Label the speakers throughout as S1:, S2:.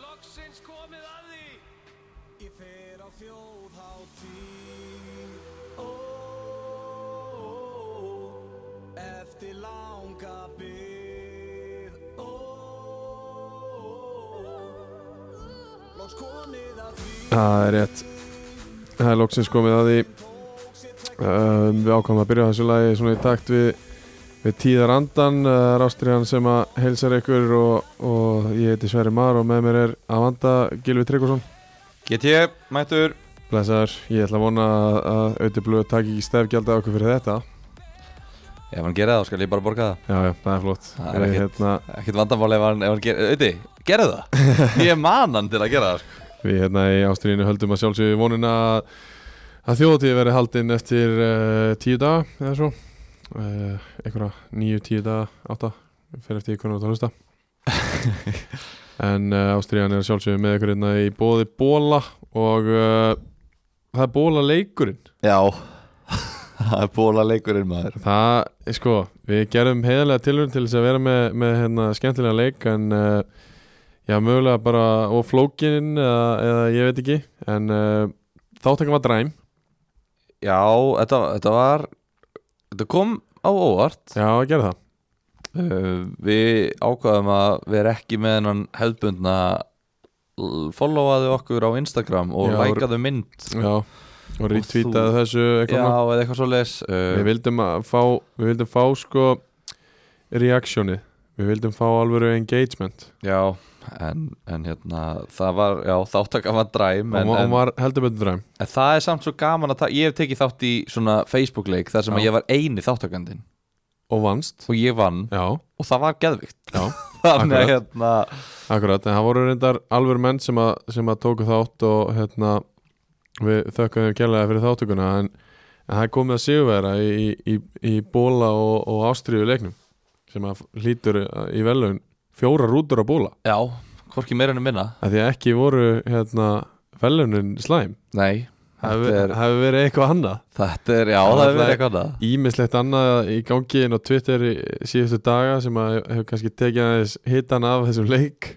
S1: loksins komið að því
S2: Ég fer á þjóðháttíð Ó, ó, ó, eftir langa bið Ó, ó, ó, loks komið að því
S3: Það er rétt Það er loksins komið að því um, Við ákvæmum að byrja á þessu lagi svona í takt við, við tíðar andan uh, Rástriðan sem að heilsar ykkur og, og ég heiti Sverri Mar og með mér er Amanda Gilvi Tryggvason
S4: Get ég, mættur
S3: Blessaður, ég ætla að vona að- að Auði Blöð taki ekki stefgjald af okkur fyrir þetta
S4: Ef hann gera það, þá skal ég bara borga það
S3: Já, já, það er flott
S4: Það
S3: Við,
S4: er ekkert-
S3: hérna,
S4: Ekkert vandamál ef hann, ef hann gera Öti, gera það Ég man hann til að gera það sko.
S3: við hérna í Ástriðinu höldum að sjálfsögðu vonuna að- að þjóðatíð verið haldin eftir uh, tíu daga eða svo uh, einhverja nýju, tíu daga, átta fyrir eftir hvernig þú ert að hlusta en uh, Ástriðan er að sjálfsögðu með ykkur hérna í bóði bóla og uh, það er bóla leikurinn
S4: Já Það er bóla leikurinn maður
S3: það, eh, sko, við gerum heiðarlega tilhörn til þess að vera með, með hérna, skemmtilega leik en uh, já, mögulega bara og flókinin eða, eða ég veit ekki en uh, þáttakum var dræm
S4: Já, þetta, þetta var Þetta kom á óvart
S3: já, að gera það
S4: uh, Við ákvaðum að vera ekki með hennan hefðbundna l- followaðu okkur á Instagram og
S3: Já,
S4: lækaðu mynd
S3: já, og retweetaði
S4: þú-
S3: þessu
S4: Já,
S3: eitthvað
S4: eða eitthvað svo leis
S3: við vildum að fá við vildum fá sko reactionið, við vildum fá alvöru engagement
S4: Já, en, en hérna það var, já, þáttaka var dræm
S3: en,
S4: en,
S3: og
S4: en,
S3: var heldur betur dræm
S4: en það er samt svo gaman að ta- ég hef tekið þátt í svona Facebook-leik þar sem
S3: Já.
S4: að ég var eini þáttakandinn
S3: og vannst,
S4: og ég vann
S3: já,
S4: og það var geðvikt
S3: já
S4: þannig að
S3: Akkurat.
S4: hérna
S3: Akkurat, en það voru reyndar alvöru menn sem að, sem að tóku þátt og hérna við þökkum þeim kjærlega fyrir þáttökuna en, en það er komið að sigurvera í, í, í bóla og, og ástriðu leiknum sem að hlýtur uh, í velun fjóra rútur á bóla
S4: já, hvorki meira enn minna
S3: af því að ekki voru hérna velunin slæm
S4: nei,
S3: það
S4: þetta
S3: hefur
S4: er,
S3: hef verið eitthvað annað
S4: þetta er já,
S3: Það
S4: það
S3: er
S4: er verið
S3: það-
S4: eitthvað annað
S3: Ímislegt annað í gangi inn á Twitter í síðustu daga sem að hefur kannski tekið aðeins hitan af þessum leik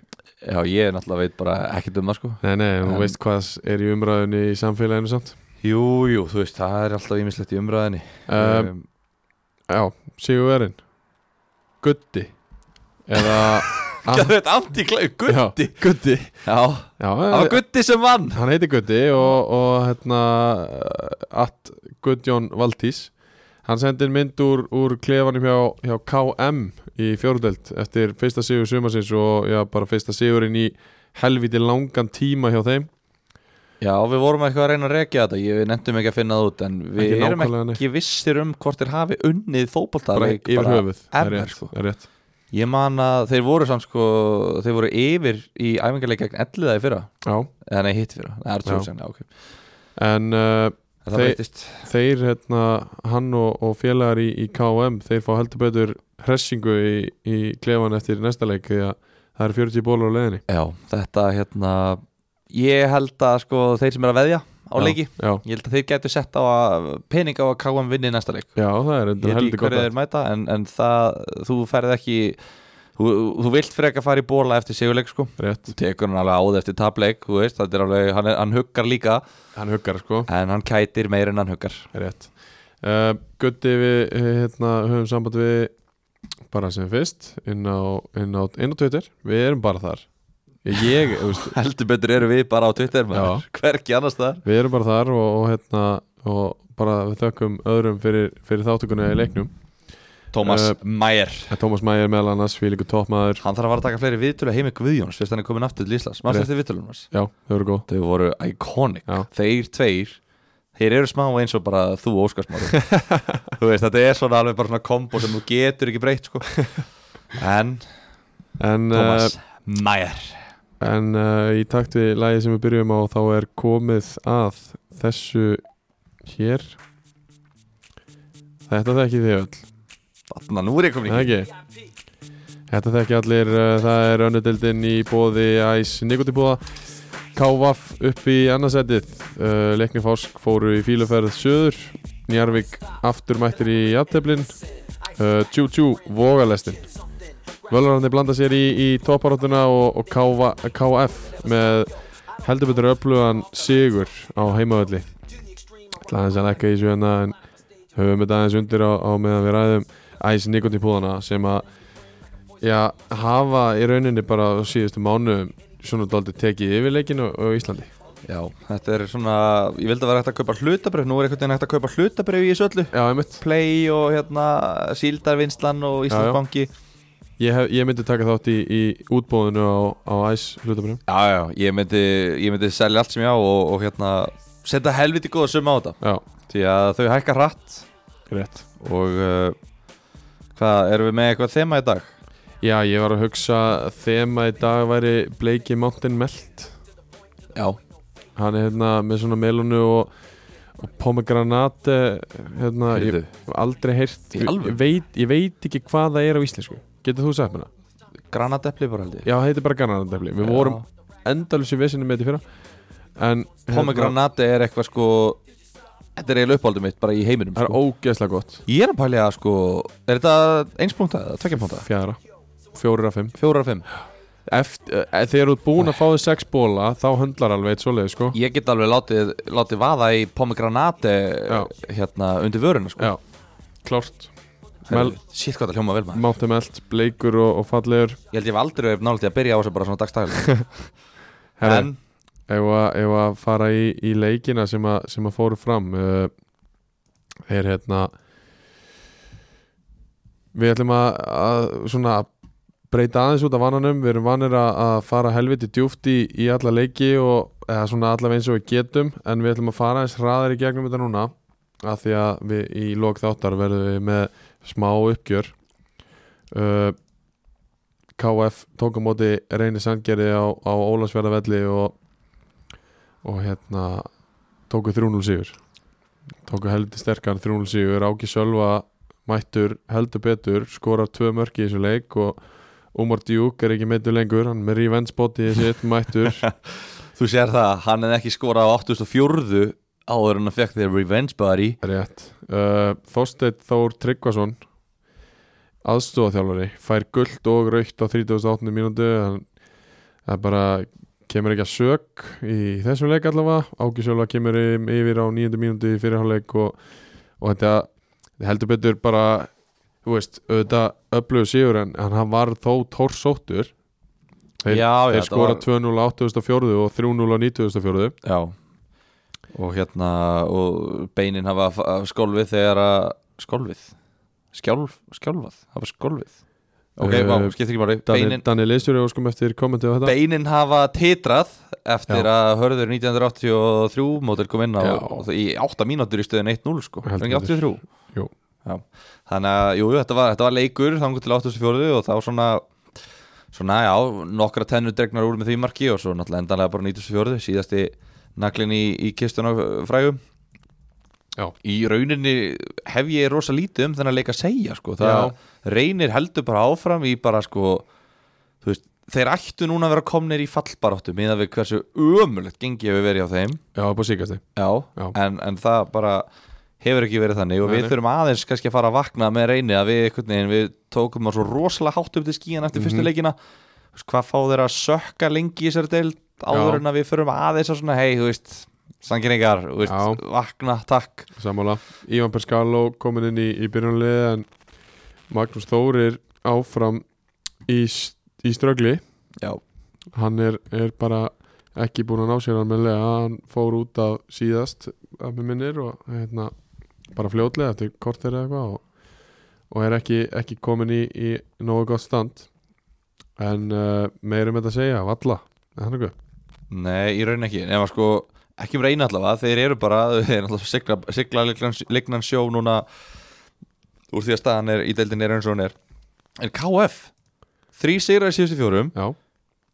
S4: já, ég náttúrulega veit bara ekkert um það sko
S3: Nei, nei, þú
S4: En-
S3: veist hvað er í umræðunni í samfélaginu samt
S4: jú, jú, þú veist, það er alltaf ímislegt í umræðinni
S3: um,
S4: Ehm,
S3: Já, Sigurverinn Guddi Eða
S4: Hvað veit, anti-kleif, Gutti Uh,
S3: Já, Guddi
S4: Já,
S3: Já, eh,
S4: það var Gutti sem vann
S3: hann heiti Guddi og, og hérna eh, at Guðjón Valtís Hann sendi inn mynd úr, úr klefanum hjá, hjá KM í fjórdelt eftir fyrsta sigur sumarsins og já, bara fyrsta sigurinn í helviti langan tíma hjá þeim
S4: Já, við vorum eitthvað að reyna að rekja þetta ég, Við nefndum ekki að finna það út En við
S3: Ekki
S4: erum
S3: nákvæmlega, nei.
S4: ekki vissir um hvort þeir hafi unnið
S3: bara
S4: fótboltaleik
S3: yfir höfuð Það er
S4: ever,
S3: rétt,
S4: sko.
S3: það er rétt.
S4: Ég man að þeir voru samt sko Þeir voru yfir í æfingarleik gegn elliða í fyrra
S3: Já,
S4: Eða nei, hitt í fyrra Það er
S3: Já.
S4: tjóð sem, já, ok En
S3: en uh,
S4: Það
S3: Þeir-
S4: breytist
S3: þeir hérna, hann og, og félagar í, í KM þeir fá heldur betur hressingu í, í klefan eftir næsta leik því að það eru 40 bólar á leiðinni
S4: Já, þetta hérna Ég held að sko þeir sem er að veðja
S3: Já,
S4: á leiki
S3: já,
S4: Ég held að þeir gætu sett á að pening á að KM vinni næsta leik
S3: já, það er
S4: Ég
S3: heldur,
S4: veit ekki
S3: heldur gott
S4: hverju þeir mæta En, en það, þú ferð ekki Þú, þú vilt frekar fara í bóla eftir sigurleik sko
S3: að- rétt,
S4: Þú tekur hann alveg á það eftir tapleik þú veist, þetta er alveg, hann, er- hann huggar líka
S3: hann huggar sko
S4: en hann kætir meir en hann huggar
S3: rétt uh, Gutti við eh, hérna, höfum samband við bara sem fyrst inn á, inn á, inn á Twitter við erum bara þar ég, þú veist,
S4: heldur betur eru við bara á Twitter
S3: maður.
S4: hverki annars þar
S3: við erum bara þar og, og hérna og bara við þökkum öðrum fyrir, fyrir þáttökuna í leiknum
S4: Thomas
S3: Eh,
S4: uh, Mayer
S3: Tómas Mæger meðal annars, fílíku toppmaður
S4: hann þarf að fara að taka fleiri viðtölu heimi Guðjóns fyrst hann er komin aftur til Íslands
S3: Rétt.
S4: maður eftir viðtölum hans
S3: Já, þau eru góð
S4: þau voru iconic
S3: Já.
S4: þeir tveir Þeir eru smá eins og bara þú óskarsmári Þú veist, þetta er svona alveg bara svona kombo sem þú getur ekki breytt sko En,
S3: En,
S4: Thomas Mayer
S3: eh, en uh, í takt við lagið sem við byrjum á þá er komið að þessu hér Þetta þekki þið öll,
S4: Þarna, nú er ég komin
S3: eða
S4: ekki
S3: ekki? Þetta þekki allir, uh, það er önnudildin í bóði Æs Nikotipúða Kávaf upp í annarsætið uh, Leikni Fásk fóru í fíluferð söður Njarvík aftur mættir í jafnteflin uh, Tjú tjú vogalestin Völvarandi blanda sér í, í topparóttuna og, og KV, KF með heldur betur öflugan sigur á heimavölli Það aðeins að lekka í þessu hérna en höfum þetta aðeins undir á, á meðan við ræðum æs nikotipúðana sem að já, hafa í rauninni bara á síðustu mánu svona dálítið tekið yfir leikinu á á Íslandi
S4: Já, þetta er svona, ég vildi að vera hægt að kaupa hlutabrif, nú er einhvern veginn hægt að kaupa hlutabrif í þessu öllu
S3: Já, einmitt
S4: Play og hérna Síldarvinnslan og Íslandsbanki já,
S3: Ég, hef, ég myndi taka þátt í, í útbóðinu á, á æs hlutabrjum
S4: já, ég, myndi, ég myndi selja allt sem ég á og, og hérna setja helviti góða summa á þetta
S3: Já,
S4: Því að þau hækka hratt
S3: rétt
S4: og uh, hvað, erum við með eitthvað þema í dag?
S3: Já, ég var að hugsa þema í dag væri Blakey Mountain Melt
S4: Já
S3: Hann er hérna með svona melunu og, og pomegranate hérna, ég
S4: Heyrðu.
S3: hef aldrei heyrt
S4: Í
S3: ég,
S4: alvöru?
S3: ég veit, ég veit ekki hvað það er á íslensku Getur þú sagt mér það?
S4: Granatepli bara held ég
S3: Já, það heitir bara granatefli Við vorum endalus í vesinu með þetta í fyrra En hérna,
S4: Pomegranate er eitthvað sko Þetta er eiginlega uppáldum mitt bara í heiminum
S3: hérna, Það er
S4: sko.
S3: ógeðslega gott
S4: Ég er að pælja sko Er þetta einspunkta eða tvekkjapunta?
S3: Fjara, fjórir af fimm
S4: Fjórar af fimm
S3: Eftir, eh, Þegar þú ert búin að fá þig sex bóla Þá höndlar alveg eitt svoleið sko
S4: Ég get alveg látið, látið vaða í pomegranate
S3: Já.
S4: Hérna undir vöruna sko
S3: Já, klárt
S4: Herru, Shit hvað það hljóma vel maður
S3: Mountain Melt, bleikur og, og fallegur
S4: Ég held ég hef aldrei verið nálægt í að byrja á þessu bara svona dagstæl
S3: Herra,
S4: En
S3: ef að, ef að fara í, í leikina sem að, sem að fóru fram uh, er hérna við ætlum að, að svona breyta aðeins út af vananum við erum vanir að, að fara helviti djúft í, í alla leiki og eða svona allaveg eins og við getum en við ætlum að fara eins hraðar í gegnum þetta núna af því að við í lok þáttar verðum við með smá uppgjör uh, KF tók á móti Reyni Sandgerði á, á Ólasverðavelli og, og hérna tóku 3-0 sigur tóku heldur sterkan 3-0 sigur Áki Sölva mættur heldur betur skorar tvö mörk í þessu leik og Umar Djúk er ekki meittur lengur hann er með revenge body sitt mættur
S4: þú sér það Hann hefði ekki skorað á 804 áður en hann fekk þér revenge body
S3: Rétt uh, Þorsteinn Þór Tryggvason aðstofaþjálfari fær guld og raukt á 38. mínútu en það bara kemur ekki að sök í þessum leik allavega Ákísjóla kemur í- yfir á 9. mínútu í fyrirháleik og, og þetta heldur betur bara þú veist, auðvitað öflugur sígur en, en hann var þó tórsóttur þeir,
S4: Já, já,
S3: þeir
S4: þetta
S3: skora
S4: var-
S3: 2-0 á 8.4 og 3-0 á 9.4
S4: Já Og hérna og beinin hafa f- skólfið þegar að skólfið Skjálf, skjálfað, hafa skólfið Ok,
S3: Eh,
S4: uh, vá, skiptir ekki máli
S3: Daniel,
S4: beinin,
S3: Daniel Leysjúri og skum eftir kommentið á þetta
S4: beinin hafa titrað eftir
S3: Já.
S4: að hörður 1983 mótil kom inn
S3: Já.
S4: á, og það- í 8 mínútur í stöðin 1-0 sko,
S3: Heldur
S4: er ekki 83
S3: Jú.
S4: Já. Þannig að, jú, þetta var, þetta var leikur þangur til 84 og þá svona svona, já, nokkra tennur dregnar úr með því marki og svo náttúrulega endanlega bara 94 síðasti naglinn í, í kistuna frægum
S3: Já.
S4: Í rauninni hef ég rosa lítið um þennan leik að segja sko. það
S3: Já.
S4: reynir heldur bara áfram í bara sko, þú veist, þeir ættu núna að vera komnir í fallbaráttu miðað við hversu ömulegt gengi hefur verið á þeim
S3: Já, upp á síkast
S4: Já,
S3: Já.
S4: En, en það bara hefur ekki verið þannig og
S3: Nei,
S4: við
S3: nei.
S4: þurfum aðeins kannski að fara að vakna með reyni að við, einhvern veginn, við tókum það svo rosalega hátt upp til skíðan eftir fyrstu leikina Þú veist, hvað fá þeir að sökka lengi í þessari deild áður
S3: Já.
S4: en að við förum aðeins að svona hei, þú veist, sanginningar þú veist,
S3: Já.
S4: vakna, takk
S3: Sammála, Ívan Perskaló komin inn í, í byrjunarliði en Magnús Þórir áfram í, s- í strögli
S4: Já,
S3: hann er, er bara ekki búin að ná sér almennilega hann fór út af síðast að mér minnir og hérna, bara fljótlega eftir kortir eða eitthvað og, og er ekki, ekki komin í, í nógu gott stand en uh, meirum þetta að segja, valla er það nokkuð?
S4: nei, í raunin ekki nema sko, ekki um reyni allavega þeir eru bara, þeir allavega sigla, sigla lignan, lignan sjó núna úr því að staðan er í deildin er eins og hún er en KF þrý sigrar í síðustu fjórum
S3: Já,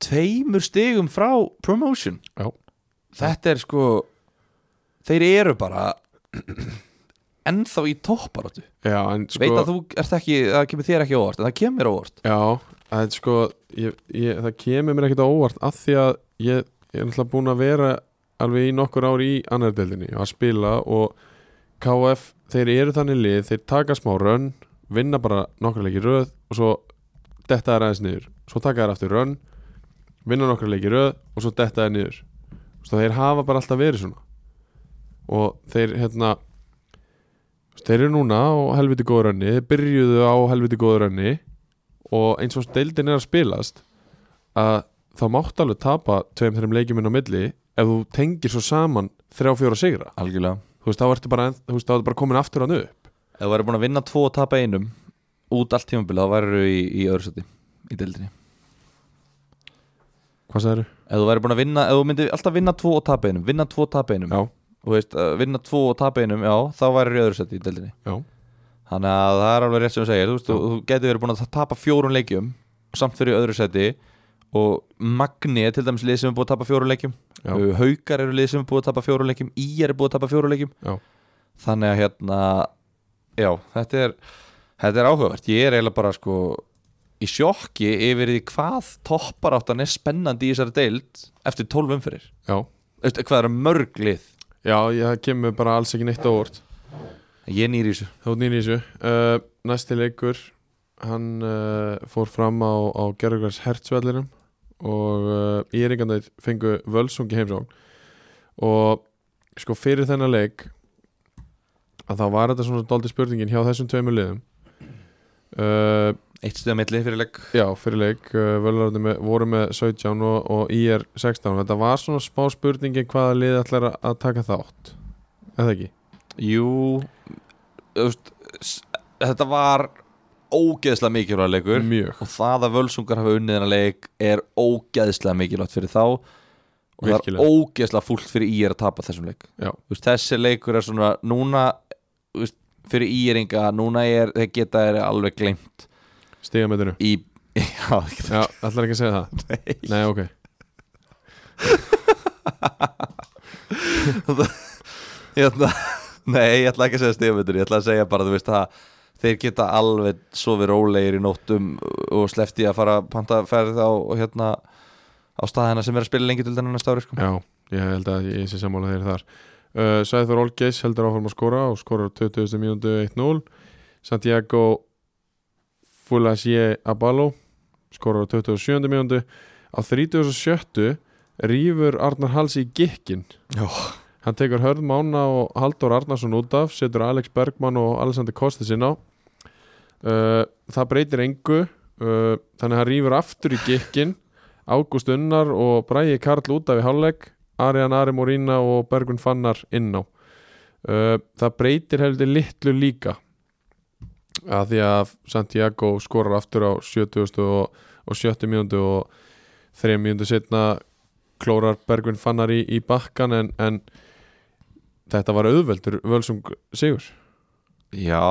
S4: tveimur stigum frá promotion
S3: já,
S4: þetta er sko þeir eru bara ennþá í topparáttu
S3: já en sko
S4: veit að þú ert ekki, það kemur þér ekki á óvart en það kemur á óvart
S3: Já, en sko ég, ég, það kemur mér ekkert á óvart af því að ég, ég er náttúrulega búin að vera alveg í nokkur ár í annar deildinni að spila og KF þeir eru þannig lið, þeir taka smá rönn vinna bara nokkra leiki í röð og svo detta þær aðeins niður svo taka þær aftur rönn vinna nokkra leiki í röð og svo detta þær niður svo þeir hafa bara alltaf verið svona og þeir hérna þeir eru núna á helviti góður rönni þeir byrjuðu á helviti góður rönni og eins og deildin er að spilast að þá mátt alveg tapa tveim þeirrim leikjuminn á milli ef þú tengir svo saman þrjá fjóra sigra
S4: algjörlega
S3: þú veist, þá ertu bara, þú veist, þá ertu bara komin aftur hann upp
S4: Ef þú væri búin að vinna tvo og tapa einum út allt tímabilið, þá væri þú í, í öðru seti í deildinni
S3: hvað sagðið eru?
S4: Ef þú væri búin að vinna, ef þú myndir alltaf vinna tvo og tapa einum vinna tvo og tapa einum
S3: Já.
S4: Þú veist, að vinna tvo og tapa einum, já, þá væri þú í öðru seti í deildinni
S3: Já,
S4: Þannig að það er alveg rétt sem þú segir Þú, veist, þú, þú getur verið búin að tapa fjórun leikjum samt fyrir í öðru seti og Magni er til dæmis lið sem er búið að tapa fjórun leikjum
S3: Já.
S4: Uh, Haukar eru lið sem er búið að tapa fjórun leikjum Í er búið að tapa fjórun leikjum
S3: já,
S4: þannig að hérna já, þetta er, þetta er áhugavert ég er eiginlega bara sko í sjokki yfir því hvað topparáttan er spennandi í þessari deild eftir 12 umfyrir,
S3: já
S4: Eftir, hvað eru mörg lið
S3: Já, ég það kemur bara alls ekki neitt á orð
S4: ég nýr í þessu
S3: Þá er nýri í þessu uh, Næsti leikur Hann uh, fór fram á, á Gerrugars hertsvellinum og uh, Íringarnir fengu völsungi heimsóng og sko fyrir þennan leik að þá var þetta svona daldi spurningin hjá þessum tveimur liðum uh,
S4: eitt stöðum eitt lið fyrir leik
S3: Já, fyrir leik uh, Völararnir með, voru með 17 og, og IR 16 Þetta var svona smá spurningi hvaða lið ætlar að- að taka þátt Eða ekki?
S4: jú þú veist, s- þetta var ógeðslega mikilvæg leikur
S3: Mjög
S4: og það að völsungar hafa unnið þennan leik er ógeðslega mikilvægt fyrir þá og það
S3: Virkilega.
S4: er ógeðslega fúlt fyrir í að tapa þessum leik
S3: Já,
S4: Þú veist, þessi leikur er svona núna þú veist, fyrir íringa, núna er þeir geta þeir alveg gleymt
S3: stiga með þennu
S4: í já, ekki
S3: Já, ætlar ekki að segja það? Nei, ok
S4: það- hérna, nei, ég ætla ekki að segja stíðmyndur ég ætla að segja bara, þú veist það þeir geta alveg sofið rólegir í nóttum og sleppti að fara að panta ferð á, hérna á staðina sem er að spila lengi til þennan næsta ári sko.
S3: Já, ég held að ég sé sammála þeir þar uh, Sæður Olgeis heldur áfram að skora og skorar á 20. mínútu 1-0 Santiago Fulasje Abalo skorar á 27. mínútu á 37. rýfur Arnar Hals í gikkin
S4: Já.
S3: Hann tekur Hörð Mána og Haldur Arnarsson út af setur Alex Bergmann og Alexander Kostis inn á uh, Það breytir engu uh, þannig að hann rýfur aftur í gikkin Ágúst Unnar og Bræi Karl út af í hálfleik Arian Ari Morína og Bergun Fannar inn á Uh, það breytir heldur litlu líka að því að Santiago skorar aftur á 70 og, og 70 mínútu og 3 mínútu setna klórar Bergun Fannar í, í bakkan en, en þetta var auðveldur völsung sigur
S4: já,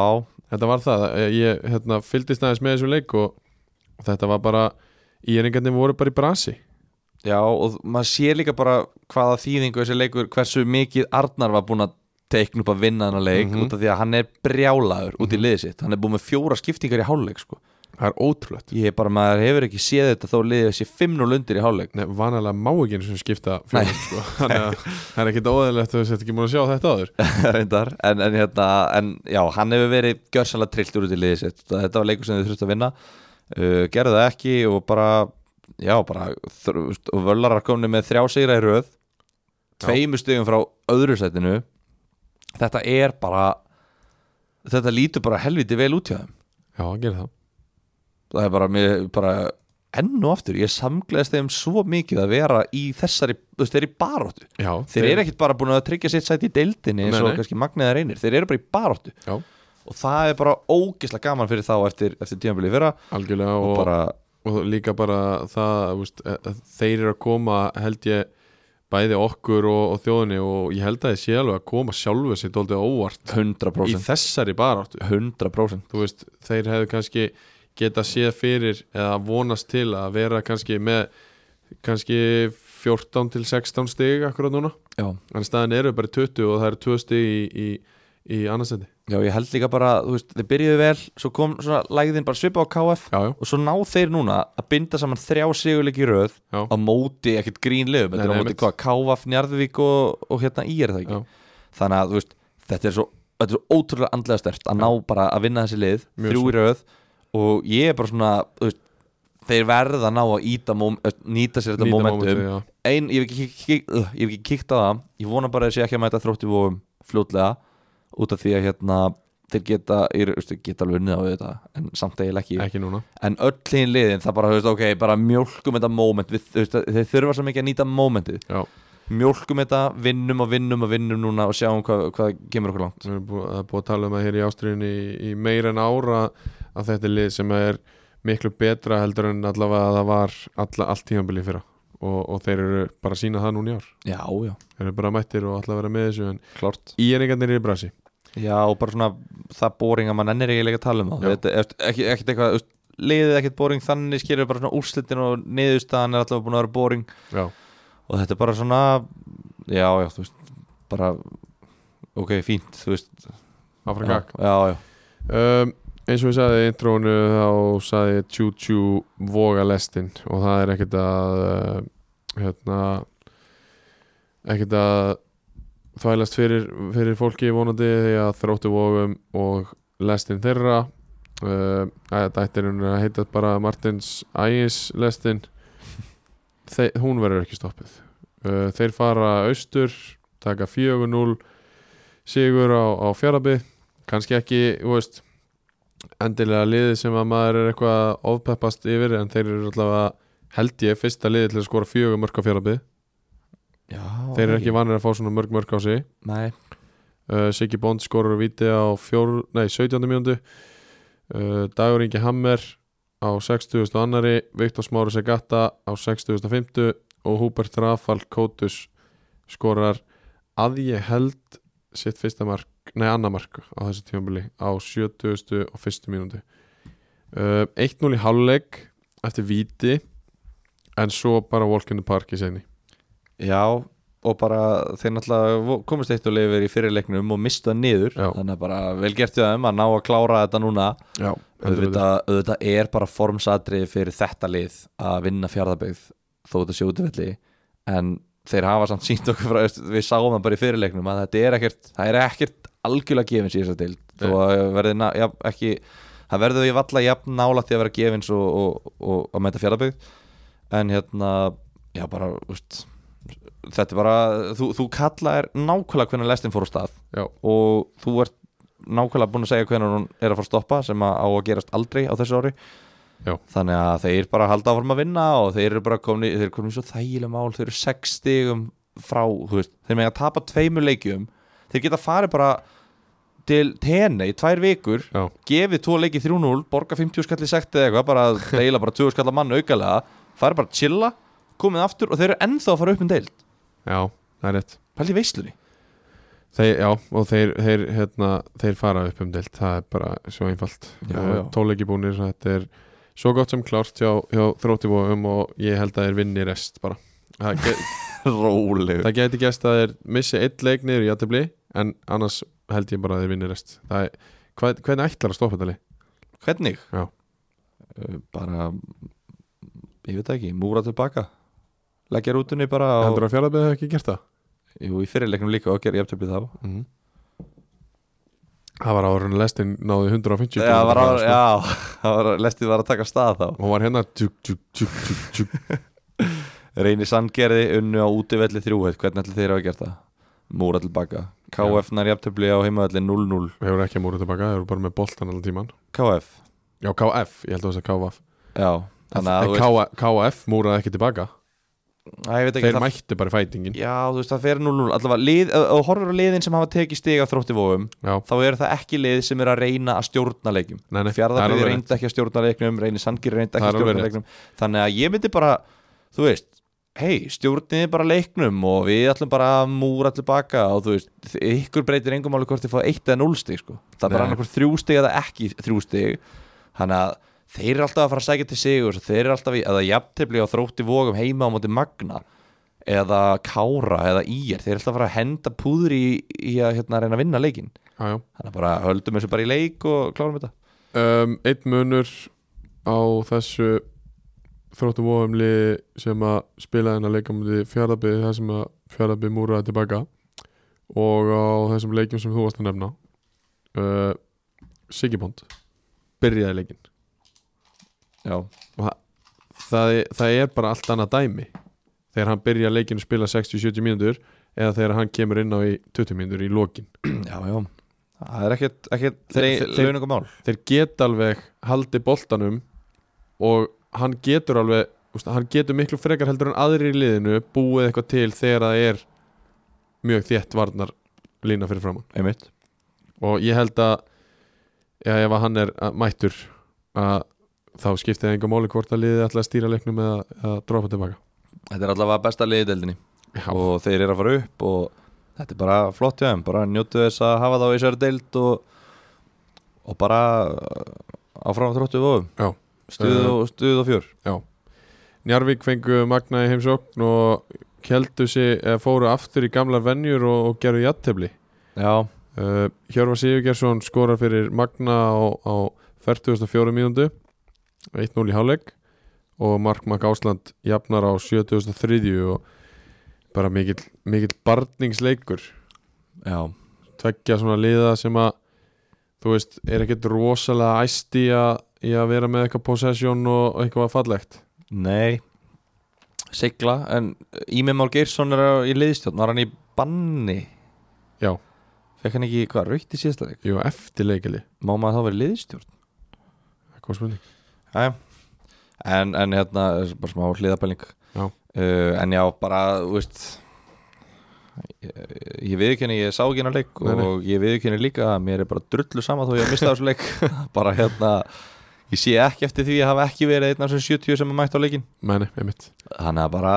S3: þetta var það, ég hérna, fylgdist aðeins með þessu leik og, og þetta var bara í eringarnir voru bara í brasi
S4: Já og maður sér líka bara hvaða þýðingu þessi leikur hversu mikið Arnar var búinn að teikna upp að vinna hennar leik
S3: Mhm.
S4: út af því að hann er brjálaður út í liðið sitt hann er búinn með fjóra skiptingar í hálfleik sko.
S3: það er ótrúlegt
S4: ég er bara, maður hefur ekki séð þetta þó liðið sé 5-0 undir í hálfleik
S3: Nei, vanalega má ekki eins og skipta fjóðum sko. þannig að það er ekkit óðilegt að þú sett ekki múin að sjá þetta áður
S4: reyndar en, en, hérna, en já, hann hefur verið gjörsanlega trillt út í liðið sitt þetta var leikur sem þið þurftu að vinna uh, gerðu það ekki og bara já, bara þr- og völlarar komni með þrjá sigra í röð
S3: Já.
S4: tveimur stegum frá öðru sætinu þetta er bara þetta lítur bara helviti vel út hjá þeim
S3: Já, hann gerir það
S4: það er bara, mér, bara enn og aftur, ég samgleðist þeim svo mikið að vera í þessari, þú veist, þeir eru í baróttu
S3: Já,
S4: þeir eru ekkit bara búin að tryggja sitt sæti í deildinni eins
S3: Nei,
S4: og
S3: nei.
S4: kannski magniða reynir, þeir eru bara í baróttu
S3: Já,
S4: og það er bara ógislega gaman fyrir þá eftir, eftir tímabilið fyrra
S3: algjörlega
S4: og,
S3: og, og,
S4: bara,
S3: líka bara það þú veist, eh, þeir eru að koma held ég bæði okkur og, og þjóðinni og ég held að ég sé alveg að koma sjálfu sér dóldi óvart í
S4: 100%
S3: þessari baráttu
S4: 100%
S3: þú veist, þeir hefðu kannski geta séð fyrir eða vonast til að vera kannski með kannski 14 til 16 stig akkurat núna
S4: já
S3: en staðin eru bara 20 og það eru 2 stig í, í, í annarsendi
S4: Já, ég held líka bara, þú veist, þeir byrjuðu vel svo kom svona lægðin bara svipa á KF
S3: já, já,
S4: og svo ná þeir núna að binda saman þrjá sigurleik í röð
S3: já,
S4: á móti, ekkert grínlegum,
S3: Nei,
S4: þetta er á
S3: nei,
S4: móti
S3: einmitt.
S4: hvað, KF, Njarðvík og, og hérna í er það ekki
S3: já.
S4: þannig að, þú veist, þetta er svo, þetta er svo ótrúlega andlega stert að ná bara að vinna þessi lið
S3: Mjög
S4: þrjú í röð og ég er bara svona, þú veist þeir verða að ná að íta mom, eh, nýta sér þetta
S3: Nýta
S4: momentum
S3: momentið, já.
S4: ein, ég hef ekki, kík- kík- ugh, ég hef ekki kíkt á það ég vona bara að þessi ekki að mæta þrótti vóum fljótlega út af því að hérna þeir geta, ég veistu, geta alveg unnið á þetta en samt eiginlega ekki,
S3: ekki núna
S4: en öll hinn liðin það bara, þú veist, ok, bara mjólkum þetta moment við, þú veist, þeir þurfa svo mikið að nýta momentið
S3: Já,
S4: mjólkum þetta, vinnum og vinnum og vinnum núna og sjáum hvað, hvað kemur okkur langt
S3: við erum búið, það er búið að tala um það hér í ástriðinni í, í meira en ára að þetta er lið sem er miklu betra heldur en allavega að það var alla, allt tímabilið fyrra og, og þeir eru bara að sína það núna í ár
S4: já, já,
S3: þeir eru bara mættir og allavega vera með þessu en
S4: klart
S3: í eringarnir eru í brasi
S4: já, og bara svona það boring að mann ennir eiginlega að tala um það
S3: Já.
S4: þetta, er- ekki, ekkert eitthvað, þú veist, liðið er ekkert boring þannig skilur bara svona úrslitin og niðurstaðan er alltaf búin að vera boring
S3: Já,
S4: og þetta er bara svona já, já, þú veist, bara ok, fínt, þú veist
S3: áfram
S4: já,
S3: gag
S4: já, já,
S3: um, eins og ég sagði í intrónu þá sagði ég tjú tjú voga lestin og það er ekkert að uh, hérna ekkert að þvælast fyrir, fyrir fólki vonandi því að þróttu vogum og lestin þeirra uh, þetta ættir hún að heita bara Martins Ægis lestin Þe, hún verður ekki stoppið uh, þeir fara austur taka 4-0 sigur á, á fjarabi kannski ekki, þú veist endilega liðið sem að maður er eitthvað að ofpeppast yfir en þeir eru allavega held ég fyrsta liðið til að skora fjögur mörg á fjárabið
S4: já
S3: þeir eru ekki vanir að fá svona mörg mörg á sig
S4: nei,
S3: uh, Siggi Bond skorur víti á fjór, nei, 17. mjöndu uh, Dagur Ingi Hammer á 60. annari Viktor Smáru Segata á 60.50 og Húbert Rafal Kótus skorar að ég held sitt fyrsta mark, nei annað mark á þessu tímabili á 70. og fyrstu mínúti uh, 1-0 í hálfleik eftir víti en svo bara walk in the park í segni
S4: já og bara þeir náttúrulega vo- komust eitt og lifir í fyrirleiknum og mistu það niður
S3: Já.
S4: þannig að bara vel gert við þeim að ná að klára þetta núna
S3: Já,
S4: auðvitað, auðvitað er bara formsatrið fyrir þetta lið að vinna fjárðabegð þó þetta sé útvelli en þeir hafa samt sínt okkur frá, veist, við sáum það bara í fyrirleiknum að þetta er ekkert, það er ekkert algjörlega gefins í þess að til þó að verði na, ja, ekki það verður við valla jafn nálægt því að vera gefins og, og, og að mæta fjárðabegð en hérna, já bara úst, þetta er bara þú, þú kallaðir nákvæmlega hvernig lestin fór á stað
S3: Já,
S4: og þú ert nákvæmlega búin að segja hvernig hún er að fara að stoppa sem að á að gerast aldrei á þessu ári
S3: Já.
S4: þannig að þeir bara halda áfram að vinna og þeir eru bara komin í, þeir eru komin í svo þægileg mál þeir eru sex stigum frá þú veist, þeir með að tapa tveimur leikjum þeir geta farið bara til tenni í tvær vikur
S3: já,
S4: gefið tvo leiki 3-0, borga 50 skalli sekti eða eitthvað, bara deila bara 20 skalla mann aukalega, farið bara að chilla komið aftur og þeir eru ennþá að fara upp um deild
S3: já, það er rétt
S4: pæli veislunni
S3: Þeir, já, og þeir, þeir, hérna, þeir fara upp um deilt, það er bara svo einfalt
S4: Já,
S3: Eh,
S4: já.
S3: Tóleiki búnir, þetta er svo gott sem klárt hjá, hjá þróttivóðum og ég held að þeir vinni rest bara Það, ge
S4: Rólegur
S3: það geti gæst að þeir missi eitt leik niður í aðtefli en annars held ég bara að þeir vinni rest Það er, hvað, hvernig ætlar að stoppa þetta lið?
S4: Hvernig?
S3: Já.
S4: Uh, Bara ég veit það ekki, múra tilbaka leggja rútunni bara á,
S3: Heldur að fjárðabæði hafi ekki gert það?
S4: jú, í fyrirleiknum líka og gera jafntöfli þá
S3: Það var árun lestin náði 150
S4: Já, var á,
S3: kílómetra, sko.
S4: já, það var, lestið var að taka stað þá
S3: Hún var hérna tjúk, tjúk, tjúk, tjúk, tjúk.
S4: Reyni Sandgerði unnu á útivelli þrjúheit hvernig ætli þeir hafa gert það? Múra tilbaka KF nær jafntöfli á heimavelli 0-0
S3: Hefur ekki að múra tilbaka, hefur bara með boltan allan tíman
S4: KF,
S3: Já, KF, ég held að það sé KF
S4: já
S3: En
S4: þannig að, þú veist,
S3: K- KF múraði ekki tilbaka
S4: að ég veit ekki
S3: Þeir
S4: það-
S3: mættu bara í fætingin
S4: Já, þú veist, það fer 0-0 allavega, lið, ef þú horfir á liðin sem hafa tekið stiga þrótti vóum
S3: Já,
S4: þá eru það ekki lið sem er að reyna að stjórna leikjum
S3: Nei, nei, það er
S4: Fjarðabíði
S3: alveg
S4: reyndi ekki að stjórna leiknum Reyni Sangir reyndi
S3: Það
S4: ekki að
S3: er alveg rétt.
S4: stjórna leiknum þannig að ég myndi bara, þú veist hei, stjórniði bara leiknum og við ætlum bara að múra tilbaka og þú veist, þi- ykkur breytir engum máli hvort þið fá eitt eða 0 stig sko. það er bara
S3: Nei.
S4: annarkur þrjú stig eða ekki þrjú stig þannig að þeir eru alltaf að fara að sækja til sigur þeir eru alltaf í, eða jafntefli á þrótti vógum heima á móti magna eða kára eða ír þeir eru alltaf að fara að henda púðri í, í að hérna, reyna að vinna leikin
S3: já, já
S4: þannig að bara höldum þessu bara í leik og klárum þetta
S3: um, Einn munur á þessu þróttum ofumli sem að spilaði hennar leikamöndi fjaraðbyði þar sem að fjaraðbyði múraði tilbaka og á þessum leikjum sem þú varst að nefna uh, Sigibond byrjaði leikin
S4: Já,
S3: það, er- það er bara allt annað dæmi þegar hann byrja leikinu að spila 60-70 mínútur eða þegar hann kemur inn á í 20 mínútur í lokin
S4: já, já það er ekkert, ekkert
S3: Þeir-
S4: le
S3: þeir-
S4: launungumál
S3: þeir geta alveg haldi boltanum og hann getur alveg úst, hann getur miklu frekar heldur en aðrir í liðinu búið eitthvað til þegar það er mjög þétt varnar lína fyrir framann
S4: einmitt
S3: og ég held að já, ef að hann er að- mættur að þá skiptið enga máli hvort að liðið ætla að stýra leiknum eða að dropa tilbaka
S4: þetta er allavega besta liðið deildinni
S3: Já,
S4: og þeir eru að fara upp og þetta er bara flott hjá þeim, bara njótu þess að hafa þá í sér deild og, og bara uh, áfram þróttu vofum
S3: Já.
S4: stuð og, stuð og fjör
S3: já. Njarvík fengu Magna í heimsókn og keldu sig, eða fóru aftur í gamlar venjur og, og gerðu jattefli
S4: já,
S3: Uh, Hjörvar Sigurgjarsson skorar fyrir Magna á, á 44. mínúndu 1-0 í hálfleik og Markmann Ásland jafnar á 73. og bara mikill, mikill barningsleikur
S4: já,
S3: tveggja svona liða sem að þú veist, er ekkert rosalega æst í að, í að vera með eitthvað possession og og eitthvað fallegt
S4: nei sigla, en Ími Már Geirsson er á- í liðstjórn, var hann í banni
S3: Já,
S4: fekk hann ekki, hvað, raukt í síðasta leik
S3: jú, eftir leikili
S4: má maður þá verið liðstjórn
S3: Góð spurning
S4: Æ. en, en hérna, er bara smá hliðapæling
S3: Já.
S4: uh, en já, bara, þú veist ég, ég viðkynni ég sá ekki hennar leik
S3: Nei, nei.
S4: og ég viðkynni líka að mér er bara drullu sama þó ég mista þessu leik bara hérna, ég sé ekki eftir því að hafa ekki verið einn af þessum 70 sem er mætt á leikin
S3: Mæni, einmitt
S4: þannig að bara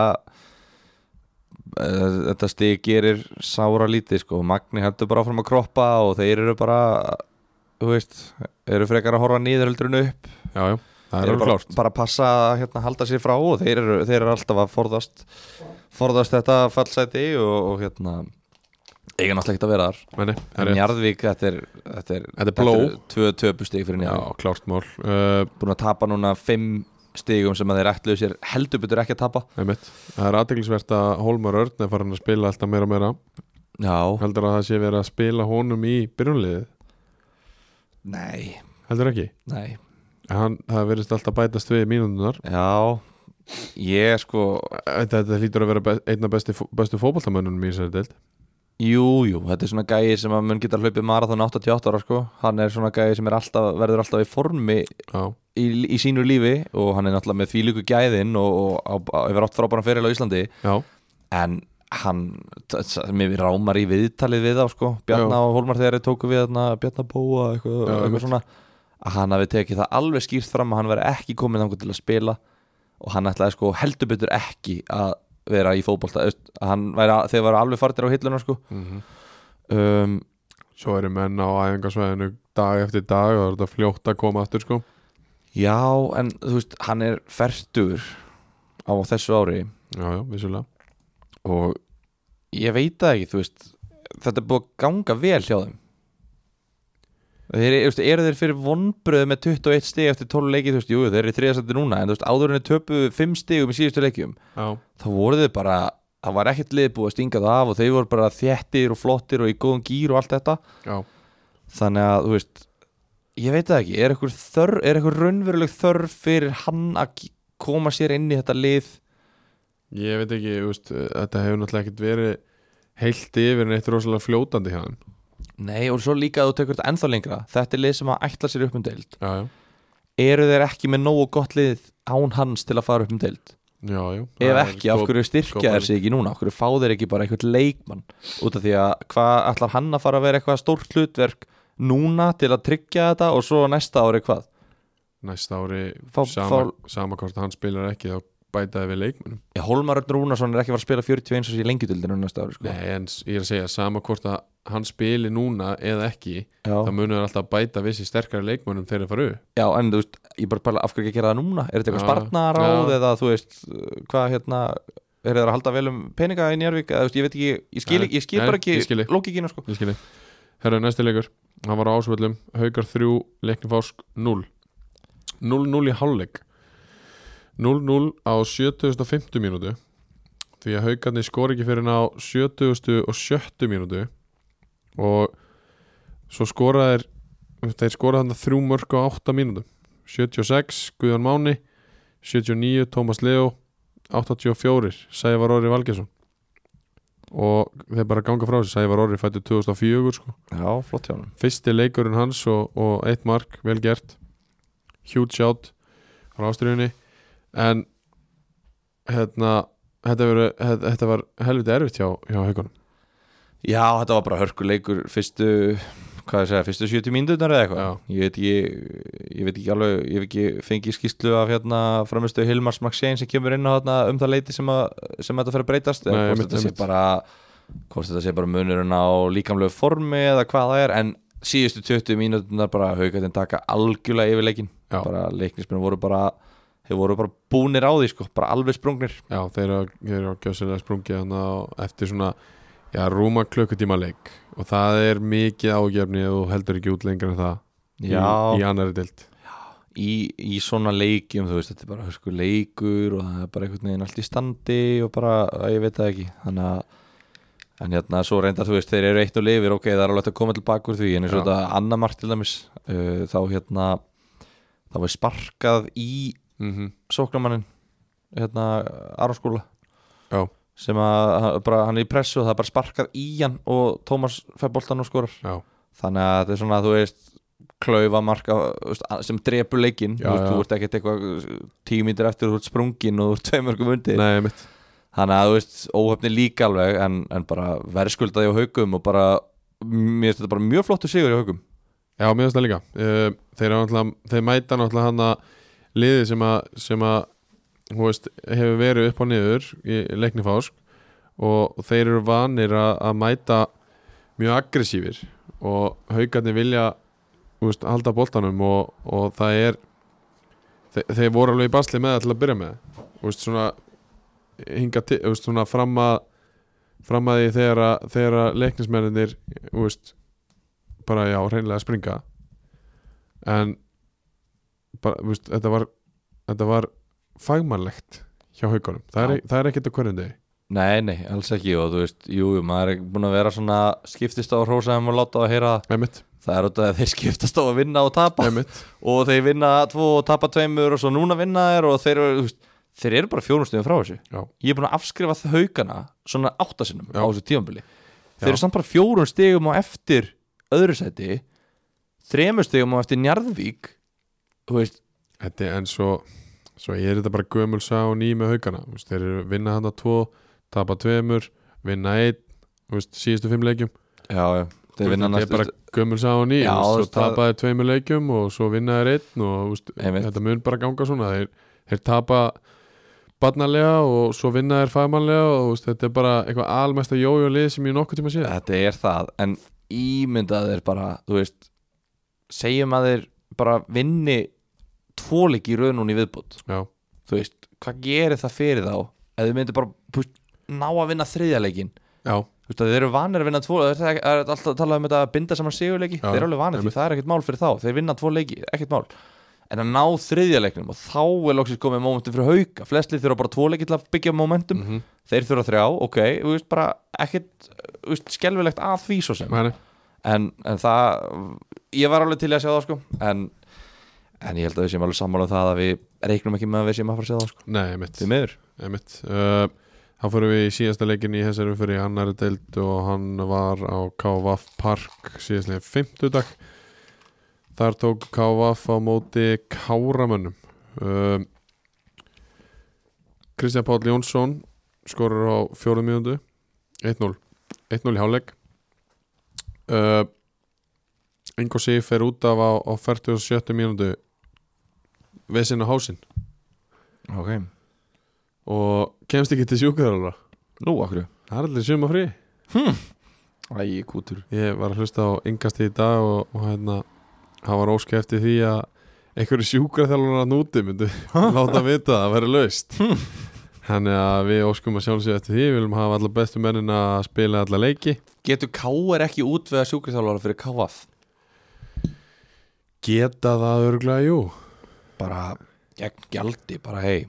S4: eh, þetta stig gerir sára lítið sko, Magni heldur bara áfram að kroppa og þeir eru bara þú veist, eru frekar að horfa niður heldur en upp,
S3: Já, já, það er
S4: þeir eru
S3: alveg
S4: bara,
S3: klárt
S4: bara að passa að hérna, halda sér frá og þeir eru, þeir eru alltaf að forðast forðast þetta fallsæti og, og hérna eiga náttúrulega ekkert að vera þar
S3: Mæni,
S4: en Njarðvík, þetta er þetta er,
S3: Þetta er bló.
S4: eru tvö töpustig fyrir
S3: Já,
S4: Njarðvík,
S3: klárt mál uh,
S4: búin að tapa núna fimm stigum sem að þeir ætluðu sér heldur betur ekki að tapa
S3: Einmitt. Það er aðteglisvert að Hólmar Örn er farin að spila alltaf meira og meira
S4: Já,
S3: Heldur að það sé verið að spila honum í byrjunliðið?
S4: nei
S3: Heldur ekki?
S4: Nei,
S3: Hann, það verðist alltaf bætast við mínundunar
S4: já Ég sko,
S3: eh, Þetta, þetta hlýtur að vera be einna besti, fó- bestu fótballtamönnunum í þessari deild
S4: jú, jú Þetta er svona gæi sem að mun geta hlaupið marathon 88 ára sko Hann er svona gæi sem er alltaf, verður alltaf í formi
S3: Já,
S4: í, í sínu lífi og hann er náttúrulega með því líku gæðin og, og, og, og hefur átt frábæran feril á Íslandi
S3: já,
S4: en hann, t- t- mér rámar í viðtalið við þá sko, Bjarna og Hólmar þegar þeir tóku við þarna, Bjarna Bóa eitthvað,
S3: Já, einmitt.
S4: eitthvað svona, að hann hafi tekið það alveg skýrt fram að hann veri ekki komin þangur til að spila og hann ætlaði sko heldur betur ekki að vera í fótbolta þú veist, hann væri, að- þeir varu alveg fartir á hilluna sko um,
S3: svo eru menn á æfingarsvæðinu dag eftir dag og það er þetta fljótt að koma aftur sko
S4: já, en þú veist, hann er fertur á þessu ári
S3: Já, já, vissulega
S4: og ég veit það ekki, þú veist þetta er búið að ganga vel hjá þeim þeir, þú veist, eru þeir fyrir vonbröðu með 21 stig eftir 12 leiki, þú veist, jú, þeir eru í þriðasætti núna en þú veist, áður henni töpuðu 5 stigum í síðustu leikjum
S3: Já,
S4: þá voru þeir bara, það var ekkert lið búið að stinga það af og þeir voru bara þéttir og flottir og í góðum gýr og allt þetta
S3: já,
S4: þannig að, þú veist ég veit það ekki, er eitthvað þörf er eitthvað raunveruleg þörf fyrir hann að k- koma sér inn í þetta lið
S3: ég veit ekki, þú veist, eh, þetta hefur náttúrulega ekkert verið heilt yfir en eitt rosalega fljótandi hjá þeim
S4: Nei og svo líka að þú tekur þetta ennþá lengra Þetta er lið sem að ætla sér upp um deild
S3: Já, já,
S4: Eru þeir ekki með nógu gott lið án hans til að fara upp um deild
S3: já, já
S4: Ef
S3: Það er
S4: ekki, af
S3: sko-
S4: hverju
S3: góð
S4: styrkja þeir sig ekki núna Af hverju fá þeir ekki bara eitthvað leikmann Út af því að hvað ætlar hann að fara að vera eitthvað stórt hlutverk Núna til að tryggja þetta og svo næsta ári hvað
S3: Næsta ári,
S4: Fá-
S3: sama, sama hvort hann spilar ekki þá bætaði við leikmennum
S4: Já, Hólmar Örn Rúnarsson er ekki að fara að spila 41 sem sé lengjudildinu næsta ári sko.
S3: Nei, en s- ég er að segja, sama hvort að hann spili núna eða ekki það
S4: Já.
S3: munur alltaf bæta vissi sterkari leikmönnum þegar þeir fara upp
S4: Já, en þú veist, ég bara pæla af hverju ekki að gera það núna Er þetta eitthvað
S3: Já,
S4: spartnaráð
S3: já.
S4: eða þú veist Hvað hérna, er það að halda vel um peninga í Njárvík eða þú veist, ég veit ekki, ég skil,
S3: Nei,
S4: ekki, ég skil
S3: nei,
S4: bara
S3: ég skil
S4: ekki
S3: þig.
S4: Lókikina sko
S3: Ég skilji Herra, næsti leikur Hann var á ásvöllum Haukar 3, Leikni Fásk 0 0-0 í hálfleik 0-0 á 7050 mínútu Því að haukarnir skori ekki fyrir hann á 70 og 70 mínútu Og svo skora þeir Þeir skora þarna þrjú mörg á 8 mínútu 76, Guðan Máni 79, Tómas Leo 84, Sævar Orri Valgesson og þeir bara ganga frá þessu Sævar Orri fættu 2004 sko.
S4: Já, flott hjá hann
S3: fyrsti leikurinn hans og, og eitt mark, vel gert huge shot frá ástriðunni en hérna þetta, veru, þetta, þetta var helviti erfitt hjá, hjá haugunum
S4: Já, þetta var bara hörkuleikur fyrstu hvað ég segja, fyrstu 70 mínúturnar eða eitthvað ég veit ekki, ég veit ekki alveg ég veit ekki fengið skýslu af hérna framistu Hilmars Maxein sem kemur inn á þarna um það leiti sem, að, sem þetta fer að breytast eða
S3: Nei,
S4: hvort
S3: einmitt,
S4: þetta sé
S3: einmitt.
S4: bara hvort þetta sé bara munurinn á líkamlegu formi eða hvað það er, en síðustu 20 mínúturnar bara haukatinn taka algjörlega yfir leikin,
S3: Já.
S4: bara leiknismenn voru bara, þeir voru bara búnir á því sko, bara alveg sprungnir
S3: já, þeir eru að- þeir eru að gjössalega sprungið hann eftir svona já, rúma klukkutíma leik og það er mikið ágefni og heldur ekki út lengur en það
S4: Já.
S3: í, í annari dild
S4: í, í svona leikjum þú veist, þetta er bara sko, leikur og það er bara einhvern veginn allt í standi og bara, að ég veit það ekki þannig að En hérna, svo reyndar, þú veist, þeir eru eitt og lifir, ok, það er alveg hægt að koma til bakur því, en eins og
S3: Já.
S4: þetta annar margt til dæmis, uh, þá hérna, þá er sparkað í
S3: mm -hmm.
S4: sóknamannin, hérna, Aronskóla,
S3: já,
S4: sem að, hann- bara, hann er í pressu og það er bara sparkað í hann og Tómas Febboltan og skorar
S3: já,
S4: þannig að þetta er svona þú veist klaufa marka þú veist, sem drepur leikinn
S3: Já,
S4: þú, veist,
S3: já.
S4: þú ert ekkert eitthvað tíu mítur eftir þú ert sprungin og þú ert tveimörgum undir
S3: nei, mitt
S4: þannig að þú veist óhefni líka alveg en, en bara verðskuldaði á haugum og bara mér finnst þetta bara mjög flottu sigur í haugum
S3: Já, mér finnst það líka Eh, Þeir, eru náttúrulega- þeir mæta náttúrulega hann að liði sem að, sem að þú veist, hefur verið upp og niður í leikni fásk og þeir eru vanir að, að mæta mjög aggressífir og haugarnir vilja þú veist, halda boltanum og, og það er þeir, þeir voru alveg í basli með það til að byrja með Þú veist, svona, hinga til, þú veist, svona fram að fram að því þegar að, þegar að leiknismennir veist, bara já, reynilega að springa en bara, þú veist, þetta var þetta var fagmannlegt hjá haugunum, það, er- það er ekkert að hverjum degi
S4: nei, nei, alls ekki og þú veist, jú, jú, maður er búin að vera svona skiptist á að hrósa þeim og láta á að heyra það.
S3: einmitt,
S4: það er út af að þeir skiptast á að vinna og tapa
S3: einmitt,
S4: og þeir vinna tvo og tapa tveimur og svo núna vinna þeir og þeir, eru, þú veist, þeir eru bara fjórumstöðum frá þessu
S3: Já.
S4: ég er búin að afskrifa það haugana svona áttasinnum
S3: Já.
S4: á þessu tímabili
S3: Já.
S4: þeir eru samt bara fjórum stegum á eftir öðru seti þremur stegum á eftir Njarðvík þú veist,
S3: þetta er en svo svo er þetta bara gömul sá og ný með haugana þú veist, þeir eru vinna handa tvo tapa tveimur, vinna einn þú veist, síðustu fimm leikjum
S4: já, já
S3: Þú
S4: þeir
S3: veist,
S4: vinna
S3: þetta er
S4: næst
S3: bara gömul sá og ný
S4: Já,
S3: og
S4: þú
S3: svo
S4: veist, það-
S3: tapa þeir tveimur leikjum og svo vinna þeir einn og þú veist,
S4: Einmitt.
S3: þetta mun bara ganga svona þeir, þeir tapa barnalega og svo vinna þeir fagmannlega og þú veist, þetta er bara eitthvað almesta jójólið sem ég nokkuð tíma sé
S4: þetta er það, en ímyndað er bara, þú veist segjum að þeir bara vinni tvoleik í raunun í viðbútt
S3: Já,
S4: þú veist, hvað gerir það fyrir þá ef þau myndir bara þú veist, ná að vinna þriðjaleikin
S3: já,
S4: þú veist, að þeir eru vanir að vinna tvo það er það er alltaf að tala um þetta að binda saman sigurleiki
S3: Já,
S4: þeir eru alveg vanir því,
S3: einmitt.
S4: það er ekkert mál fyrir þá þeir vinna tvo leiki, ekkert mál en að ná þriðjaleiknum og þá er loksins komið momentum fyrir hauka, flestlið þurfa bara tvo leiki til að byggja momentum,
S3: Mhm.
S4: þeir þurfa þrjá ok, þú veist, bara ekkert þú veist, skelfilegt að því svo sem
S3: mæni
S4: en, en það ég var alveg til í að sjá það sko en, en ég held að við séum alveg sammála um það að við reiknum ekki með að við séum að fara að sjá það sko
S3: Nei, mitt,
S4: því miður
S3: mitt. Uh, Þá fyrir við í síðasta leikin í þessari fyrir í annari deild og hann var á KVF Park síðastlega fimmtudag Þar tók KVF á móti Káramönnum um, Kristján Páll Jónsson skorur á fjórum mínútu 1-0 1-0 í hálfleik uh, Ingo Sig fer út af á, á 47 mínútu vesinn á hásinn
S4: okay.
S3: og kemst ekki til sjúkaðalara
S4: Nú, okkur
S3: það er allir suma frí
S4: Æ, kútur
S3: ég var að hlusta á yngast í dag og, og hérna hann var óskið eftir því að einhverju sjúkraþjálfur að núti myndu láta vita að það veri laust þannig að við óskum að sjálfsög eftir því við viljum hafa alla bestu mennin að spila alla leiki
S4: Getur K.R. ekki út við að sjúkvæðsálvara fyrir K.F.
S3: geta það örgulega jú
S4: Bara, gegn gjaldi, bara hei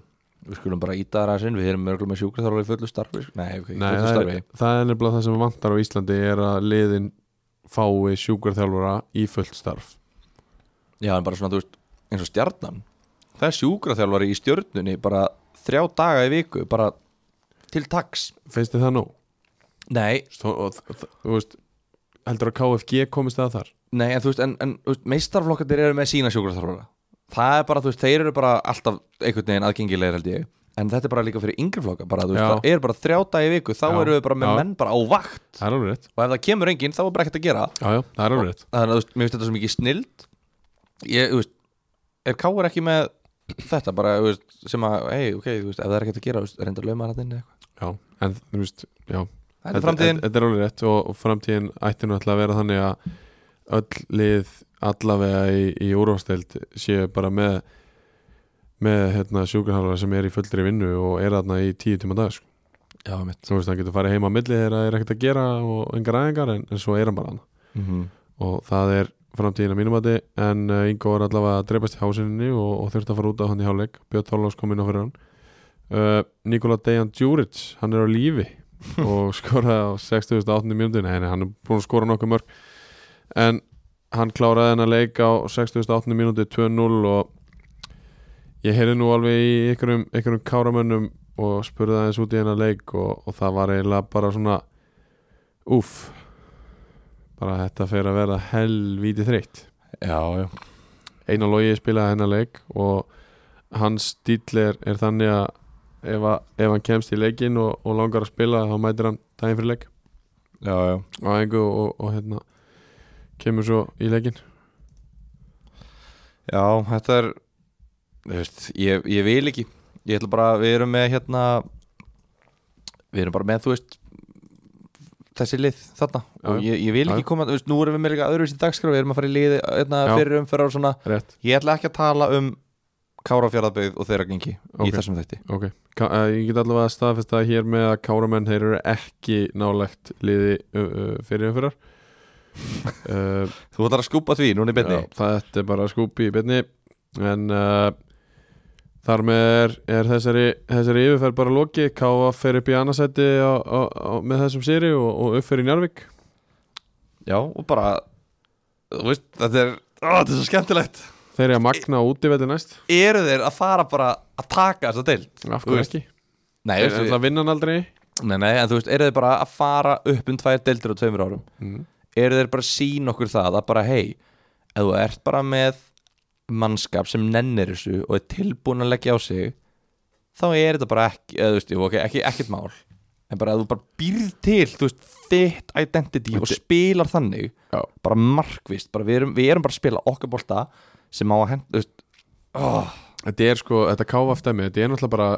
S4: Við skulum bara íta það aðeins inn Við erum mörgum með sjúkvæðsálvara í fullu starfi sko. Nei, okay, Nei
S3: Nei,
S4: fullu
S3: það,
S4: starfi
S3: er, það er nefnilega það sem vantar á Íslandi er að liðin fái sjúkraþjálfura í fullt starf
S4: Já, en bara svona, þú veist, eins og stjarnan það er sjúkraþjálfari í stjörnunni bara þrjá daga í viku bara til taks
S3: finnst þið það nú?
S4: nei,
S3: Svo, og, þ- þ- þú veist, heldur að KFG komist það þar
S4: nei en þú veist, en, en þú veist, meistarflokkandir eru með sína sjúkraþjálfara það er bara, þú veist, þeir eru bara alltaf einhvern veginn aðgengilegir held ég en þetta er bara líka fyrir yngri flokka bara, þú veist,
S3: Já.
S4: það er bara þrjá daga í viku þá
S3: Já.
S4: eru við bara með
S3: Já.
S4: menn bara á vakt
S3: það er alveg rétt
S4: og ef það kemur enginn, þá er bara ekkert að gera
S3: já, já, það er alveg rétt
S4: þannig að þú veist, mér finnst þetta svo mikið snild ég, þú veist er Káur ekki með þetta bara, þú veist, sem að, hei, ok, þú veist ef það er ekkert að gera, þú veist, reynda að lauma hann inn eða eitthvað
S3: já, en þú veist, já
S4: þetta er
S3: Þetta-
S4: framtíðin,
S3: Þetta er alveg rétt og, og framtíðin ætti nú ætla að vera þannig að öll lið allavega í, í úrvásteld séu bara með með hérna, sjúkurhálfara sem er í fullri vinnu og er þarna í tíu tíma dag sko.
S4: já, mitt
S3: þú veist hann getur farið heima á milli þegar það er ekkert að gera og engar aðingar en, en svo er hann bara hann
S4: mm
S3: og það er framtíðin að mínum að þið en uh, Ingo er allavega að dreipast í hásinni og, og þurfti að fara út á hann í háleik Björn Þorlás kom inn á fyrir hann uh, Nikola Dejan Djuric, hann er á lífi og skoraði á 68. mínútin en hann er búin að skora nokkuð mörg en hann kláraði hennar leik á 68. mínúti 2-0 og ég heyrði nú alveg í ykkurum, ykkurum káramönnum og spurði aðeins út í hennar leik og, og það var eiginlega bara svona uff bara þetta fer að vera helvíti þreytt
S4: já, já,
S3: Einar Logi spilaði hennar leik og hans stíll er, er þannig að ef, að, ef hann kemst í leikin og, og langar að spila þá mætir hann daginn fyrir leik
S4: já, já
S3: á engu og, og, og hérna kemur svo í leikin
S4: já, þetta er þú veist, ég, ég vil ekki ég ætla bara, við erum með hérna við erum bara með, þú veist þessi lið þarna
S3: Já,
S4: og ég, ég vil
S3: já,
S4: ekki
S3: já.
S4: koma, þú veist, nú erum við með líka öðruvísi dagskrá, við erum að fara í liði hérna,
S3: Já.
S4: fyrir umferðar og svona
S3: rétt,
S4: Ég ætla ekki að tala um Kárafjörðabauð og þeirra gengi í
S3: Ok.
S4: þessum þætti
S3: ok Ka uh, ég get allavega staðfest að hér með að káramenn þeir eru ekki nálægt liði uh, uh, fyrir umfyrir uh,
S4: Þú ætlar að skúpa því, núna í beinni
S3: Já, þetta er bara skúpi í byrni en uh, þar með er, er þessari, þessari yfirferð bara lokið Káa fer upp í annarsæti á, á, á, með þessum sýri og, og upp fyrir Njárvík
S4: Já, og bara Þú veist, þetta er, ó, þetta er svo skemmtilegt
S3: þeir eru að magna úti veitir næst
S4: Eru þeir að fara bara að taka þessa deild?
S3: af
S4: Þú
S3: hverju
S4: veist,
S3: ekki,
S4: Nei,
S3: þeir
S4: veistu,
S3: eru að vinna hann aldrei
S4: nei, nei, en þú veist, eru þeir bara að fara upp um tvær deildir á tveimur árum?
S3: mm.
S4: Eru þeir bara að sína okkur það að bara, hei ef þú ert bara með mannskap sem nennir þessu og er tilbúin að leggja á sig þá er þetta bara ekki, eða, þú veist, jú, okay, ekki ekkert mál en bara að þú bara býrð til þú veist, þitt identity og spilar þannig
S3: Já.
S4: bara markvist, bara við, erum, við erum bara að spila okkar bolta sem á að henda þú veist, oh,
S3: þetta er sko, þetta Káa stæmi þetta er náttúrulega bara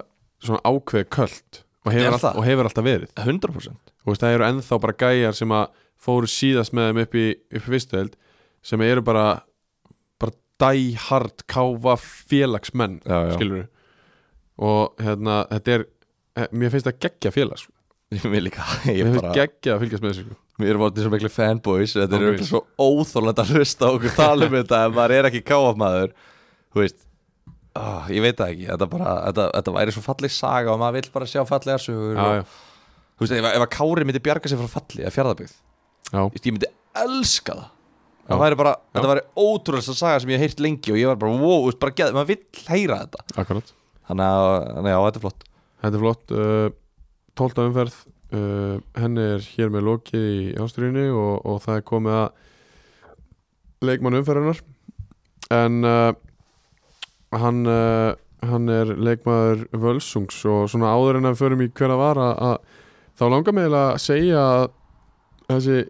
S3: svona ákveð köld og
S4: Er
S3: hefur,
S4: það?
S3: all, og hefur alltaf verið
S4: 100%
S3: Þú veist, það eru ennþá bara gæjar sem að fóru síðast með þeim upp í, upp í vistuðeld sem eru bara bara dæhard káfa félagsmenn
S4: Já, já.
S3: skilur og hérna, þetta er eh, mér finnst það geggja félags
S4: Við líka, ég
S3: mér
S4: bara
S3: finnst geggja að fylgjast með þessu sko.
S4: Við erum áttið svo miklu fanboys Þetta er
S3: Ángríns.
S4: örugglega svo óþólandi að hlusta á okkur tala um þetta En maður er ekki káafmaður Þú veist ah, Ég veit það ekki Þetta, bara, þetta, þetta væri svo falleg saga Og maður vill bara sjá fallegar sögur
S3: já, já,
S4: og, Þú veist, ef, ef að Kári myndi bjarga sér frá falli Að fjárðabyggð
S3: já,
S4: Ég myndi elska það
S3: Já.
S4: Það væri bara,
S3: Já.
S4: þetta væri ótrúlega saga sem ég hef heyrt lengi og ég var bara, wow, þú veist, bara geð, maður vill heyra þetta
S3: akkurat
S4: Þannig að, þannig að, já, þetta er flott
S3: þetta er flott uh, 12. umferð uh, henni er hér með lokið í ásturinni og, og það er komið að leikmann umferðunar en uh, hann uh, hann er leikmaður Völsungs og svona áður en að förum í hverja var að, að þá langar mig eiginlega að segja að þessi,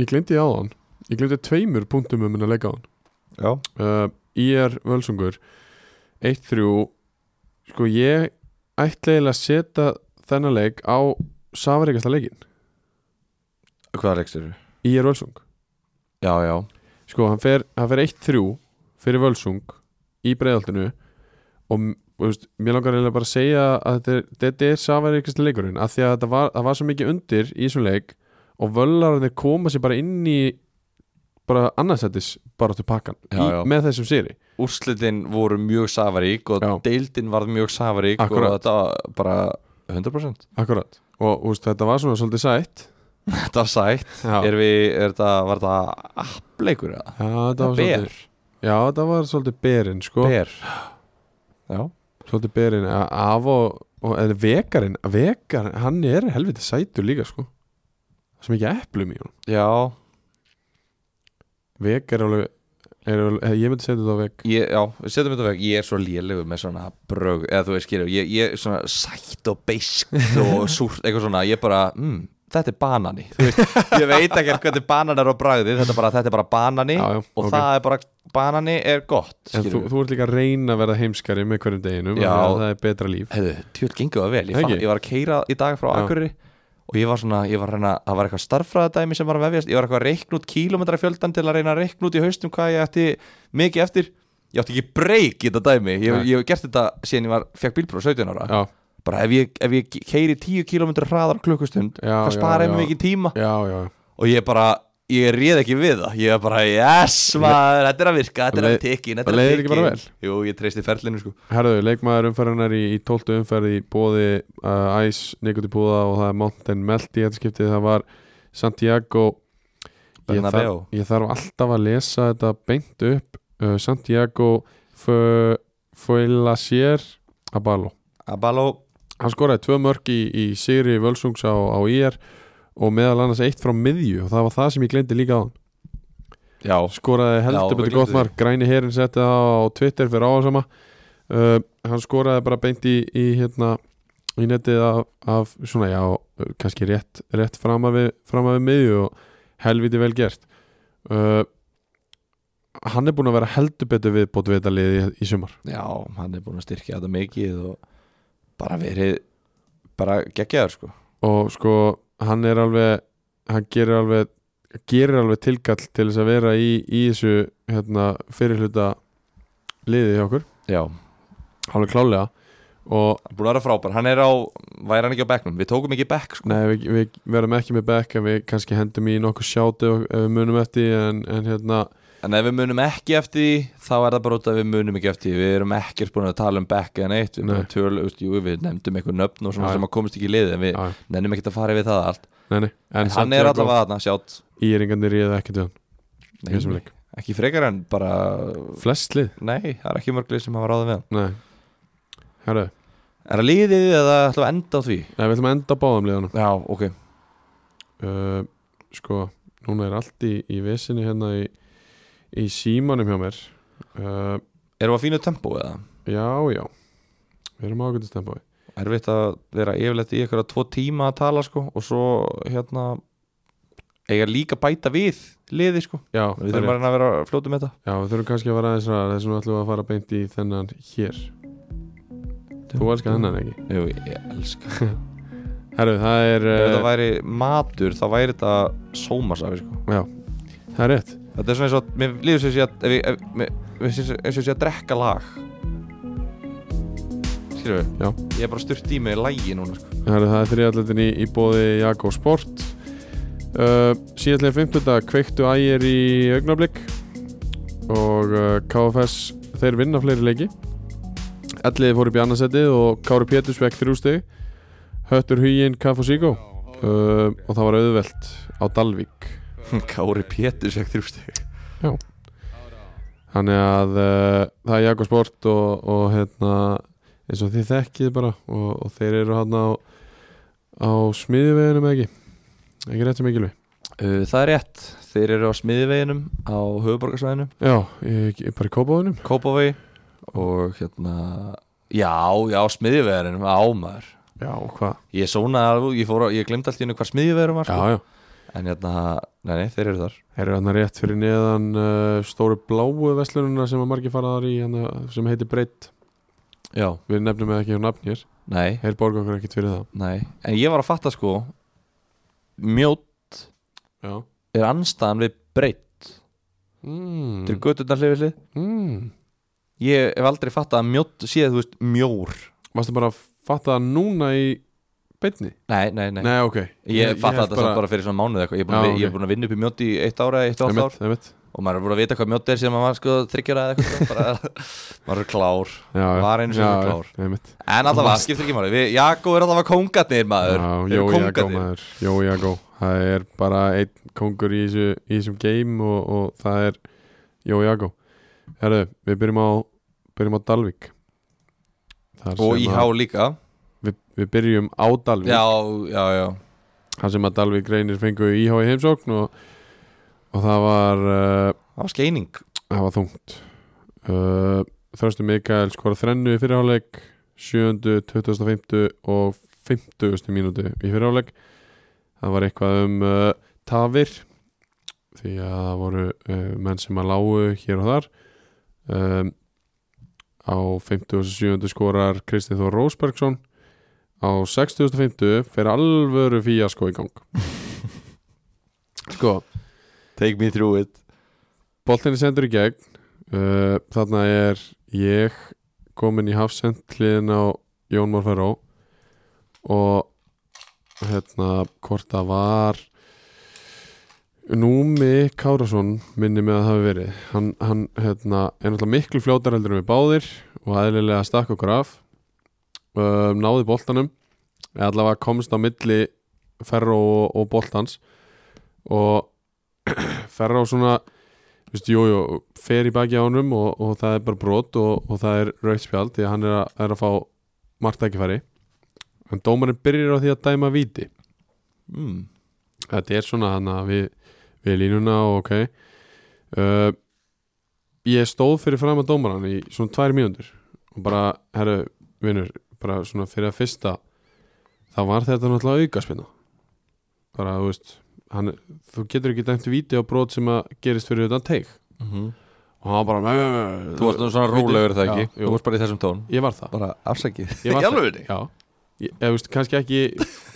S3: ég glindi á hann ég glindi tveimur punktum um minna leika á hann
S4: Já,
S3: uh, IR Völsungur 1-3 sko ég ætla eiginlega að setja þennan leik á safaríkasta leikin
S4: hvaða leikstur eru?
S3: IR Völsung
S4: Já, já,
S3: sko hann fer, hann fer 1-3 fyrir Völsung í breiðaltinu og m- og, þú veist, mér langar eiginlega bara að segja að þetta er, þetta er safaríkasta leikurinn af því að það var, það var svo mikið undir í þessum leik og völlararnir koma sér bara inn í bara annarsættis bara til pakkan
S4: Já,
S3: í-
S4: já.
S3: með þessum séri
S4: úrslitin voru mjög safarík og
S3: Já.
S4: deildin varð mjög safarík
S3: Akkúrat.
S4: og þetta var bara 100%
S3: akkurat og úst, þetta var svona svolítið sætt
S4: Þetta var sætt
S3: Já.
S4: er við, er þetta, var þetta appleikur eða?
S3: Já, þetta var
S4: Ber,
S3: svolítið Já, þetta var svolítið berinn sko
S4: ber já,
S3: Svolítið berinn að af og, og eða vekarinn, vekarinn, hann er helviti sætur líka sko Það sem ekki eplum í honum
S4: já
S3: Vek er alveg, er alveg eða ég myndi setja þetta á vek
S4: ég, já, við setjum þetta veg ég er svo lélegu með svona brög eða þú veist skilur, ég, ég er svona sætt og beiskt og súrt, eitthvað svona ég bara, mm, þetta er banani Þú veist, ég veit ekki hvernig banan er á bragði þetta er bara, þetta er bara banani
S3: Já, já,
S4: og
S3: ok.
S4: það er bara, banani er gott
S3: En þú,
S4: skilur.
S3: þú ert líka að reyna að verða heimskari með hverjum deginum
S4: Já.
S3: af því að Það er betra líf
S4: Hefðu, tjóðl gengur það vel, ég,
S3: Ekki?
S4: fann, ég var að keira í dag frá
S3: Já.
S4: Akureyri og ég var svona, ég var að reyna, það var eitthvað starffræðadæmi sem var að vefjast, ég var eitthvað að reikna út kílómetra fjöldan til að reyna að reikna út í haustum hvað ég ætti mikið eftir, ég átti ekki breyk í þetta dæmi, ég,
S3: Nei.
S4: ég hef gert þetta síðan ég var, fekk bílbróð 17 ára,
S3: Já,
S4: bara ef ég, ef ég keiri 10 kílómetra hraðar á klukkustund,
S3: Já,
S4: hvað
S3: já,
S4: spara
S3: já.
S4: ég mig mikið tíma
S3: já, já
S4: og ég bara, ég réð ekki við það, ég var bara, yes maður, þetta er að virka, þetta er að
S3: Leið-
S4: tikkinn, þetta er
S3: leiðir
S4: að
S3: ekki bara
S4: tikkinn, jú ég treysti ferlinu sko,
S3: Herðu, leikmaður umferðarinnar í, í 12. umferð í bóði uh, Ice, Nikotipúða og það er Mountain Melt í þetta skiptið það var Santiago ég
S4: Bernabeu.
S3: þarf, ég þarf alltaf að lesa þetta beint upp uh, Santiago Fölasier Abalo
S4: Abalo,
S3: hann skoraði tvö mörg í, í Sigri Völsungs á, á IR og meðal annars eitt frá miðju og það var það sem ég glemdi líka á hann
S4: já,
S3: skoraði
S4: Já,
S3: heldur
S4: við
S3: betur gott
S4: gleymdum
S3: mark græni herin setti það á Twitter fyrir áhersama uh, hann skoraði bara beint í, í hérna í netið af, af svona já kannski rétt, rétt fram að við fram að við miðju og helviti vel gert uh, hann er búin að vera heldur betur viðbót við þetta liði í, í sumar
S4: Já, hann er búin að styrkja þetta mikið og bara verið bara geggjaður sko
S3: og sko hann er alveg hann gerir alveg gerir alveg tilkall til þess að vera í, í þessu hérna, fyrirhluta liði hjá okkur
S4: Já,
S3: alveg klálega og
S4: búin að vera frábær, hann er á væri hann ekki á bekknum, við tókum ekki bekk sko
S3: Nei, við, við verðum ekki með back en við kannski hendum í nokkuð sjáti og ef við munum eftir því, en, en hérna
S4: En ef við munum ekki eftir því, þá er það bara út að við munum ekki eftir því, við erum ekkert búin að tala um bekk eða neitt, við
S3: Nei.
S4: bara tölum, veist, jú, við nefndum eitthvað nöfn og svona
S3: Já, já.
S4: sem að komist ekki í liðið en við
S3: já, já,
S4: nefnum ekki að fara yfir það allt
S3: nei, nei,
S4: En, hann er allavega aðna, sjátt
S3: Íringandi réða ekkert við hann í þessum leik.
S4: ekki frekar en bara
S3: Flest lið?
S4: Nei, það er ekki mörglið sem hafa ráðið við hann
S3: Nei Herru,
S4: Er það liðið eða ætlum við að enda á því?
S3: nei, við ætlum að enda á báðum liðanum
S4: Já, ok
S3: uh, Sko, núna er allt í, í vesinu hérna í, í símanum hjá mér uh,
S4: Erum við að fínu tempo eða?
S3: Já, já Við erum ágætið stempáði
S4: erfitt að vera yfirleitt í eitthvað tvo tíma að tala sko og svo hérna eiga líka að bæta við liði sko
S3: Já, það er
S4: við þurfum bara að vera fljótu með
S3: Já, við þurfum kannski að fara aðeins ræðar þess að við ætlum við að fara beint í þennan hér Þú elskar þennan ekki
S4: þetta Jú, ég elska
S3: Herru, það er
S4: Ef
S3: uh,
S4: þetta væri matur þá væri þetta sómasafi sko
S3: Já, það er rétt
S4: Þetta er svona eins og mér líður sem sé að ef, ég- ef, mér, mér sé eins og sé að drekka lag Skilur við?
S3: Já.
S4: Ég er bara sturt í mig í lægi núna sko
S3: Það er, það er þriðalletin í, í bóði Jakko Sport uh, Síðanlega 15. kveiktu ægir í augnablík og uh, KFS þeir vinna fleiri leiki Elliði fór upp í annarsettið og Kári Péturs vekk þrjú stig Höttur Hugin, Kaff og Síko uh, og það var auðvelt á Dalvík
S4: Kári Pétur segt þrjústi
S3: Þannig að uh, það er Jakko Sport og, og hérna, eins og þið þekkið bara og, og þeir eru hann á, á smiðiveginum eða ekki ekki rétt sem ekki við
S4: Uh, Það er rétt, þeir eru á smiðiveginum á höfuborgarsvæðinu
S3: Já, ég, ég bara í kópaðunum
S4: Kópavegi og hérna já, já, smiðjuvegarinn, ámaður
S3: Já, hvað?
S4: ég sónaði alveg, ég, fór, á- ég glemt allt í hennu hvað smiðjuvegarinn var
S3: Já,
S4: sko.
S3: já,
S4: en hérna, nei, nei, þeir eru þar
S3: þeir eru hann rétt fyrir neðan uh, stóru bláu veslununa sem að margir faraðar í hana, sem heitir Breitt
S4: já,
S3: Við nefnum eða ekki á nafn hér
S4: nei,
S3: Þeir borga okkur ekkert fyrir það
S4: nei en ég var að fatta sko mjótt
S3: Já
S4: er anstaðan við breytt
S3: mm.
S4: til götturnar hlifið hlið
S3: mm.
S4: ég hef aldrei fattað að mjótt séð, þú veist, mjór
S3: Varstu bara að fatta það núna í beinni?
S4: nei, nei, nei,
S3: Nei, ok
S4: ég fattaði þetta bara...
S3: bara
S4: bara fyrir svona mánuð eitthvað, ég er búin,
S3: Já,
S4: já, okay.
S3: ok.
S4: búin að vinna upp í mjótt í eitt ára, eitt og
S3: Ég
S4: hálft
S3: mitt,
S4: ár
S3: ég mitt
S4: og maður er búin að vita hvað mjótt er sem maður sko þryggjara eða eitthvað sko, bara, maður er klár
S3: já, já.
S4: Var einu sinni
S3: Já,
S4: klár.
S3: já, einmitt.
S4: en allavega, skiptir ekki máli, Við- Jakko er allavega kongarnir maður
S3: Já, Jó,
S4: Þeir eru
S3: Jakó
S4: kóngarnir.
S3: maður Jó, Jakó Það er bara einn kongur í, þessu, í þessum game og, og það er Jó, Jakó Herðu, við byrjum á byrjum á Dalvik Þar
S4: og
S3: sem
S4: IH
S3: að
S4: líka
S3: við, við byrjum á Dalvík
S4: já, já, já,
S3: þar sem að Dalvík reynir fengu IH í heimsókn og, og það var uh,
S4: það var skeining
S3: það var þungt uh, Þröstur Mikael skorað þrennu í fyrirháleik 7. 25. og 50. mínútu í fyrirháleik það var eitthvað um uh, tafir því að það voru uh, menn sem að lágu hér og þar um, á 57. skorar Kristið Þór Rósbergsson á 60.50 fer alvöru fíasko í gang sko
S4: take me through it
S3: Boltin er sendur í gegn uh, Þarna er ég komin í hafsend hliðin á Jón Mórferó og hérna hvort það var Númi Kárasson minni með að það hafi verið hann, hann hérna, er náttúrulega miklu fljótar heldur en við báðir og aðlilega stakk okkur af uh, náði boltanum eða allavega komst á milli Ferró og, og boltans og Ferró svona Þú veist, jú, jú, fer í baki á honum og, og það er bara brot og, og það er rauðspjald því að hann er að, er að fá margt ekkifæri en dómarinn byrjar á því að dæma víti
S4: mm.
S3: þetta er svona hann að við, við línuna og ok uh, ég stóð fyrir fram að dómaran í svona tvær mínútur og bara, herru, vinnur bara svona fyrir að fyrsta þá var þetta náttúrulega aukaspinna bara, þú veist hann, þú getur ekki dæmt víti á brot sem að gerist fyrir utan teig
S4: Mhm.
S3: og hann bara mjö, mjö, mjö.
S4: þú varst nú svona rólegur er það
S3: Já,
S4: ekki
S3: jú.
S4: þú varst bara í þessum tón
S3: ég var það
S4: bara afsakið
S3: ég var
S4: Í alvörunni?
S3: já ég, ég veist, kannski ekki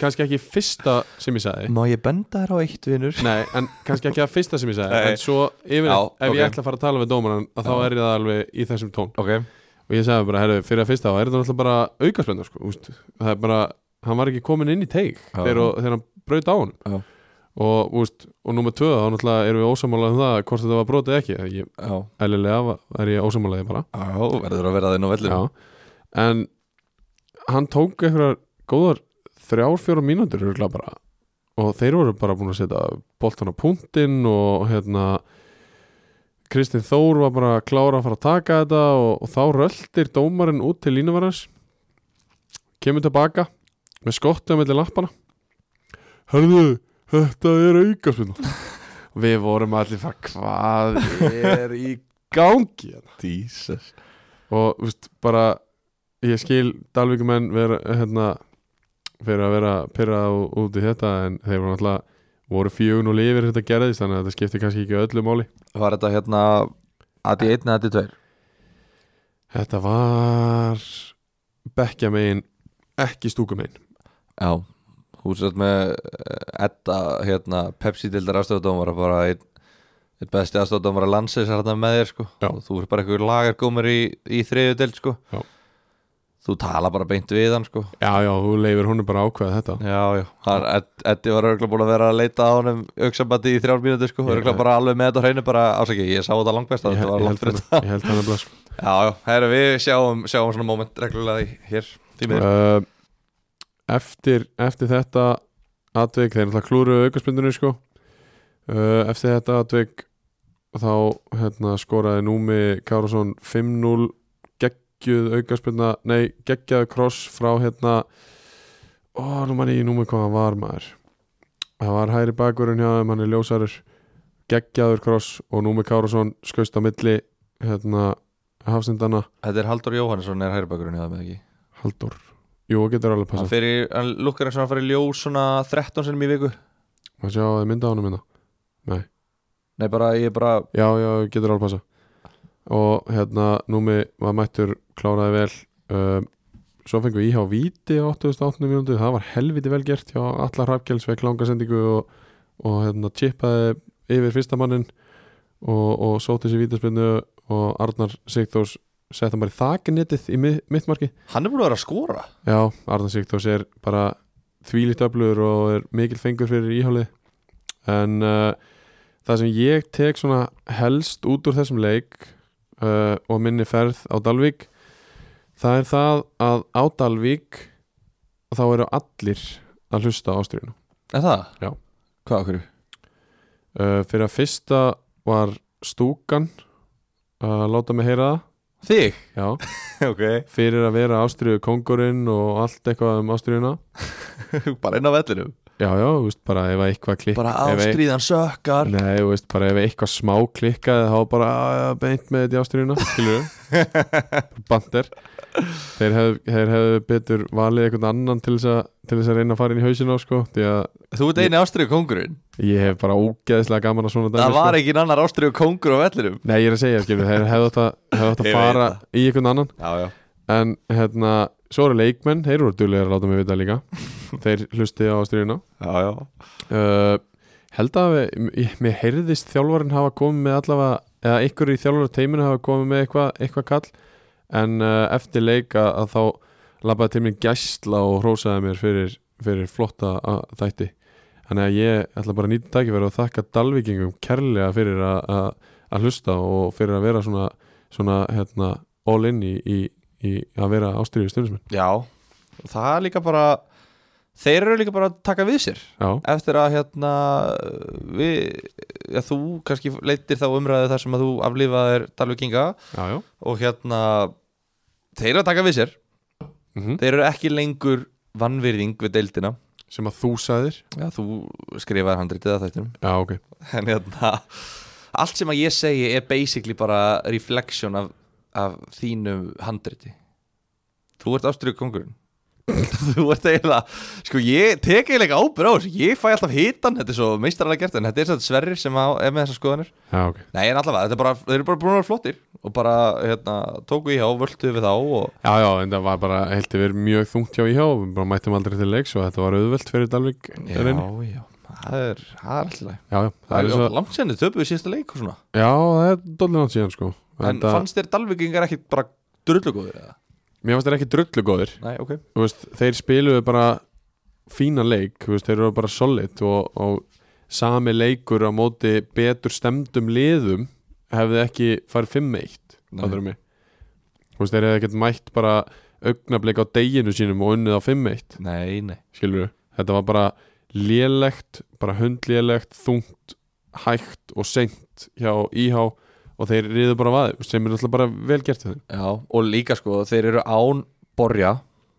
S3: kannski ekki fyrsta sem ég sagði
S4: má ég benda þér á eitt vinur
S3: nei, en kannski ekki að fyrsta sem ég sagði
S4: Nei.
S3: en svo yfir
S4: Já,
S3: ef ég
S4: ok.
S3: ætla að fara að tala við dómaran að þá
S4: Já.
S3: er ég það alveg í þessum tón
S4: ok,
S3: og ég sagði bara, herru, fyrir að fyrsta þá er þetta náttúrulega bara aukaspennu sko, úst, það er bara, hann var ekki komin inn í teig
S4: Já.
S3: þegar, þegar hann braut á hann
S4: Já.
S3: og, úst, og nummer tvö þá náttúrulega erum við ósamála um það hvort þetta var brotið ekki ég,
S4: já,
S3: eðlilega er ég ósamálaði bara
S4: já verður að vera þinn á vellinu
S3: Já, en hann tók einhverjar góðar þrjár, fjórar mínútur örugglega bara og þeir voru bara búin að setja boltan á punktinn og hérna Kristinn Þór var bara að klára að fara að taka þetta og, og þá röltir dómarinn út til línuvarans kemur tilbaka með skottið á milli lappana Hörðu, þetta er aukaspinna Við vorum allir það hvað er í gangi hérna
S4: Jesus
S3: og veist, bara ég skil Dalvíkumenn vera hérna, fyrir að vera pyrrað út í þetta en þeir voru náttúrulega voru fjögun og lifir þetta gerðist þannig að þetta skipti kannski ekki öllu máli
S4: var þetta hérna aði 1 eða aði 2
S3: þetta var bekkja megin ekki stúku megin
S4: já, þú satt með etta hérna Pepsi dildar aðstofdómara bara einn einn besti aðstofdómara landsins er hérna með þér sko
S3: Já.
S4: og þú er bara einhver lagargómar í, í þriðu dild sko
S3: Já.
S4: þú tala bara beint við hann sko
S3: já já, þú leifir honum bara ákveða þetta
S4: Já, já, hann, Ed- Eddi var örgulega búin að vera að leita á honum auksambandi í þrjár mínútur sko,
S3: Ég-
S4: örgulega bara alveg með þetta á hreinu bara ásaki, ég sá þetta langbest
S3: ég,
S4: þetta
S3: ég
S4: var
S3: held
S4: langt fyrir
S3: hann,
S4: þetta
S3: ég held hann að blá sko.
S4: Já, já, herru, við sjáum, sjáum svona moment reglulega í- hér, því miður
S3: uh, eftir, eftir þetta atvik, þeir náttúrulega klúru aukaspindunni sko uh, eftir þetta atvik þá hérna, skoraði Númi Kárasson 5-0 geggjuð aukaspinna nei, geggjaðu kross frá hérna ó, nú manni í Númi hvað hann var maður það var hæri bakurinn hjá þeim, hann er ljósarur geggjaður kross og Númi Kárasson skauðst á milli hérna hafsindana
S4: Þetta er Haldur Jóhannesson er hægribakurinn í það með ekki
S3: Haldur Jú, það getur alveg
S4: Hann,
S3: passað
S4: fyrir, hann lukkar eins og hann farið ljós svona 13 sinnum í viku
S3: Má sjá að þið mynda á honum minna
S4: Nei, bara, ég bara,
S3: Já, já, getur alveg passa Og hérna, númi var mættur kláraði vel um, Svo fengum við íhá víti á 88. mínútu Það var helviti vel gert hjá allar hrappkjels vekk langasendingu og, og hérna, chipaði yfir fyrsta mannin og, og sóti sér vítaspinnu og Arnar Sigþórs setja bara í þakinettið í mið- mitt marki
S4: hann er búin að vera að skora
S3: Já, Arnar Sigtós er bara þvílíkt öflugur og er mikil fengur fyrir íhálið en uh, það sem ég tek svona helst út úr þessum leik uh, og minni ferð á Dalvík það er það að á Dalvík þá eru allir að hlusta á ástriðinu
S4: Er það?
S3: Já.
S4: Hvað okkur?
S3: Eh, uh, fyrir að fyrsta var stúkan að eh, láta mig heyra það
S4: Þig?
S3: já,
S4: Ok
S3: fyrir að vera Ástriðu kongurinn og allt eitthvað um Ástriðuna
S4: Bara inn á vellinum
S3: já, já, þú veist, bara ef að eitthvað klikk
S4: Bara
S3: ef að-
S4: ástríðan sökkar
S3: Nei, þú veist, bara ef eitthvað smá klikkaði þá bara "Ah, beint með þetta í ástyrjuna skilur bandir þeir hefðu, þeir hefðu betur valið einhvern annan til þess, að, til þess að reyna að fara inn í hausina á, sko, því að
S4: Þú ert eini ástríðu kongurinn
S3: ég hef bara ógeðislega gaman að svona dæmi,
S4: Það var
S3: sko.
S4: engin annar ástríðu kongur á vellinum
S3: Nei, ég er að segja, skilur, þeir hefðu átt að, hefðu átt að
S4: Ég veit
S3: fara
S4: það.
S3: í einhvern annan
S4: Já, já
S3: en hérna, svo eru leikmenn þeir eru duglegir að láta mig vita líka þeir hlustið á ástyrjuna
S4: Já, já
S3: uh, held að við, ég- mér heyrðist þjálfarinn hafa komið með allavega eða ykkur í þjálfara teiminu hafa komið með eitthvað eitthva kall en uh, eftir leik að, að þá labbaði til mér gæsla og hrósaði mér fyrir, fyrir flotta a- þætti þannig að ég ætla bara að nýta tækifæri og þakka Dalvíkingum kærlega fyrir að- að að hlusta og fyrir að vera svona, svona hérna, all in í, í, í að vera ástriðu stundismenn
S4: Já Það er líka bara Þeir eru líka bara að taka við sér
S3: Já,
S4: eftir að hérna við, ja, þú kannski leitir þá umræðu þar sem að þú aflifaðir Dalvíkinga
S3: já, já
S4: og hérna þeir eru að taka við sér
S3: Mhm.
S4: þeir eru ekki lengur vannvirðing við deildina
S3: sem að þú sagðir
S4: Já, þú skrifaðir handritið að þættinum
S3: Já, ok,
S4: en hérna allt sem að ég segi er basically bara reflection af, af þínu handriti þú ert ástriðu kongurinn þú ert eiginlega sko ég tek eiginlega ábyrð á þessu ég fæ alltaf hitan, þetta er svo meistarlega gert en þetta er þetta sverrir sem á, er með þessar skoðanir
S3: já, ok
S4: nei en allavega, þetta er bara, þeir eru bara búin að vera flottir og bara hérna, tóku í hjá, völdu við þá og
S3: Já, já, en það var bara, held ég verið mjög þungt hjá íhjá og við bara mættum aldrei til leiks og þetta var auðvelt fyrir Dalvik
S4: já,
S3: reyni.
S4: já, það er, það er alltaf
S3: Já, já, það er svo,
S4: langt senni, töpuðu síðasta leik og svona
S3: já, það er dollin átt síðan sko
S4: en
S3: það,
S4: fannst þér Dalvíkingar ekkit bara drullugóður eða?
S3: Mér fannst þeir ekki drullu góðir
S4: Nei, ok
S3: Þú veist, Þeir spiluðu bara fína leik, þú veist, þeir eru bara solid og, og sami leikur á móti betur stemdum liðum hefði ekki farið 5-1
S4: Nei.
S3: fattarðu mig? Þú veist, Þeir hefði ekkert mætt bara augnablik á deginu sínum og unnið á 5-1
S4: Nei, nei
S3: skilur þetta var bara lélegt bara hundlélegt, þungt hægt og seint hjá IH og þeir riðu bara vaði sem er alltaf bara vel gert hjá þeim
S4: Já, og líka sko, þeir eru án Borja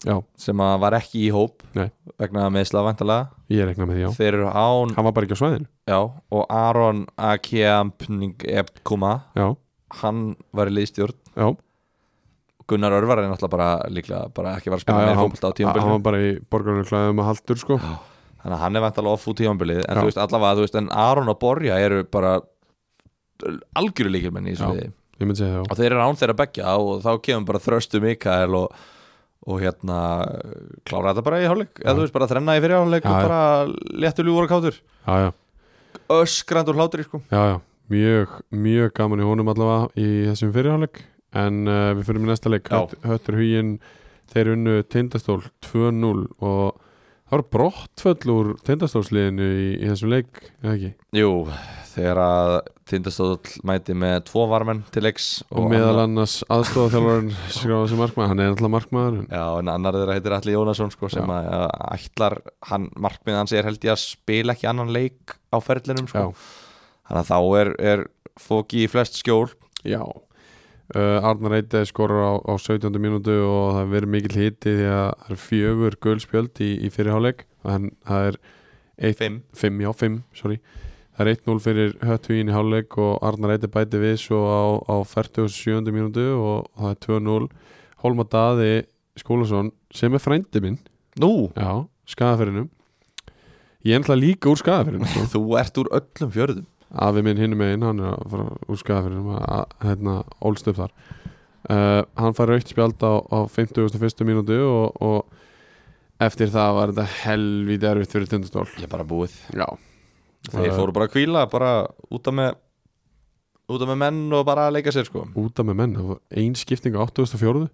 S3: já,
S4: sem að var ekki í hóp
S3: Nei.
S4: vegna meðsla vantalega
S3: ég rekna með því já
S4: Þeir eru án,
S3: hann var bara ekki á svæðinu
S4: já, og Aron Akiampning Epkuma
S3: já,
S4: hann var í liðstjórn
S3: já,
S4: Gunnar Örvar er náttúrulega bara líklega bara ekki var
S3: já,
S4: að spila
S3: já
S4: meira
S3: hann,
S4: fólkvölda á
S3: hann
S4: tímabilið
S3: var bara í borgarinu klæðum að haldur sko
S4: Já. þannig að hann er vantalega off út tímabilið en
S3: Já.
S4: þú veist allavega, þú veist, en Aron og Borja eru bara algjöru líkilmenn í
S3: Já.
S4: þessu liði
S3: ég myndi segja það já,
S4: og þeir eru án þeirra begja og þá kemur bara þröstu Mikael og, og hérna klára þetta bara í hálfleik eða
S3: Já.
S4: þú veist bara þrenna í fyrir hálfleik og
S3: Já, já.
S4: bara léttu ljúfur og kátur
S3: já, já,
S4: öskrand og hlátur sko.
S3: já, já. Mjög, mjög gaman í honum allavega í þessum fyrirháleik en uh, við fyrir með næsta leik
S4: Já.
S3: Hött- höttur huginn þeir unnu tindastól 2-0 og það var brottföll úr tindastólsliðinu í, í þessum leik eða ekki?
S4: Jú, þegar að Tindastóll mæti með tvo varmenn til leiks
S3: og, meðal
S4: annar,
S3: annars aðstofaþjálfarinn skráða sem markmaður, hann er náttúrulega markmaður en,
S4: já, en annar þeirra heitir Alli Jónasson sko, sem
S3: Já.
S4: að að ætlar hann, markmið hans er held ég að spila ekki annan leik á ferlinum
S3: já,
S4: sko. þannig að þá er, er fóki í flest skjól
S3: já. Uh, Arnar Eite skorur á, á 17. mínútu og það verður mikil hiti því að það er fjögur gulspjöld í, í fyrirháleik en það er eitt
S4: Fimm
S3: 5, já 5, sorry það er 1-0 fyrir Hötvín í hálfleik og Arnar Eiti bæti við svo á, á 47. mínútu og það er 2-0 Hólma Daði Skúlason sem er frændi minn
S4: Nú,
S3: já, skaðaferinum ég er náttúrulega líka úr skaðaferinum
S4: þú ert úr öllum fjörðum
S3: afi minn hinum megin, hann er að fara úr skaðaferinum að- að hérna, ólst upp þar uh, hann fær raukt spjald á, á 51. mínútu og, og eftir það var þetta helvítið erfitt fyrir tindastól
S4: Ég er bara búið
S3: já,
S4: Þeir
S3: Það-
S4: fóru bara að kvíla, bara út af með út af með menn og bara að leika sér sko
S3: út af með menn það var ein skipting á 804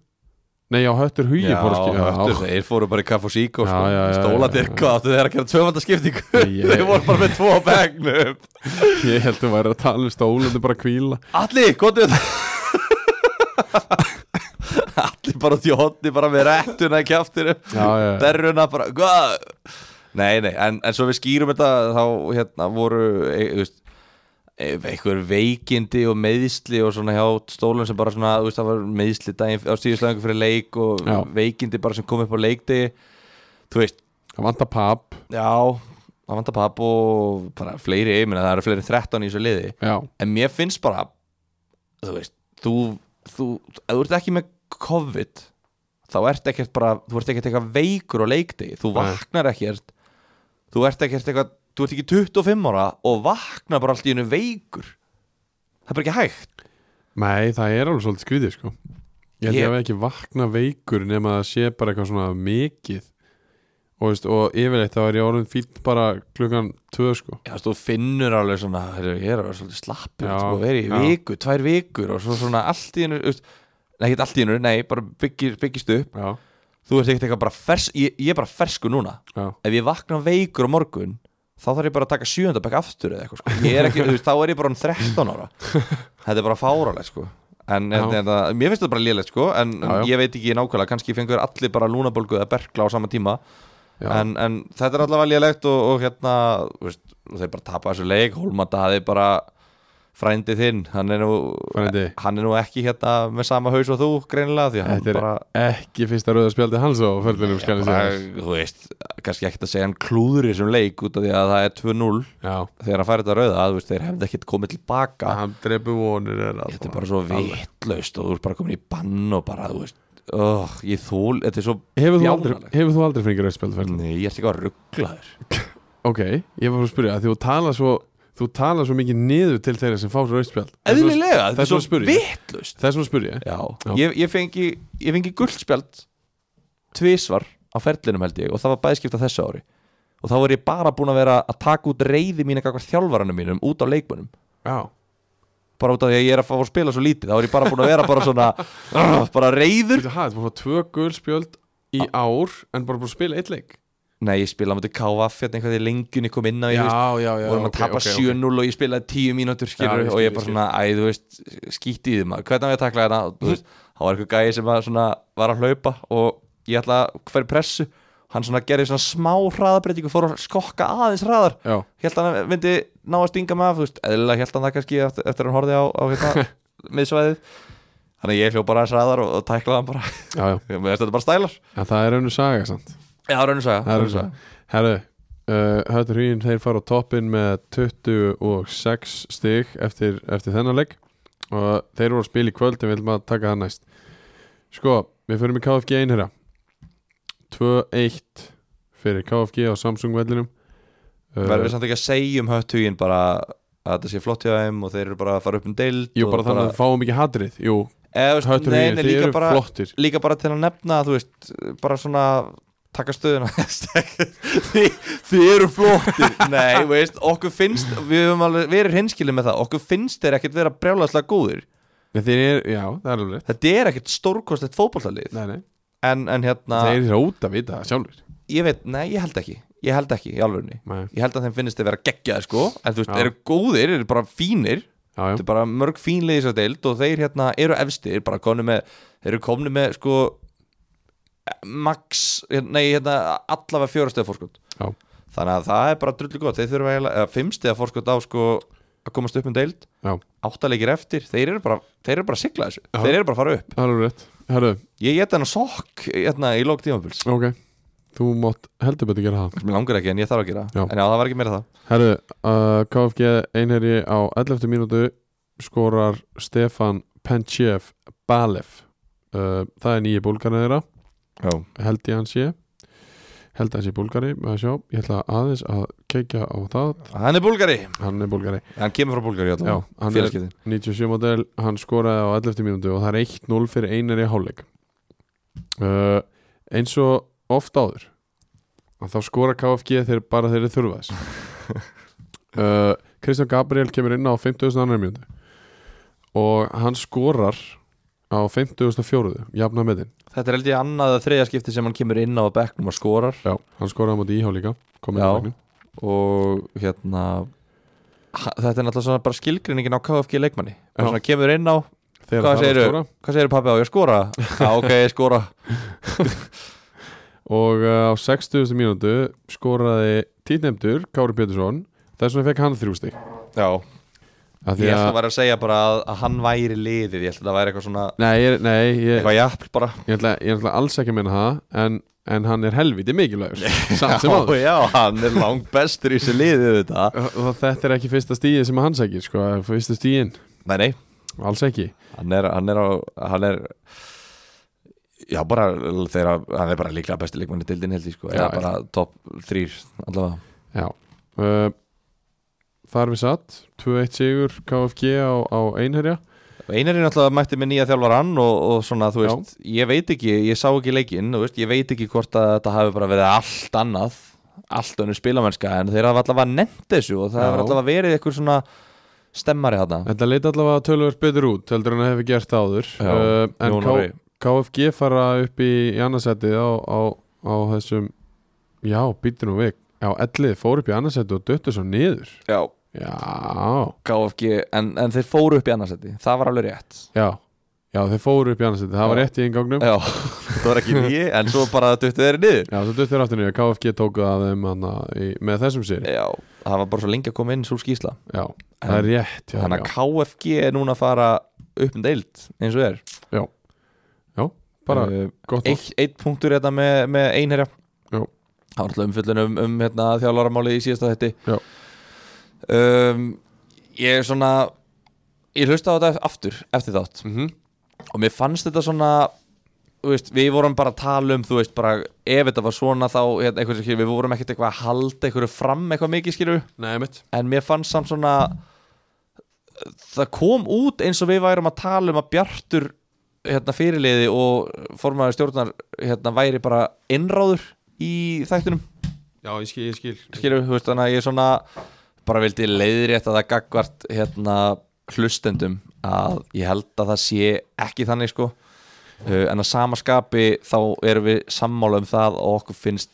S3: nei á höttur hugi
S4: Já,
S3: fór að skip-
S4: höttur, þeir fóru bara í kaff og sík og
S3: Já, já, já,
S4: sko Stóla
S3: já,
S4: þér
S3: já.
S4: hvað, áttu þeir að gera tvöfanda skiptingu
S3: Ég-
S4: Þeir voru bara með tvo á begnum
S3: ég held að væri að tala um stólandi bara kvíla
S4: Alli, gott við Alli bara út í hotni, bara með rettuna í kjaftinu
S3: já, já, já,
S4: Derruna bara, hvað Nei, nei, en, en svo við skýrum þetta þá hérna voru, e, þú veist einhver veikindi og meðisli og svona hjá stólum sem bara svona þú veist, það var meðisli daginn á stíðislæðingu fyrir leik og
S3: Já.
S4: veikindi bara sem kom upp á leikdegi þú veist,
S3: Það vantar pap
S4: já það vantar papp og bara fleiri ég meina það eru fleiri en 13 í þessu liði
S3: Já,
S4: en mér finnst bara þú veist, þú, þú ef þú ert ekki með COVID þá ert ekkert bara, þú ert ekkert eitthvað veikur á leikdegi, þú
S3: Nei.
S4: vaknar ekkert þú ert ekkert eitthvað þú ert ekki 25 ára og vaknar bara allt í einu veikur það er bara ekki hægt
S3: nei, það er alveg svolítið skrítið sko Ég held ég
S4: Ég-
S3: að ekki vakna veikur nema að sé bara eitthvað svona mikið og, veist, og yfirleitt þá er ég orðin fínt bara klukkan tvö sko
S4: Já, þú finnur alveg svona, heyrðu, ég er alveg svolítið slappur
S3: Já,
S4: sko, verið í
S3: já.
S4: viku, tvær vikur og svo svona allt í einu þú veist, nei, ekkert allt í einu, nei, bara byggir, byggist upp
S3: Já,
S4: þú ert ekkert eitthvað bara fers, ég, ég er bara fersku núna
S3: já,
S4: ef ég vakna veikur á morgun þá þarf ég bara að taka sjöndabæk aftur eða eitthvað sko. Ég er ekki, þú veist, þá er ég bara um 13 ára þetta er bara fáraleg sko. en,
S3: Já.
S4: en, en það- mér finnst þetta bara lélegt sko, en
S3: Já, já.
S4: ég veit ekki nákvæmlega, kannski fengur allir bara lúnabólgu eða berkla á sama tíma
S3: já.
S4: en, en þetta er allavega lélegt og, og hérna, þú veist, og þeir bara tapa þessu leik Hólmata hafði bara frændi þinn, hann er nú
S3: Frændi.
S4: hann er nú ekki hérna með sama haus og þú greinilega, því að hann
S3: Þetta er
S4: bara
S3: ekki fyrsta rauða spjaldi hans á ferðinum
S4: Já,
S3: skal ég
S4: bara,
S3: segja
S4: þú veist, kannski ekkert að segja hann klúður í þessum leik út af því að það er 2-0
S3: Já,
S4: þegar hann fær þetta rauða, þú veist, þeir hefði ekkert komið tilbaka
S3: hann drepu vonir er
S4: þetta er bara svo vittlaust og þú ert bara komin í bann og bara, þú veist oh, ég þól, þetta er svo
S3: Hefur þú aldrei,
S4: bjánalegt.
S3: hefur þú aldrei fengið rauða spjaldi ferðinum?
S4: Nei, ég ert ekki að rugglaður
S3: Ok, ég var bara að spyrja að því þú tala svo þú tala svo mikið niður til þeirra sem fá svo rauðspjald
S4: eðlilega,
S3: þess
S4: þetta
S3: vegna
S4: er svo
S3: spyr ég.
S4: vittlaust
S3: Þess vegna spyrja ég
S4: já,
S3: Já.
S4: Ég, ég fengi ég fengi guldspjald tvisvar á ferlinum held ég og það var bæðskipta þessu ári og þá var ég bara búin að vera að taka út reyði mín eitthvað þjálfaranum mínum út á leikmönum
S3: Já,
S4: bara út af því að ég er að fá að spila svo lítið þá er ég bara búin að vera bara svona "Arr", bara reyður
S3: Þetta er bara tvö gulspjöld í ár en bara búin að spila eitt leik
S4: nei, ég spila á mútið KVF hérna einhvern veginn lengjunni kom inn á ég
S3: Já,
S4: veist
S3: já, já
S4: vorum að
S3: ok,
S4: tapa
S3: ok, ok.
S4: 7-0 og ég spilaði 10 mínútur skilur
S3: Já, ég
S4: og
S3: skil,
S4: ég
S3: Mm.
S4: bara
S3: ég
S4: svona, æ, þú veist, skýtti í þeim hvernig á ég að takla þetta Og, þú veist, þá var eitthvað gæi sem var, svona, var að hlaupa og ég ætla að hverja pressu hann svona gerði svona smá hraðabreitingu fór að skokka aðeins hraðar
S3: Já,
S4: held hann að myndi ná að stinga mig af þú veist, eðlilega held hann það kannski eftir, eftir að hann horfði á, á hérna, miðsvæðið þannig að ég hljóð bara aðeins hraðar og, og tæklaði hann bara
S3: já, já
S4: Mér finnst þetta bara stælar
S3: En það er önnur saga, sant?
S4: Já, raun og saga
S3: Það er önnur saga Herru, uh, Höttur Huginn þeir fara á toppin með 26 stig eftir, eftir þennan leik og þeir voru að spila í kvöld en við viljum að taka það næst Sko, við förum í KFG einherja 2-1 fyrir KFG á Samsung vellinum Uh,
S4: Verðum við samt ekki að segja um höttugin bara að þetta sé flott hjá þeim og þeir eru bara að fara upp um deild
S3: Jú,
S4: og
S3: bara þannig að fáum ekki hatrið Jú,
S4: Eða, veist,
S3: höttur
S4: nei,
S3: Huginn,
S4: nei,
S3: þeir
S4: líka,
S3: eru
S4: bara,
S3: flottir
S4: líka bara til að nefna þú veist, bara svona taka stöðuna Þi, þið eru flottir nei, veist, okkur finnst við höfum alveg verið hinskilið með það okkur finnst þeir ekkert vera brjálaðslega góðir
S3: Nei, þeir eru, já, það er alveg rétt.
S4: þetta er ekkert stórkostlegt fótbollalið
S3: Nei, nei,
S4: en, en hérna,
S3: þeir eru út að vita það sjálfur
S4: ég veit, nei, ég held ekki ég held ekki í alvegni
S3: Nei,
S4: ég held að þeim finnist þeir vera geggjaði sko en þú veist,
S3: Já.
S4: eru góðir, eru bara fínir
S3: já, já,
S4: þetta er bara mörg fínlið í þessar deild og þeir hérna eru efstir, bara komni með þeir eru komni með sko max, nei hérna allavega fjórastegið fórskot
S3: já,
S4: þannig að það er bara drullu gott, þeir þurfa eiginlega- eða fimmstegið fórskot á sko að komast upp um deild,
S3: já
S4: áttalegir eftir þeir eru bara, þeir eru bara að sigla þessu
S3: Já.
S4: þeir eru bara að fara upp,
S3: Það er alveg rétt Herru,
S4: ég geta hennar sokk hérna í lók tímabils,
S3: ok Þú mátt heldur betur gera það
S4: mér langar ekki en ég þarf að gera
S3: Já.
S4: en já, það var ekki meira það
S3: Herru, uh, KFG einherji á 11. mínútu skorar Stefan Penchev Balev uh, Það er nýju búlgarna þeirra
S4: já.
S3: held ég hans ég held að hans ég búlgari, maður sjá ég ætla aðeins að keikja á það
S4: hann er búlgari,
S3: hann er búlgari,
S4: hann kemur frá búlgari
S3: já,
S4: allavega,
S3: hann er
S4: félagskiptin
S3: 97 model, hann skoraði á 11. mínútu og það er 1-0 fyrir einari hálfleik uh, eins og oft áður að þá skora KFG þeir bara þeir eru þurfa þess uh, Kristján Gabriel kemur inn á 50.2 mínútu og hann skorar á 50.4 jafna metin,
S4: Þetta er held ég annað að þriðja skipti sem hann kemur inn á bekknum og skorar
S3: já, hann skoraði á móti íhá líka komið
S4: Já.
S3: á vegni
S4: og hérna ha- þetta er náttúrulega svona bara skilgreiningin á KFG leikmanni
S3: Já.
S4: bara svona kemur inn á,
S3: þegar
S4: Hvað
S3: það er að
S4: segirðu?
S3: skora
S4: hvað segir pappi á ég að skora? Já ok, ég skora
S3: og uh, á 60. mínútu skoraði títnefndur Kári Pétursson þess vegna fekk hann þrjústík
S4: Já,
S3: Af því
S4: Ég held að
S3: að-
S4: vera að segja bara að, að hann væri liðið Ég held að það væri eitthvað svona
S3: Nei, ég, nei ég,
S4: Eitthvað jafn bara
S3: ég, ætla, ég ætla alls ekki að minna það en, en hann er helviti mikilvægur samt sem áður
S4: Já, já, hann er langt bestur í þessu liðið þetta
S3: og og þetta er ekki fyrsta stíði sem hann sækir sko, fyrsta stíðin,
S4: Nei, nei,
S3: alls ekki
S4: hann er, hann er á Hann er Já, bara þegar Hann er bara líklega besti leikmann í dildin held ég sko
S3: Já,
S4: Eða bara topp þrýr allavega
S3: Já uh, Þar við satt 2-1 sigur KFG á, á einherja
S4: Einarinn alltaf mætti með nýja þjálfarann og, og svona, þú
S3: Já.
S4: veist, ég veit ekki, ég sá ekki leikinn, þú veist, ég veit ekki hvort að þetta hafi bara verið allt annað, allt önnur spilamennska, en þeir hafa alltaf að nefnt þessu og það
S3: Já.
S4: hafa alltaf verið eitthvað svona stemmari þarna.
S3: Þetta leit allavega tölvöld betur út heldur en það hefur gert áður
S4: Já,
S3: uh, En
S4: Jón
S3: K,
S4: Orri.
S3: KFG fara upp í, í annarsætið á, á, á þessum Já, býtir nú við Já, ellið fór upp í annarsætið og döttu svo niður
S4: Já.
S3: Já,
S4: KFG, en, en þeir fóru upp í annarsætti, það var alveg rétt.
S3: já Já, þeir fóru upp í annarsætið, það var
S4: Já.
S3: rétt í ingangnum
S4: Já, það var ekki nýji, en svo bara duttu þeir niður.
S3: Já, svo döttu þeir aftur niður, KFG tóku það af þeim hana, í, með þessum sér
S4: Já, það var bara svo lengi að koma inn Súlskísla.
S3: Já, það er rétt já,
S4: Þannig
S3: já.
S4: að KFG er núna að fara upp um deild, eins og er.
S3: Bara
S4: Eh,
S3: gott og
S4: eitt, eitt punktur hérna með, með einherja
S3: Jú.
S4: Það var alltaf umfyllun um, um hérna, þjálfaramáli í
S3: Já.
S4: síðasta þetti um, Ég er svona Ég hlusta á þetta aftur eftir þátt
S3: mm -hmm.
S4: og mér fannst þetta svona þú veist, við vorum bara að tala um þú veist bara ef þetta var svona þá hérna, einhver, skilur, við vorum ekkert eitthvað að halda einhverju fram eitthvað mikið skilur
S3: Nei, mitt
S4: en mér fannst samt svona það kom út eins og við værum að tala um að Bjartur hérna, fyrirliði og formaður stjórnar hérna, væri bara innráður í þættinum
S3: Já, ég skil, ég skil.
S4: skilur, þú veist, þannig að ég svona bara vildi leiðrétt að það gagvart hérna, hlustendum að ég held að það sé ekki þannig sko Uh, en að sama skapi þá erum við sammála um það og okkur finnst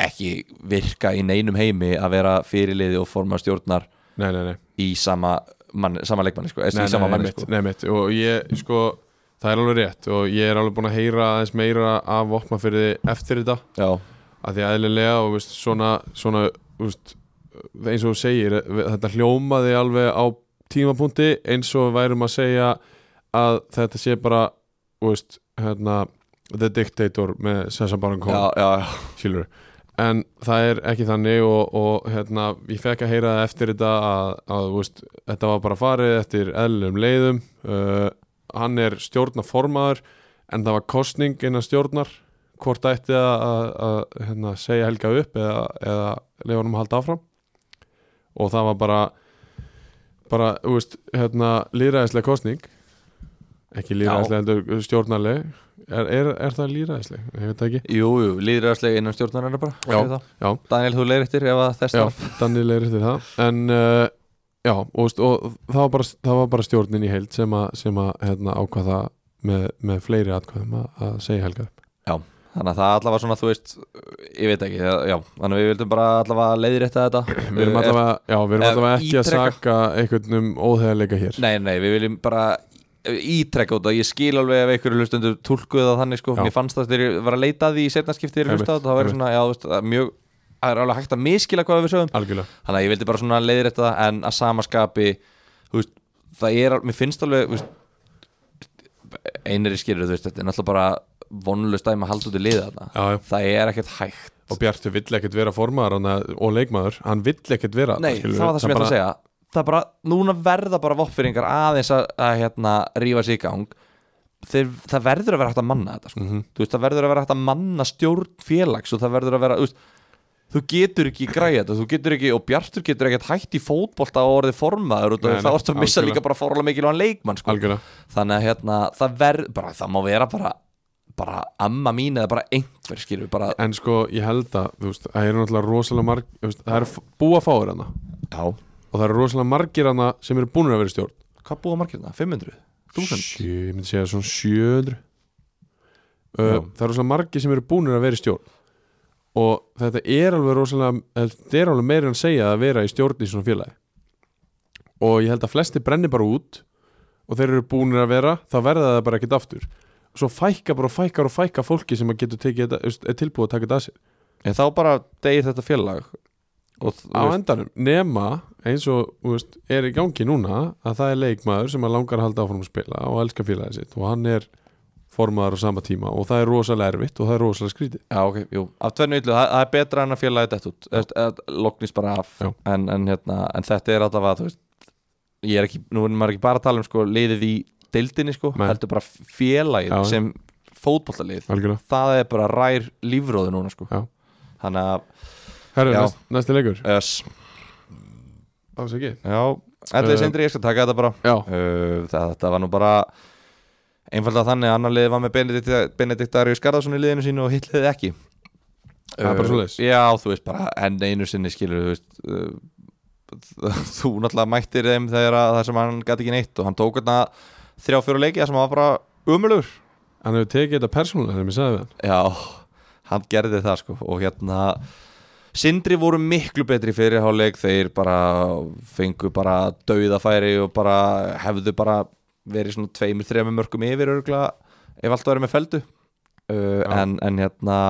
S4: ekki virka í neinum heimi að vera fyrirliði og forma stjórnar
S3: Nei, nei, nei,
S4: í sama, mann, sama leikmanni sko, eða
S3: nei,
S4: í sama
S3: nei,
S4: manni
S3: mitt,
S4: sko.
S3: nei, mitt Og ég, sko, það er alveg rétt Og ég er alveg búin að heyra aðeins meira af vopnafyrði eftir þetta
S4: Já,
S3: Af því eðlilega og veist, svona, svona veist, eins og þú segir þetta hljómaði alveg á tímapunkti eins og við værum að segja að þetta sé bara þú veist, hérna The Dictator með Sessa Baron
S4: já,
S3: Cohen
S4: já,
S3: skilur en það er ekki þannig og, og hérna, ég fekk að heyra það eftir þetta að, að þú veist, þetta var bara farið eftir eðlum leiðum uh, hann er stjórnaformaður en það var kostning innan stjórnar hvort ætti að, að, að hérna, segja Helga upp eða, eða leiða honum að halda áfram og það var bara bara, þú veist, hérna líraðislega kostning ekki líraðislega, heldur stjórnarleg er, er, er það líraðisleg? ég veit það ekki
S4: Jú, jú, líðræðarslega innan stjórnar bara
S3: Já,
S4: segir það.
S3: já.
S4: Daniel, þú leiðrættir ef að þess
S3: Já,
S4: þarf
S3: Danni leirir til það En uh, já, og, veist, og það, var bara, það var bara stjórnin í heild sem að, sem að hérna, ákvaða með, með fleiri atkvæðum að, að segja Helga upp
S4: Þannig að það allavega svona, þú veist, ég veit ekki, já, þannig að við vildum bara allavega leiðrétta þetta.
S3: Við erum allavega, já, við erum
S4: eh,
S3: allavega ekki að
S4: ítreka.
S3: saka einhvern um óþægileika hér
S4: Nei, nei, við viljum bara ítrekka út að ég skil alveg ef einhverju hlustundu tólkuð það þannig, sko,
S3: Já.
S4: mér fannst það þegar ég var að leita að því í setnaskipti þegar ég
S3: Einmitt,
S4: hlusta á þetta, það væri
S3: einmitt.
S4: svona, já, þú veist, það er mjög, það er alveg hægt að miskila hvað við sögum,
S3: Algjörlega
S4: þannig að ég vildi bara svona leiðrétta það, en að samaskapi, þú veist, það er, al- mér finnst alveg, þú veist, einari skilur, þú veist, þetta er náttúrulega bara vonlust dæmi að halda út í liða þarna,
S3: Já, já,
S4: það er ekkert hægt.
S3: og Bjartur vill ekkert vera formaður hann að- og leikmaður, hann vill ekkert vera þarna,
S4: Nei,
S3: skilur
S4: það var
S3: við.
S4: það sem ég ætla að segja Það bara, núna verða bara voppfyrringar aðeins að, að hérna, rífa sig í gang Þeir, það verður að vera hægt að manna þetta sko.
S3: Mhm.
S4: þú veist, það verður að vera hægt að manna stjórn félags og það verður að vera, þú veist þú getur ekki græða þetta, þú getur ekki og Bjartur getur ekkert hætt í fótbolta og orðið formaður út
S3: Nei,
S4: og
S3: nei,
S4: það orðið að missa
S3: algjörlega.
S4: líka bara fórlega mikilvægan leikmann sko.
S3: Algjörlega,
S4: þannig að hérna, það verður, bara það má vera bara, bara amma mín eða bara einhver skilur, bara,
S3: en sko ég held að þú veist, það eru náttúrulega rosalega marg þú veist, það eru f- búa fáir hana
S4: já,
S3: og það eru rosalega margir hana sem eru búnir að vera í stjórn
S4: hvað búa margirna? 500? 1000?
S3: Sjö, ég myndi segja svona 700 uh,
S4: Já.
S3: það eru svona margir sem eru búnir að vera í stjórn og þetta er alveg rosalega þetta er alveg meira en að segja að vera í stjórn í svona félagi og ég held að flesti brenni bara út og þeir eru búnir að vera þá verða það bara ekkert aftur svo fækka bara og fækkar og fækka fólki sem að getur tekið þetta, þú veist, er tilbúið að taka þetta að sér
S4: En þá bara deyir þetta félag og þú
S3: á
S4: veist,
S3: endanum nema eins og þú veist, er í gangi núna að það er leikmaður sem að langar að halda áfram að spila og elska félagið sitt og hann er formaður á sama tíma og það er rosalega erfitt og það er rosalega skrítið
S4: já ok, jú af tvennu yllu, það, það er betra en að félagi dætt út Þú veist, að loknist bara af
S3: Já.
S4: en, en, hérna, en þetta er allavega, þú veist ég er ekki, nú er maður ekki bara að tala um sko, liðið í deildinni sko,
S3: Nei.
S4: heldur bara félagið
S3: Já, já.
S4: sem fótbollalið
S3: algjörlega
S4: það er bara rær lífróði núna sko
S3: Já.
S4: þannig að,
S3: Herru,
S4: Já.
S3: næst, næsti leikur
S4: öss
S3: Alls ekki
S4: já, ætlaði
S3: Eh,
S4: sendri, ég skal taka þetta bara
S3: Já,
S4: uh, það, þetta var nú bara einfallega þannig að annar liðið var með Benedikt, Benedikt Arius Garðarsson í liðinu sínu og hitt liðið ekki
S3: Það er bara
S4: Uh,
S3: svoleiðis.
S4: Já, þú veist bara enn einu sinni skilur þú veist uh, þú náttúrulega mættir þeim þegar að það sem hann gæti ekki neitt og hann tók þarna þrjá fjóru leiki það sem hann var bara umulugur
S3: hann hefur tekið þetta persónulega sem ég sagði við hann
S4: Já, hann gerði það sko og hérna Sindri voru miklu betri fyrir hálfleik þeir bara fengu bara dauðafæri og bara hefðu bara verið svona tveimur, þreimur mörgum yfir örgla ef allt væri með feldu uh,
S3: Já.
S4: en, en hérna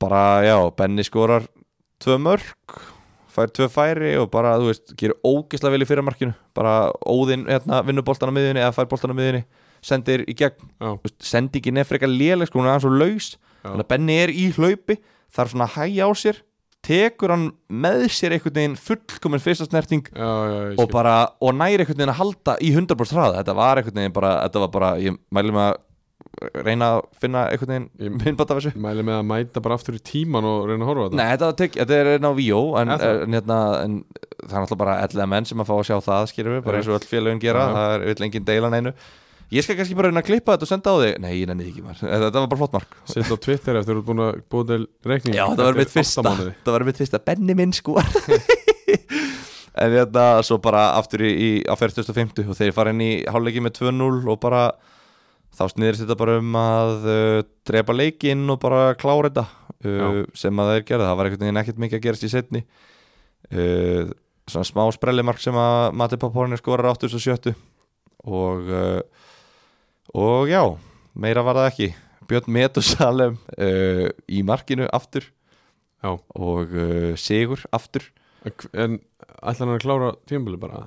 S4: bara já, Benny skorar tvö mörg fær tvö færi og bara, þú veist, gerir ógislega vel í fyrramarkinu, bara óðinn hérna, vinnur boltan á miðunni eða fær boltan á miðunni sendir í gegn
S3: Já,
S4: Þú veist, sendingin er frekar léleg sko, hún er aðeins og laus
S3: Já.
S4: þannig að Benni er í hlaupi þarf svona að hægja á sér tekur hann með sér einhvern veginn fullkominn fyrsta snerting
S3: já, já, ég
S4: og,
S3: skil.
S4: bara, og næri einhvern veginn að halda í 100% hraða þetta var einhvern veginn bara, þetta var bara ég mæli mig að reyna að finna einhvern
S3: Ég-
S4: veginn myndbata af þessu
S3: Mæli með að mæta bara aftur í tíman og reyna að horfa á þetta
S4: Nei, þetta, var tek, þetta er einn á Víó en,
S3: Er það?
S4: en, hérna, en það er náttúrulega bara 11 menn sem að fá að sjá það, skýrum við, bara eins og öll félögin gera
S3: Já.
S4: það er vill engin deilan einu Ég skal kannski bara reyna að klippa þetta og senda á þig Nei, ég nenni því ekki maður, þetta var bara flott mark
S3: Sitt á Twitter eftir að þú ert búin að búið til reikning
S4: Já, það var
S3: eftir
S4: mitt fyrsta
S3: átta mánuði.
S4: Það var mitt fyrsta Benni minn sko En þetta svo bara aftur í, í á 40.50 og þeir fara inn í hálfleiki með 2-0 og bara þá sniðurist þetta bara um að uh, drepa leikinn og bara klára þetta uh, sem að þeir gerða, það var einhvern veginn ekkert mikið að gerast í setni uh, svona smá sprellimark sem að Mati Paporni skorar 87 og uh, og já, meira var það ekki Björn Metusalem uh, í markinu aftur
S3: Já.
S4: og uh, Sigur aftur
S3: En hv- En ætlar hann að klára tímabili bara?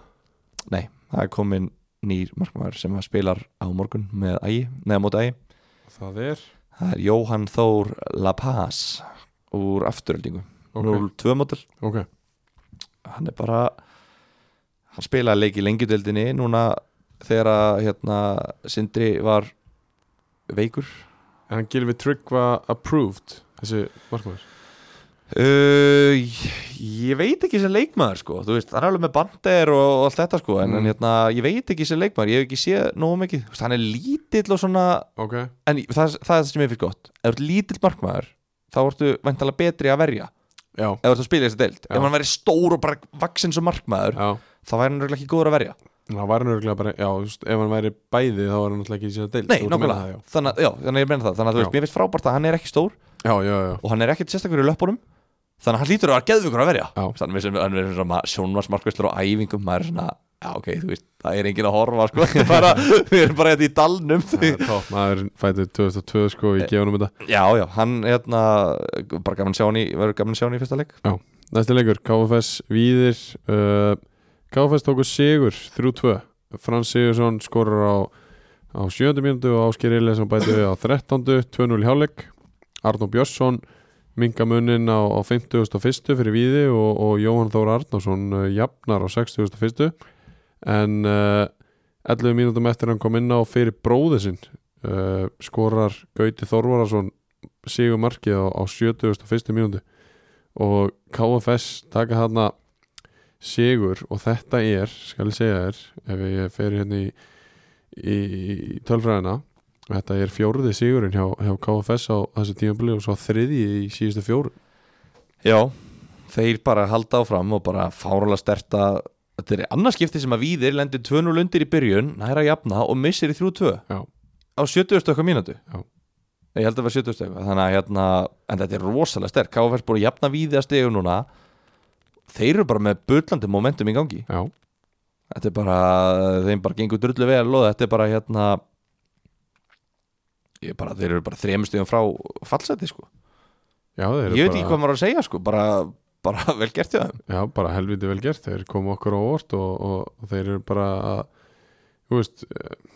S4: nei, það er komin nýr markmaður sem að spilar á morgun með ægi, neða móti ægi
S3: Það er
S4: það er Jóhann Þór La Paz úr afturöldingu
S3: Ok.
S4: 0-2 mótel
S3: Ok,
S4: hann er bara hann spilaði leik í lengjudeldinni núna þegar að hérna, Sindri var veikur
S3: en hann gilfi tryggva approved Þessi markmaður
S4: Uh, ég- ég veit ekki sem leikmaður sko þú veist, hann er alveg með bander og, og allt þetta sko en,
S3: Mm.
S4: en hérna, ég veit ekki sem leikmaður ég hef ekki séð nógu mikið, þú veist, hann er lítill og svona,
S3: Ok,
S4: en ég- það, það er það sem ég finnst gott ef þú ert lítill markmaður, þá ertu væntalega betri að verja,
S3: já,
S4: ef þú ert að spila þessi deild
S3: Já.
S4: ef hann væri stór og bara vaksin sem markmaður
S3: já
S4: þá væri hann örugglega ekki góður að verja
S3: Það var hann örgulega bara, já, þú veist, ef hann væri bæði þá var hann náttúrulega ekki í sína deil
S4: Nei, nákvæmlega, þannig, að- já, þannig að ég menna það þannig að þú
S3: Já.
S4: veist, mér finnst frábært að hann er ekki stór
S3: Já, já, já,
S4: og hann er ekkert sérstakur í löpunum þannig að hann lítur að vera geðvökur að verja
S3: Já.
S4: þannig að hann verður svona sjónvarsmarkvistur og æfingum maður er svona, já ok, þú veist það er enginn að horfa, sko Þetta er bara, við erum bara hérna í dalnum
S3: það er topp Maður fætið 2002 sko,
S4: Eh.
S3: ég gef hann um þetta
S4: já, já, hann, hérna, bara gaman að sjá hann í verður gaman að sjá hann í fyrsta leik
S3: Næsti leikur, KFS Víðir uh, KFS tóku sigur 3-2, Frans Sigursson skorar á, á 7. mínútu og Ásker Eliasson bæti við á 13. 2-0 hjáleik, Arnó Björnsson minga munin á, á 51. fyrir Víði og, og Jóhann Þóra Arnásson uh, jafnar á 61. en uh, 11 mínútum eftir hann kom inn á fyrir bróði sinn uh, skorar Gauti Þorvararsson sigur markið á, á 71. mínútu og KFS taka hana sigur og þetta er, skal ég segja þér ef ég fer hérna í, í, í tölfræðina þetta er fjórði sigurinn hjá, hjá KFS á þessu tímabili og svo þriðji í síðustu fjóru
S4: já, þeir bara halda áfram og bara fárala sterta þetta er annarskipti sem að víðir lendir 2-0 undir í byrjun, næra að jafna og missir í 3-2
S3: Já,
S4: á 70 eitthvað mínútu
S3: Já.
S4: ég held að vera 70 eitthvað þannig að hérna, en þetta er rosalega sterk KFS búin að jafna víði að stegu núna þeir eru bara með bullandi momentum í gangi,
S3: já,
S4: þetta er bara þeim bara gengur drullu vel og þetta er bara hérna ég er bara, þeir eru bara þremur stegum frá fallseti sko,
S3: já þeir eru
S4: ég veit
S3: bara-
S4: ekki hvað maður á að segja sko, bara bara vel gert hjá þeim
S3: Já, bara helviti vel gert, þeir komu okkur á orð og, og, og þeir eru bara að, þú veist, eh,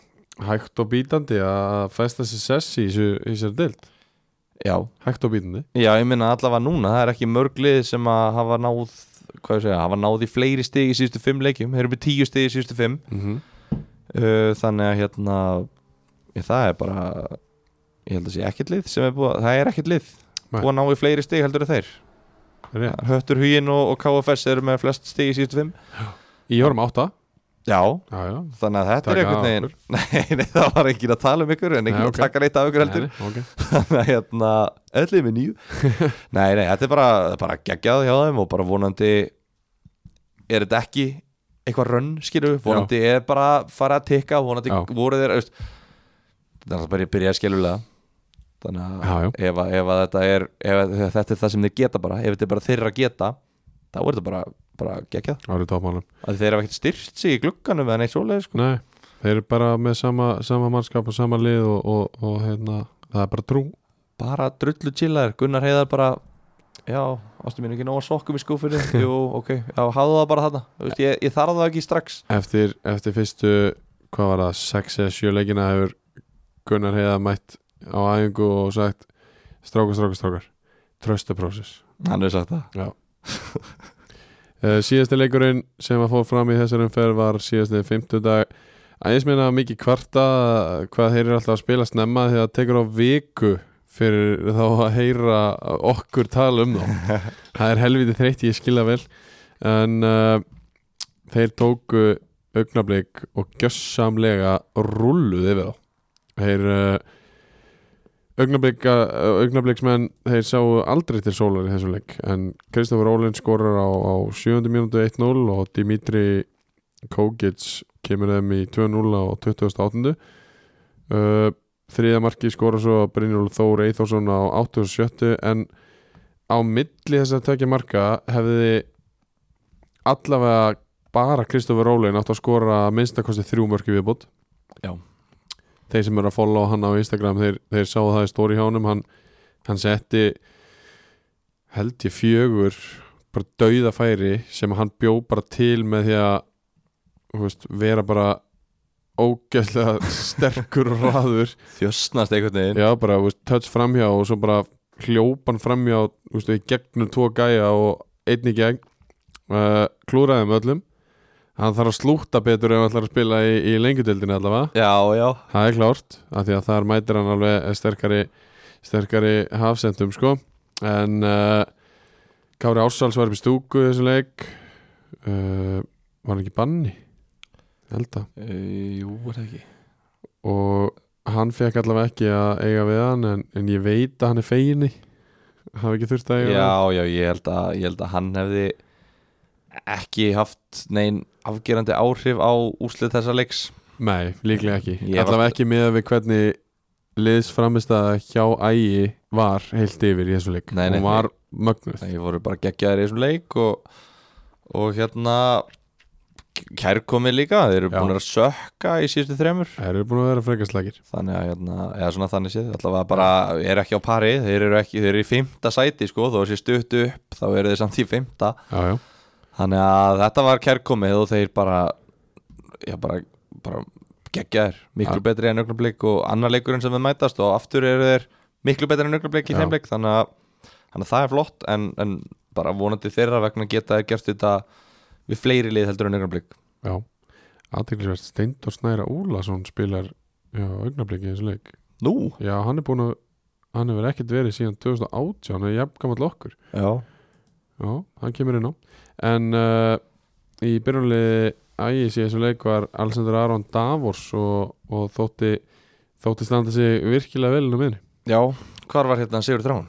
S3: hægt og bítandi að festa sér sessi í þessu- í þessari dild
S4: Já,
S3: hægt og bítandi
S4: já ég minna allavega núna það er ekki mörglið sem að hafa náð hvað ég segja, hafa náð í fleiri stig í síðustu fimm leikjum, þeir eru með tíu stig í síðustu fimm
S3: mm -hmm.
S4: uh, þannig að hérna ég, það er bara ég held að sé ekkert lið sem er búið, að- það er ekkert lið
S3: Nei.
S4: búið að ná í fleiri stig heldur en þeir
S3: Rétt.
S4: Höttur Huginn og, og KFS eru með flest stig í síðustu fimm
S3: Í horfum átta
S4: Já,
S3: Já, já
S4: þannig að þetta er
S3: Taka
S4: einhvern veginn nei, nei, það var engin að tala um ykkur en engin
S3: Nei,
S4: að
S3: ok.
S4: taka neitt af ykkur heldur
S3: Nei, nei, ok.
S4: þannig að hérna, öllum er nýju nei, nei, þetta er bara, bara geggjað hjá þeim og bara vonandi er þetta ekki eitthvað rönn, skilur við, vonandi er bara fara að tikka, vonandi
S3: Já.
S4: voru þeir veist, þetta er alltaf bara að byrja að skiljulega þannig
S3: Já,
S4: að
S3: já.
S4: ef, að- ef, að þetta er, ef að þetta er það sem þeir geta bara ef þetta er bara þeirra að geta þá er þetta bara, bara geggjað
S3: Það eru topmálum
S4: að þeir hafa ekkert styrt sig í glugganum eða neitt svoleið sko.
S3: Nei, þeir eru bara með sama, sama mannskap og sama lið og, og, og hérna, það er bara trú
S4: bara drullu chillar Gunnar Heiðar bara já, ástu mín ekki nóg að sokkum í skúfinni jú, ok, já, hafðu það bara þarna Þú veist, ég, ég þarf það ekki strax
S3: Eftir, eftir fyrstu, hvað var það, sex eða sjö leikina hefur Gunnar Heiða mætt á æfingu og sagt strákar, strákar, strákar Trust the process
S4: hann hefur sagt það
S3: uh, Síðasti leikurinn sem að fór fram í þessar umferð var síðasti fimmtudag Æðis minna mikið kvarta hvað þeir eru alltaf að spila snemma því að það tekur á viku fyrir þá að heyra okkur tala um þá Það er helviti þreytti, ég skilja vel En uh, þeir tóku augnablik og gjössamlega rulluð yfir þá Þeir uh, augnablik, augnabliksmenn þeir sáu aldrei til sólar í þessum leik en Kristofur Ólin skorar á, á 7. mínútu 1-0 og Dimitri Kogic kemur þeim í 2-0 á 28. Uh, þriða marki skorar svo Brynjól Þór Eithorsson á 87. en á milli þess að tökja marka hefði allavega bara Kristofur Rólin átt að skora að minnstakosti þrjú mörki viðbútt
S4: Já.
S3: þeir sem eru að follow hann á Instagram þeir, þeir sáu það í stóri hjá honum hann, hann setti held ég fjögur bara dauða færi sem hann bjó bara til með því að þú veist, vera bara ógæðlega sterkur og raður
S4: þjössnast einhvern veginn
S3: Já, bara, þú veist, touch framhjá og svo bara hljópan framhjá, þú veist, í gegnum tvo gæja og einn í gegn uh, klúraðum öllum hann þarf að slúta betur ef hann ætlar að spila í, í lengjudeldinu allavega
S4: já, já,
S3: það er klárt, af því að þar mætir hann alveg eh, sterkari, sterkari hafsendum, sko en uh, Kári Ársals var upp í stúku í þessum leik uh, var hann ekki í banni Ég held að
S4: E, jú, er það ekki
S3: og hann fekk allavega ekki að eiga við hann en, en ég veit að hann er feginni hafi ekki þurft að eiga við
S4: já,
S3: hann.
S4: já, ég held að, ég held að hann hefði ekki haft neinn afgerandi áhrif á úslið þessa leiks
S3: nei, líklega ekki
S4: Ég var-
S3: allavega ekki með við hvernig liðsframistæða hjá ægi var heilt yfir í þessu leik
S4: Nei, nei.
S3: hún var mögnuð
S4: Þeir voru bara geggjaðir í þessum leik og, og hérna kærkomið líka, þeir eru
S3: Já.
S4: búin að sökka í síðustu þremur
S3: það eru búin að vera frekastlækir
S4: þannig að hérna, eða svona þannig séð allavega bara, er ekki á pari, þeir eru ekki þeir eru í fymta sæti sko, þó þessi stutt upp þá eru þeir samt í fymta
S3: já, já.
S4: þannig að þetta var kærkomið og þeir bara já, bara, bara geggjaðir, miklu
S3: Já.
S4: betri en augnablík og annar leikurinn sem við mætast og aftur eru þeir miklu betri en augnablík í
S3: Já.
S4: þeimleik þannig að, þannig að það er flott en, en bara vonandi þeirra vegna geta þeir gert þetta við fleiri lið heldur en augnablík
S3: já. aðteglisvert Steindur Snæra Úlason spilar já, augnabliki í þessu leik
S4: Nú?
S3: já, hann er búin að hann hefur ekkert verið síðan 2018 hann er jafngamall okkur
S4: Já,
S3: Já, hann kemur inn á En uh, í byrjunli ægis í þessu leik var Alexander Aron Davors og, og þótti, þótti standa sig virkilega vel um minni.
S4: Já. hvar var hérna Sigur Drán?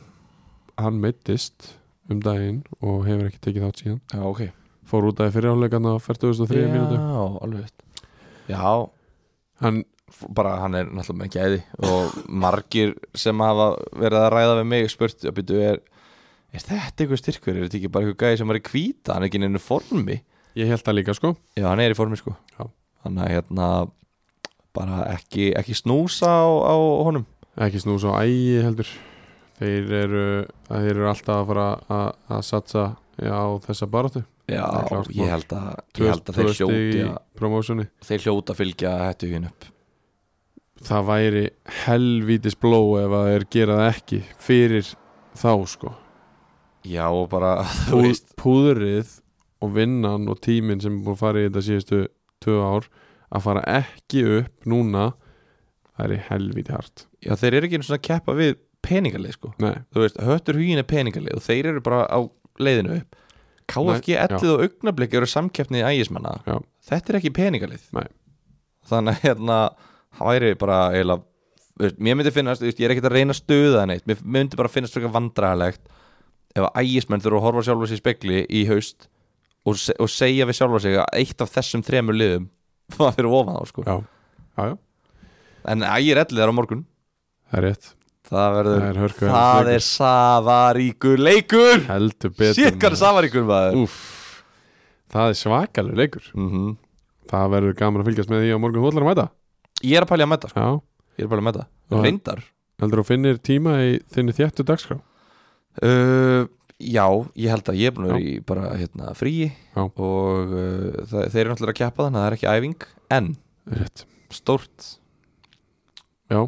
S3: Hann meittist um daginn og hefur ekki tekið þátt síðan
S4: Já, ok
S3: Fór út af fyrirháleikarna á 40.3
S4: Já,
S3: mínútu
S4: alveg rétt. Já,
S3: Hann,
S4: f- bara hann er náttúrulega með gæði og margir sem hafa verið að ræða við mig spurt að byrju er er þetta eitthvað styrkur, er þetta ekki bara eitthvað gæði sem er í kvíta, hann er ekki í neinu formi
S3: ég held það líka sko
S4: já, hann er í formi sko
S3: Já.
S4: hann er hérna bara ekki, ekki snúsa á, á honum
S3: Ekki snús á ægi heldur Þeir eru, að þeir eru alltaf að fara að- að satsa Já, þessa baráttu
S4: Já,
S3: Það er klárt mál.
S4: ég held að,
S3: Tvö-
S4: ég held að
S3: tvö
S4: þeir,
S3: stig í
S4: hljóta,
S3: promósjoni
S4: þeir hljóta að fylgja hættu hinn upp
S3: það væri helvítis bló ef að þeir gera það ekki fyrir þá sko
S4: Já, og bara, þú
S3: Pú,
S4: veist
S3: púðrið og vinnan og tíminn sem er búin að fara í þetta síðustu tvö ár að fara ekki upp núna það er í helvíti hart
S4: Já, þeir eru ekki einu svona að keppa við peningalið sko
S3: Nei,
S4: Þú veist, höttur hugin er peningalið og þeir eru bara á leiðinu upp KFG,
S3: Nei, já.
S4: Ellið og Augnablik eru samkeppni ægismanna
S3: Já.
S4: Þetta er ekki peningalið
S3: Nei.
S4: Þannig að hérna, það væri bara eiginlega, þú veist, mér myndi finnast, þú veist, ég er ekkert að reyna að stuða það neitt Mér mér myndi bara finnast svona vandræðalegt ef að ægismenn þurfa að horfa sjálfa sig í spegli í haust og, se og segja við sjálfa sig að eitt af þessum þremur liðum var fyrir ofan þá sko
S3: já, já, já
S4: En ægir Ellið er á morgun
S3: það er rétt,
S4: Það verður
S3: það er hörku
S4: Það er Savaríkur leikur
S3: heldur betur
S4: Sitt hvað er
S3: maður.
S4: Savaríkur maður
S3: Úff, það er svakalur leikur
S4: mm
S3: það verður gaman að fylgjast með því á morgun hóðlar að mæta
S4: Ég er að pælja að metta sko.
S3: já,
S4: Ég er að pælja að metta
S3: Já.
S4: Reyndar
S3: heldur þú finnir tíma í þinni þjættu dagskrá
S4: uh, Já, ég held að ég er búin að vera í bara hérna fríi
S3: Já.
S4: Og uh, það, þeir eru náttúrulega að keppa þannig að það er ekki æfing En
S3: rétt,
S4: stórt
S3: já,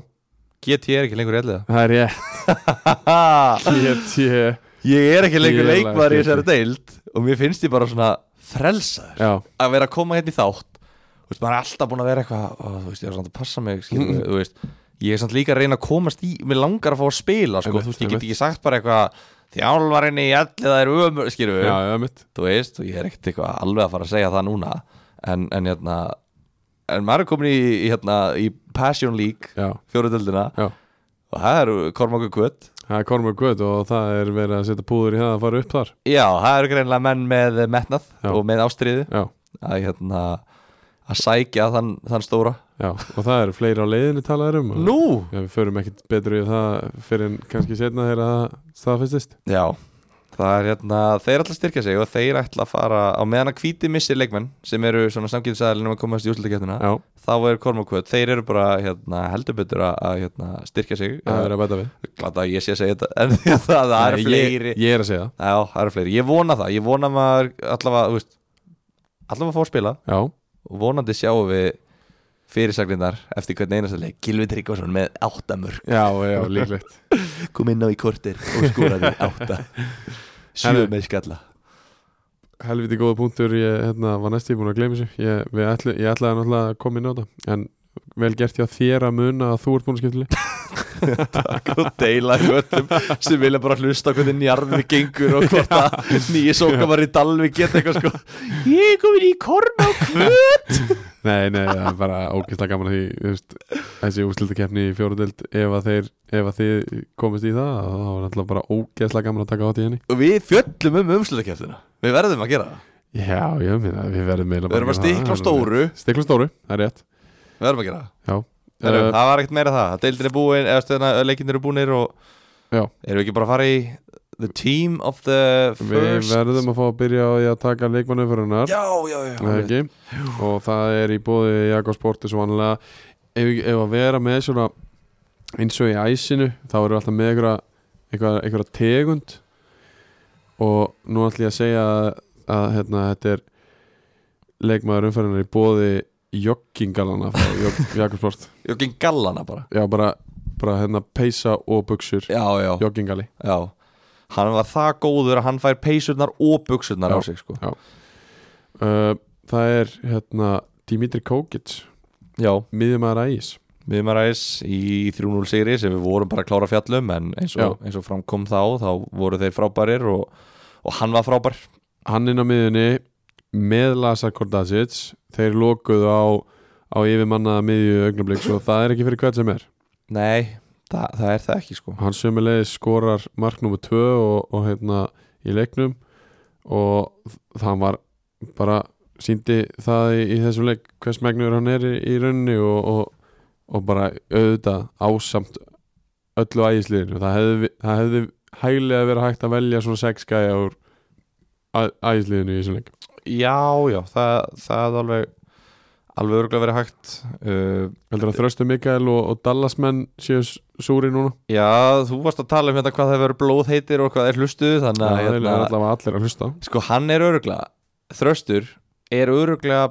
S4: GT er ekki lengur elliða
S3: það er rétt get ég
S4: Ég er ekki
S3: Ég
S4: lengur
S3: er
S4: leikmaður í
S3: ekki.
S4: þessari deild Og mér finnst ég bara svona frelsaður
S3: já,
S4: að vera að koma hérna í þátt þú veist, maður er alltaf búin að vera eitthvað ó, þú veist, ég er samt að passa mig, skilur
S3: Mm-hmm.
S4: mm þú veist ég er samt líka að reyna að komast í, mér langar að fá að spila, sko,
S3: Einmitt,
S4: þú veist, ég
S3: einmitt.
S4: get ekki sagt bara eitthvað þjálfarinni í allir það er ömur, skilur
S3: já, já, mitt
S4: þú veist, og ég er ekkert eitthvað alveg að fara að segja það núna en, en hérna en maður er komin í, í, hérna, í Passion League,
S3: já,
S4: fjóruðöldina
S3: já
S4: og það eru Kormáku Kvöt
S3: Það er Kormur Guð og það er verið að setja púður í það að fara upp þar
S4: já, það eru greinlega menn með metnað
S3: Já.
S4: og með ástriðu
S3: Já,
S4: að, hérna, að sækja þann, þann stóra
S3: já, og það eru fleiri á leiðinu talaðar um og-
S4: Nú,
S3: Já, við förum ekkit betur í það fyrir en kannski setna þegar það staðfestist
S4: Já, það er hérna þeir ætla að styrkja sig og þeir ætla að fara á meðan að hvíti missir leikmenn sem eru svona samkynnsæðalinn um að komast í úslutakefnina
S3: Já,
S4: þá er Kormakvöld, þeir eru bara hérna, heldur betur að- að hérna, styrkja sig
S3: það
S4: ja.
S3: er að bæta við
S4: glada að ég sé að segja þetta en það, það eru
S3: Nei,
S4: fleiri
S3: ég, ég er að segja
S4: Já, það eru fleiri, ég vona það, ég vona maður allavega, þú veist allavega fá að spila
S3: það Já,
S4: og vonandi sjáum við fyrirsagninnar eftir hvern einasta leik Gilvi Tryggvason með áttamörk
S3: já, já, líklegt
S4: kom inn á í kortir og skoraði átta sjö
S3: Herru.
S4: með skalla
S3: Helviti góða punktur, ég hérna, var næstíð búin að gleyma þessu ég, við ætli, ég ætlaði náttúrulega að koma inn á þetta En vel gert ég að þér að muna að þú ert búin að skipta lið.
S4: og deila í öllum sem vilja bara hlusta á hvernig njarðið gengur og hvort að nýja sókamar í dalvi geta eitthvað sko ég er komin í korma og kvöt
S3: Nei, nei, það er bara ógeðslega gaman að því þú veist, þessi úrslutakefni í fjóruðild ef að þeir, ef að þið komist í það þá er alltaf bara ógeðslega gaman að taka átt í henni
S4: og við fjöllum um umslutakeftina við verðum að gera það,
S3: Já, ég meina, við verðum meila
S4: við verðum að stikla á stóru
S3: Stikla á stóru, það er rétt
S4: við verðum að gera það,
S3: Já,
S4: Heru,
S3: uh,
S4: það var ekkert meira það deildin er búin, eða stöðna leikin eru búinir og
S3: Já.
S4: erum við ekki bara að fara í the team of the
S3: við
S4: first
S3: verðum að fá að byrja á því að taka leikmannuferunar
S4: já, já, já, já.
S3: ekki, og það er í bóði Jakob Sportis og annarlega ef, ef að vera með svona eins og í æsinu, þá erum við alltaf með einhverja, einhverja, einhverja tegund og nú ætlum ég að segja að, að hérna, þetta er leikmaður umferðunar í bóði joggingalana frá Jog- Jakob Sport
S4: Jogging gallana bara
S3: Já, bara, bara hérna peysa og buksur
S4: já, já,
S3: Joggingali
S4: já hann var það góður að hann fær peysurnar og buksurnar á
S3: Já.
S4: sig sko
S3: uh, Það er hérna Dimitri Kókic,
S4: já,
S3: miðjumæður ægis
S4: Miðmaræs í 3-0 sigri sem við vorum bara að klára að fjallum en eins og, eins og framkom þá þá voru þeir frábærir og, og hann var frábær
S3: Hann inn á miðjunni með Lasa Kordasic Þeir lokuðu á, á yfirmannaða miðju augnablík Svo það er ekki fyrir hvert sem er
S4: Nei, það, það er það ekki sko
S3: Hann sömulegis skorar mark nummer 2 og, og hérna í leiknum Og það var bara síndi það í, í þessum leik hvers megnur hann er í, í rauninni og, og, og bara auðvitað ásamt öllu ægisliðinu það hefði, það hefði hæglega verið hægt að velja svona sex gæja úr æ- ægisliðinu í þessum leik
S4: Já, já, það, það alveg alveg örgulega verið hægt uh,
S3: Heldur að Þröstu Mikael og, og Dallas menn séu s- súri núna?
S4: Já, þú varst að tala um hérna hvað það verður blóðheitir og hvað er hlustuð þannig að
S3: það er
S4: hérna,
S3: allavega allir að hlusta
S4: sko hann er örgulega þröstur er örgulega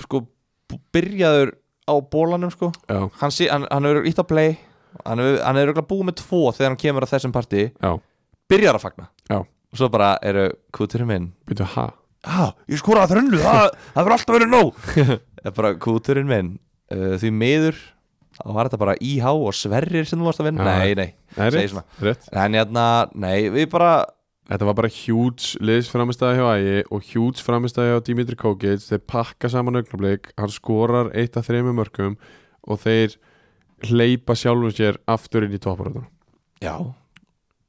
S4: sko b- byrjaður á bólanum sko
S3: Já,
S4: hann, sé, hann, hann er ítt að play hann er, hann er örgulega búið með tvo þegar hann kemur að þessum partí
S3: já,
S4: byrjar að fagna
S3: Já.
S4: og svo bara eru kúturinn minn
S3: býtu ha
S4: ah, ég skoraði þröndu, það, það verður alltaf verið nóg Það er bara kúturinn minn uh, því miður þá var þetta bara íhá og sverrir sem þú varst að vinna
S3: Já.
S4: nei, nei,
S3: Nei,
S4: Segir
S3: rétt,
S4: svona.
S3: rétt
S4: en hérna, nei, við bara
S3: Þetta var bara hjúts liðsframistæði hjá Ægi og hjúts framistæði hjá Dimitri Kókic þeir pakka saman augnablik hann skorar eitt af þremur mörgum og þeir hleypa sjálfum sér aftur inn í topparöðuna
S4: já,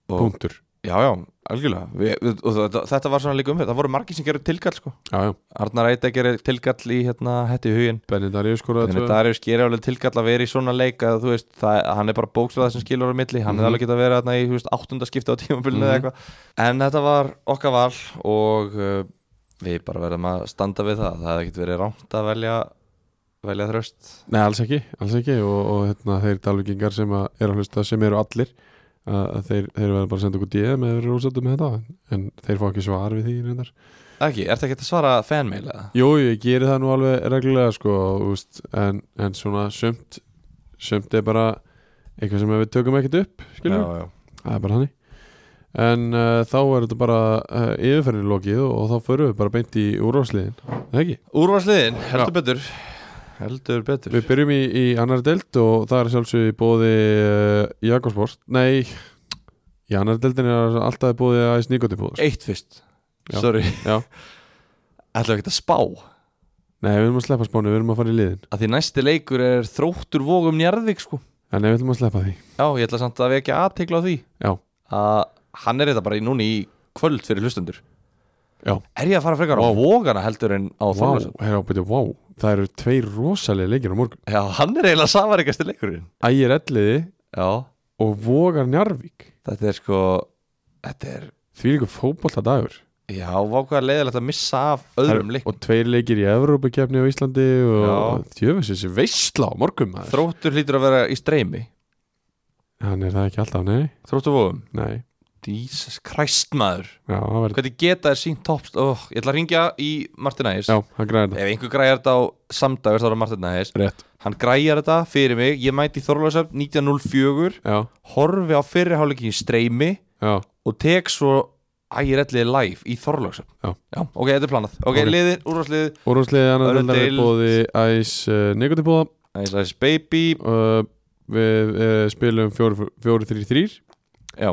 S4: og,
S3: Punktur
S4: já, já, algjörlega við, við, og þetta, þetta var svona líka umfið, það voru margir sem gerðu tilkall sko.
S3: Já, já,
S4: Arnar Eita gerði tilkall í hérna, hætti í hugin
S3: Benidari skoraði
S4: Þannig að
S3: tvö
S4: Darius gerir alveg tilkall að vera í svona leik að þú veist, það, hann er bara bókstæða sem skilur á milli, hann
S3: Mhm.
S4: er alveg geta að vera þarna í þú veist, áttunda skipta á tímabilinu eða
S3: Mhm.
S4: eitthvað en þetta var okkar val og uh, við bara verðum að standa við það, það hefði ekkert verið rámt að velja velja þröst
S3: Nei, alls ekki, alls ekki og, og hérna, þeir dalvíkingar sem að eru að hlusta sem eru allir að að þeir, þeir verða bara að senda okkur DM eða eru úrsættu með þetta en þeir fá ekki svar við því reyndar
S4: ekki, ertu ekki að svara fanmail eða?
S3: Jú, ég geri það nú alveg reglulega sko, úst, en, en svona sumt sumt er bara eitthvað sem við tökum ekkert upp skilur,
S4: já.
S3: það er bara hannig en uh, þá er þetta bara uh, yfirferðin lokið og, þá förum við bara beint í úrvarsliðin, eða ekki?
S4: Úrvarsliðin, heldur betur heldur betur
S3: Við byrjum í, í annar deild og það er sjálfsög í bóði uh, Jakobsport, nei í annar deildin er alltaf í bóði Æs Nikotipúður
S4: Eitt fyrst,
S3: Já.
S4: sorry
S3: Já.
S4: Ætlum ekki að spá
S3: Nei, við erum að sleppa spáni, við erum að fara í liðin
S4: að því næsti leikur er þróttur vógum njárðvík sko
S3: en nei, við ætlum að sleppa því
S4: Já, ég ætla samt að vekja aðtegla á því
S3: Já.
S4: að hann er þetta bara í núni í kvöld fyrir hlustendur
S3: Já.
S4: Er ég að fara frekar á vógana heldur en á
S3: Vá,
S4: Þorlásson?
S3: herra, byrju, vá, það eru tveir rosalega leikir á morgun
S4: Já, hann er eiginlega safaríkasti leikurinn
S3: Ægir Elliði
S4: Já,
S3: og Vogar Njarvík
S4: þetta er sko þetta er,
S3: því líka fótbolta dagur
S4: já, vákvæða leiðilegt að missa af öðrum leik
S3: og tveir leikir í Evrópakefni á Íslandi og þjöfis þessi veistla á morgun maður
S4: Þróttur hlýtur að vera í streymi
S3: hann er það ekki alltaf, nei,
S4: Þróttur vógum
S3: nei.
S4: Jesus Christ maður
S3: Já, hann, verið,
S4: Hvernig geta þér sínt toppst oh, Ég ætla að ringja í Martin Ægis
S3: já, hann græði
S4: Ef einhver græjar þetta á samdagur þá er það Martin Ægis
S3: þetta rétt
S4: Hann græjar þetta fyrir mig Ég mæti í Þorlásöfn 1904
S3: já,
S4: horfi á fyrirháleikin í streymi
S3: já,
S4: og tek svo ægir ellið live í Þorlöksum
S3: Já.
S4: ok, þetta er planað ok,
S3: Ok.
S4: okay. liðin, úrvarsliðið
S3: úrvarsliðið annar
S4: Önnur
S3: deildar er
S4: deild.
S3: bóði Æs uh, Nikotipúða
S4: Ice Ice Baby
S3: uh, við uh, spilum 4-3-3
S4: já,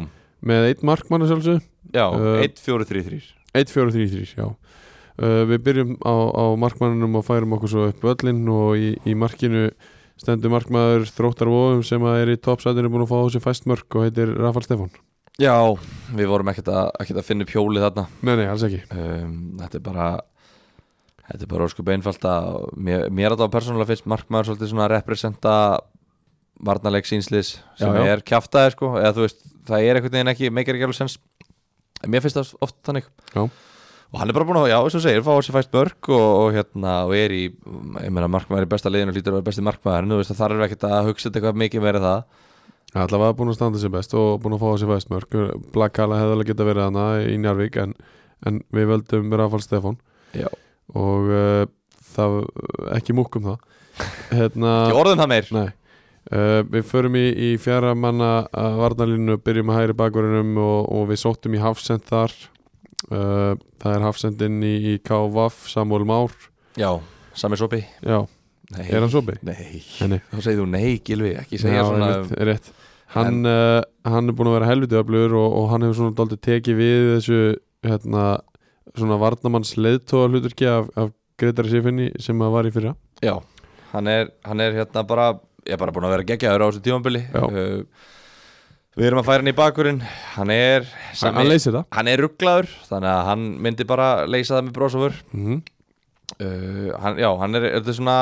S3: með eitt markmann að sjálfsög
S4: já,
S3: Uh,
S4: 1, 4, 3, 3
S3: 1-4-3-3, já uh, Við byrjum á, á markmannunum og færum okkur svo upp öllinn og í, í markinu stendur markmaður þróttar vofum sem að er í toppsætinu búin að fá á sig fæst mörk og heitir Rafal Stefán
S4: já, við vorum ekkert að, ekkert að finna upp hjólið þarna
S3: Nei, nei, alls ekki
S4: um, þetta er bara þetta er bara óskup einfalt að mér, mér að það persónulega finnst markmaður svolítið svona að representa varnarleik sínslis sem
S3: Já, já.
S4: er kjaftaði sko eða þú veist, það er einhvern veginn ekki, meikir ekki alveg sens en mér finnst það oft þannig
S3: Já.
S4: og hann er bara búin að, já, eins og þú segir, fá sér fæst mörg og, og hérna, og er í ég meina, markmaður í besta liðinu, lítur að vera besti markmaður en þú veist, það þarf ekkert að hugsa þetta eitthvað mikið meira en það
S3: Allavega búin að standa sér best og búin að fá á sig fæst mörk Blakkala hefði alveg geta verið hana í Njarvík en, en við völdum Rafal Stefán
S4: Já.
S3: og uh, það, ekki múkk um það Hérna
S4: ekki orðum það meir,
S3: Nei Uh, við förum í, í fjara manna uh, varnalínu, byrjum að hægri bakvörunum og, og við sóttum í Hafsend þar uh, það er Hafsendinn í, í KVAF, Samuel Már
S4: já, sami sopi
S3: já,
S4: nei,
S3: er hann sobi?
S4: nei,
S3: Nei, nei.
S4: þá segir þú nei, Gilvi, ekki segja svona um-
S3: einmitt, rétt. Hann, uh, hann er búin að vera helviti öflugur og, og hann hefur svona daldið tekið við þessu hérna, svona varnamanns leiðtóa hluturki af, af Gretari Sifinni sem að var í fyrra
S4: Já, hann er, hann er hérna bara ég er bara búin að vera geggjaður á þessu tímanbili
S3: Já.
S4: Við erum að færa hann í bakurinn hann er
S3: hann, hann leysir það
S4: hann er rugglaður þannig að hann myndi bara leysa það með brósofur
S3: mm
S4: uh, hann, Já, hann er, er þetta svona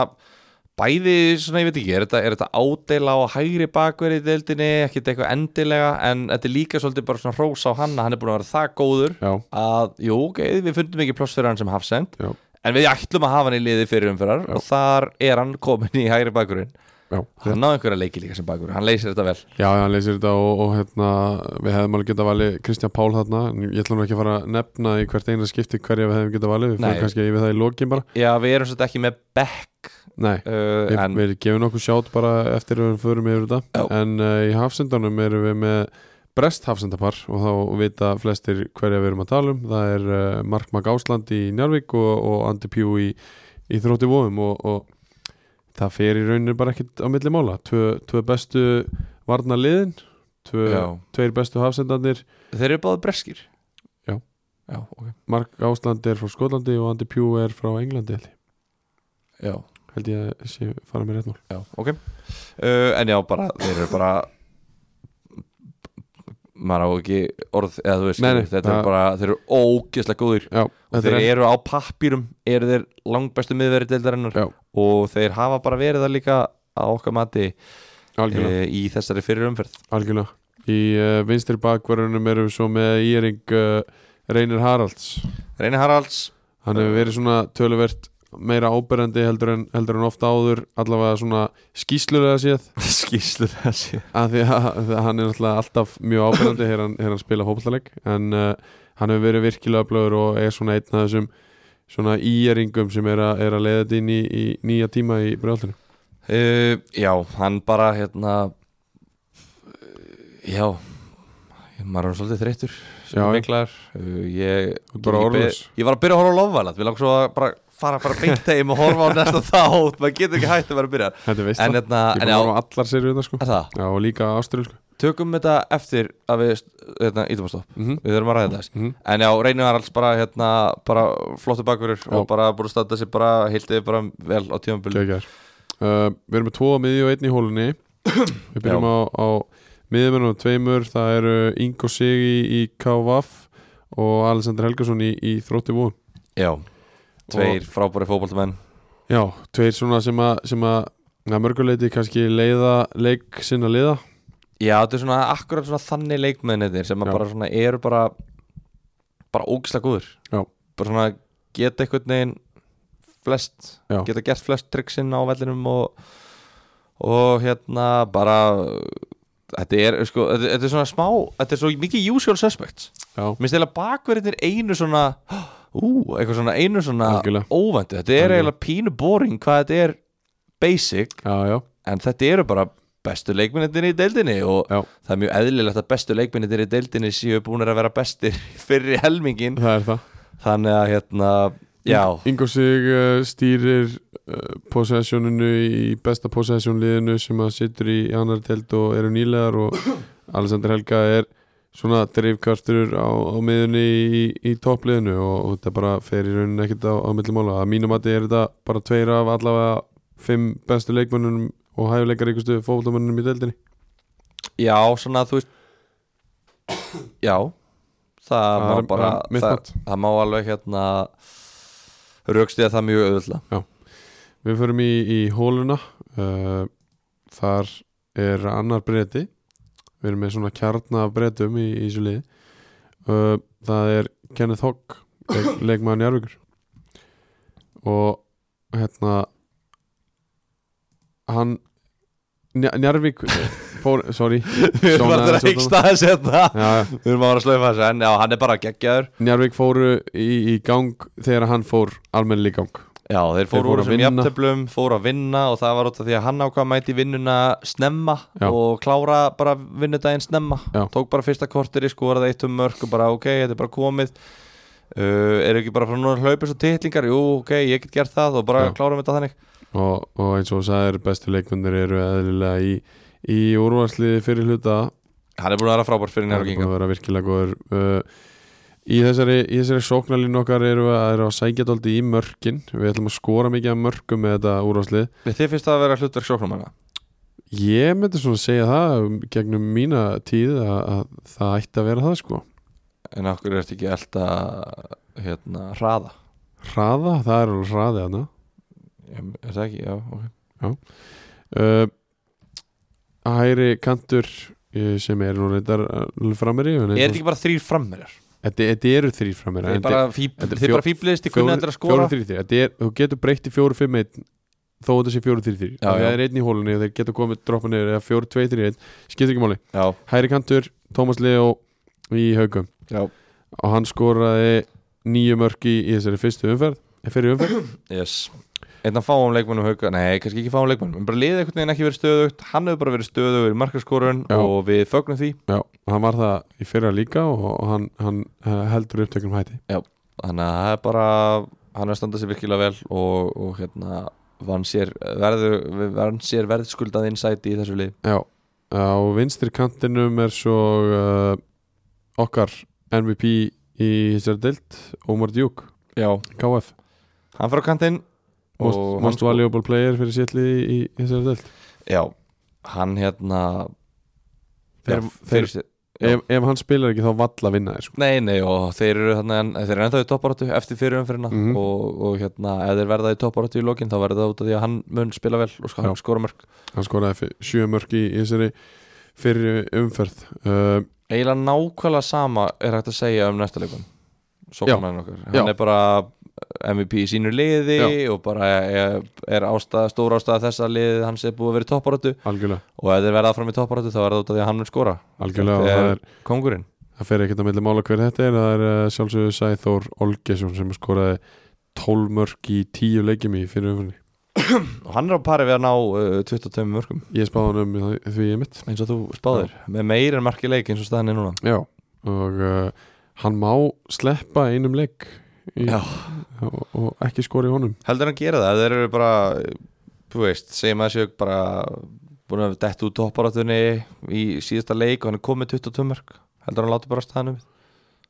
S4: bæði svona, ég veit ekki, er þetta, er þetta ádeila á hægri bakverði í deildinni ekkert eitthvað endilega, en þetta er líka svolítið bara svona hrós á hann að hann er búin að vera það góður
S3: já,
S4: að, jú, ok, við fundum ekki pláss fyrir hann sem hafsend
S3: já,
S4: en við ætlum að hafa hann í liði fyrir umferðar og þar er hann komin í hægri bakurinn
S3: Já,
S4: hann á einhverja leiki líka sem bakur hann leysir þetta vel
S3: já hann leysir þetta og, og hérna, við hefðum alveg getað valið Kristján Pál þarna, en ég ætlum ekki að fara að nefna í hvert eina skipti hverja við hefðum getað valið við
S4: Nei.
S3: fyrir kannski yfir það í lokin bara
S4: já við erum svolítið ekki með back
S3: Nei,
S4: uh,
S3: við,
S4: en
S3: við gefum nokkuð sjátt bara eftir að við förum yfir þetta
S4: Já.
S3: en uh, í hafsendanum erum við með brest hafsendapar og þá vita flestir hverja við erum að tala um það er uh, Mark Mag Ásland í Njarvík og, og Andi Pjú í, í þrótti vóum og, og það fer í rauninu bara ekkit á milli mála tvö, tvö bestu varna liðin tvö,
S4: Já.
S3: tveir bestu hafsendanir
S4: þeir eru báðið breskir
S3: Já.
S4: já ok
S3: Mark Ásland er frá Skotlandi og Andi Pjú er frá Englandi held ég.
S4: já
S3: held ég að sé fara með rétt mál
S4: Já, ok uh, En já, bara, þeir eru bara maður á ekki orð eða þú veist,
S3: Nei, nei,
S4: þetta
S3: það-
S4: er bara þeir eru ógeðslega góðir
S3: Já, þetta
S4: þeir
S3: er ekki-
S4: eru á pappýrum, eru þeir langbæstu miðveri deildarinnar
S3: Já.
S4: og þeir hafa bara verið það líka á okkar mati
S3: algjörlega
S4: e, í þessari fyrir umferð
S3: Algjörlega Í uh, vinstri bakverðunum erum við svo með Íring uh, Reynir Haralds
S4: Reyni Haralds,
S3: Hann hefur verið svona töluvert meira áberandi heldur en, heldur en ofta áður allavega svona skýslulega séð
S4: skýrslu þessi
S3: af því að, að hann er náttúrulega alltaf mjög áberandi þegar hann, þegar hann spila hópaðleik en uh, hann hefur verið virkilega blöður og er svona einn af þessum svona íringum sem er, a, er að leiða þetta inn í, í nýja tíma í brjóðlunum
S4: Uh, já, hann bara hérna eh, Já maður er svolítið þreyttur sem
S3: Já,
S4: er
S3: já.
S4: miklaður uh, ég,
S3: Þú ert bara
S4: ég,
S3: orðlaus.
S4: ég var að byrja að horfa á lofvalat við langt svo að bara fara, fara beint heim og horfa á næsta þátt maður getur ekki hægt að vera að byrja
S3: Þetta veist
S4: en
S3: það,
S4: hérna,
S3: ég
S4: en
S3: kom
S4: já,
S3: að voru á allar seriðuna sko
S4: er það
S3: Já og líka ástriðsku
S4: tökum þetta eftir að við hérna, ítum að stopp,
S3: mm -hmm.
S4: við þurfum að ræða þess
S3: Mhm.
S4: en já, reynum Haralds bara hérna bara flottu bakverður
S3: Já.
S4: og bara búin að standa sér bara heiltið bara vel á tímabili
S3: Gekkjær uh, Við erum með tvo á miðju og einn í hólunni Við byrjum
S4: Já.
S3: á, á miðjumennum og tveimur Það eru Ingo Sigi í KVF og Alexander Helgason í, í þrótti vóðum
S4: já, tveir frábæri fótballtamenn
S3: Já, tveir svona sem að, sem að að mörguleiti kannski leiða leik sinna liða
S4: Já, þetta er svona akkurat svona þannig leikmennir sem að
S3: Já.
S4: bara svona eru bara bara ógislega góður
S3: Já.
S4: bara svona geta einhvern veginn flest,
S3: Já.
S4: geta gert flest trikksinn á vellinum og og hérna bara þetta er sko, þetta þetta er svona smá þetta er svo mikið usual suspects
S3: Já,
S4: minnst eiginlega bakverðin er einu svona ú, eitthvað svona einu svona
S3: Algjörlega.
S4: óvæntu, þetta er
S3: Algjörlega.
S4: eiginlega pínu boring hvað þetta er basic
S3: já, já,
S4: en þetta eru bara bestu leikmyndir í deildinni og
S3: Já.
S4: það er mjög eðlilegt að bestu leikmyndir í deildinni séu búinir að vera bestir fyrir helmingin
S3: það er það
S4: þannig að hérna, já
S3: Ingo Sig uh, stýrir uh, possessioninu í besta possession liðinu sem að situr í annar telt og eru nýlegar og Alexander Helga er svona dreifkvartur á, á miðunni í, í toppliðinu og, og þetta bara fer í rauninni ekkert á, á millimála að mínum að er þetta bara tveir af allavega fimm bestu leikmönnunum og hæfuleikar ykkurstu fótboltamönnunum í deltinni
S4: já, svona þú veist já það
S3: Það er-
S4: má bara,
S3: það er mitt
S4: það,
S3: mat.
S4: það má alveg hérna raukstiða það mjög auðvitað
S3: Við förum í, í hóluna uh, Þar er annar breyti Við erum með svona kjarna af breytum í, í þessu liði uh, Það er Kenneth Hogg leik, Leikmaður Njárvíkur Og hérna Hann Nja- Njarðvík fór, Sorry
S4: við erum bara að reiksta þess hérna
S3: Já, já
S4: við erum að vera að slöfa þess en já, hann er bara geggjaður
S3: Njarvík fóru í, í gang þegar hann fór almennileg í gang
S4: Já, þeir fóru
S3: fóru
S4: úr
S3: að
S4: þessum
S3: vinna.
S4: jafntöflum, fóru að vinna og það var út af því að hann ákvað að mæti vinnuna snemma
S3: Já.
S4: og klára bara vinnudaginn snemma
S3: Já.
S4: tók bara fyrsta kortir í skoraði eitt um mörg og bara ok, þetta er bara komið uh, eru ekki bara frá núna hlaupis og titlingar jú, ok, ég get gert það og bara
S3: Já.
S4: klárum þetta þannig
S3: og, og eins og sagðir bestu leikmyndir eru eðlilega í, í úrvarsliði fyrir hluta
S4: Hann er búin að vera frábært fyrir
S3: það er búin
S4: njárvíkinga
S3: að vera virkilega góður uh, í þessari, í þessari sóknarlínu okkar eru að, eru að sækja dálítið í mörkin við ætlum að skora mikið af mörkum með þetta úrvarslið
S4: Þið finnst það að vera hlutverk sjóknumanna
S3: ég myndi svona segja það um, gegnum mína tíð að, að það ætti að vera það sko
S4: en okkur er þetta ekki elda hérna, hraða
S3: hraða, það er alveg hraði hana
S4: Ég- Er það ekki? Já, ok
S3: uh, hæri kantur eh, sem er nú reyndar eh, alveg framir í
S4: Er þetta ekki bara þrýr frammerjar?
S3: Þetta, þetta eru þrýr frá mér
S4: Þið
S3: en
S4: bara
S3: þetta-
S4: fíb-
S3: þetta er
S4: þið
S3: fjó-
S4: bara fíblist, þið kunna þetta að skora
S3: fjórir, þrír, þrír. Þetta er, þú getur breytt í fjóru, fimm, einn þó þetta sé fjóru, þrýr, þrýr
S4: Já, já.
S3: það er einn í hólunni og þeir geta komið droppa niður eða fjóru, tvei, þrýr, einn, skiptir ekki máli
S4: Já,
S3: Hæri kantur, Tómas Leo í haugum
S4: já,
S3: og hann skoraði nýju mörki í þessari fyrstu umferð eh, fyrri umferð,
S4: yes Einna fáum leikmannum hauka, nei, kannski ekki fáum leikmannum en bara liðið einhvern veginn ekki verið stöðugt hann hefur bara verið stöðugur í markaskorun
S3: Já.
S4: og við fögnum því
S3: já, hann var það í fyrra líka og, og hann, hann eh, heldur upptökum hætti
S4: þannig að það er bara hann er að standa sér virkilega vel og, og hérna vann sér, verðu, vann sér verðskuldað insight í þessu lið
S3: Já, á vinstri kantinum er svo uh, okkar MVP í þessari deild, Omar Djúk
S4: Já,
S3: KF,
S4: hann fyrir á kantinn og
S3: most,
S4: hann
S3: most
S4: sko-
S3: valuable player fyrir sétli í, í þessari deild
S4: Já, hann hérna
S3: Þeir-
S4: já,
S3: þeir-
S4: fyrir sér- Já.
S3: ef, ef hann spilar ekki þá valla vinna þér sko.
S4: Nei, nei, og þeir eru þarna en, þeir eru ennþá í topparáttu eftir fyrir umfyrirna
S3: Mhm.
S4: og, og hérna, ef þeir verða í topparáttu í lokin þá verður það út af því að hann mun spila vel og sko,
S3: Já.
S4: hann skora mörg
S3: hann skoraði fyr- sjö mörki í þessari fyrri umferð uh,
S4: Eiginlega nákvæmlega sama er hægt að segja um næsta leikun Sóknarinn okkar, hann
S3: Já.
S4: er bara MVP í sínu liði og bara er, er ástæða, stóra ástæða þess að liðið hans er búið að vera í topparáttu
S3: algjörlega,
S4: og ef þeir verða áfram í topparáttu þá verður það út af því að hann mun skora
S3: algjörlega og
S4: Þetta
S3: það,
S4: er
S3: er,
S4: kongurinn
S3: það fer ekkert að milli mála hver þetta er það er uh, sjálfsögðu Sæþór Olgesson sem skoraði 12 mörk í 10 leikjum í fyrri umferðinni
S4: og hann er á pari við að ná uh, 22 mörgum
S3: ég spáði hann um því ég mitt
S4: eins og þú spáðir, með meir en marki leik eins og staðan er núna
S3: Já, og uh, hann má sleppa einum leik í,
S4: Já.
S3: og, og ekki skora í honum
S4: heldur hann að gera það, ef þeir eru bara þú veist, segjum að séu bara búin að dett út topparáttunni í síðasta leik og hann er komið 22 mörg heldur hann að láta bara staðanum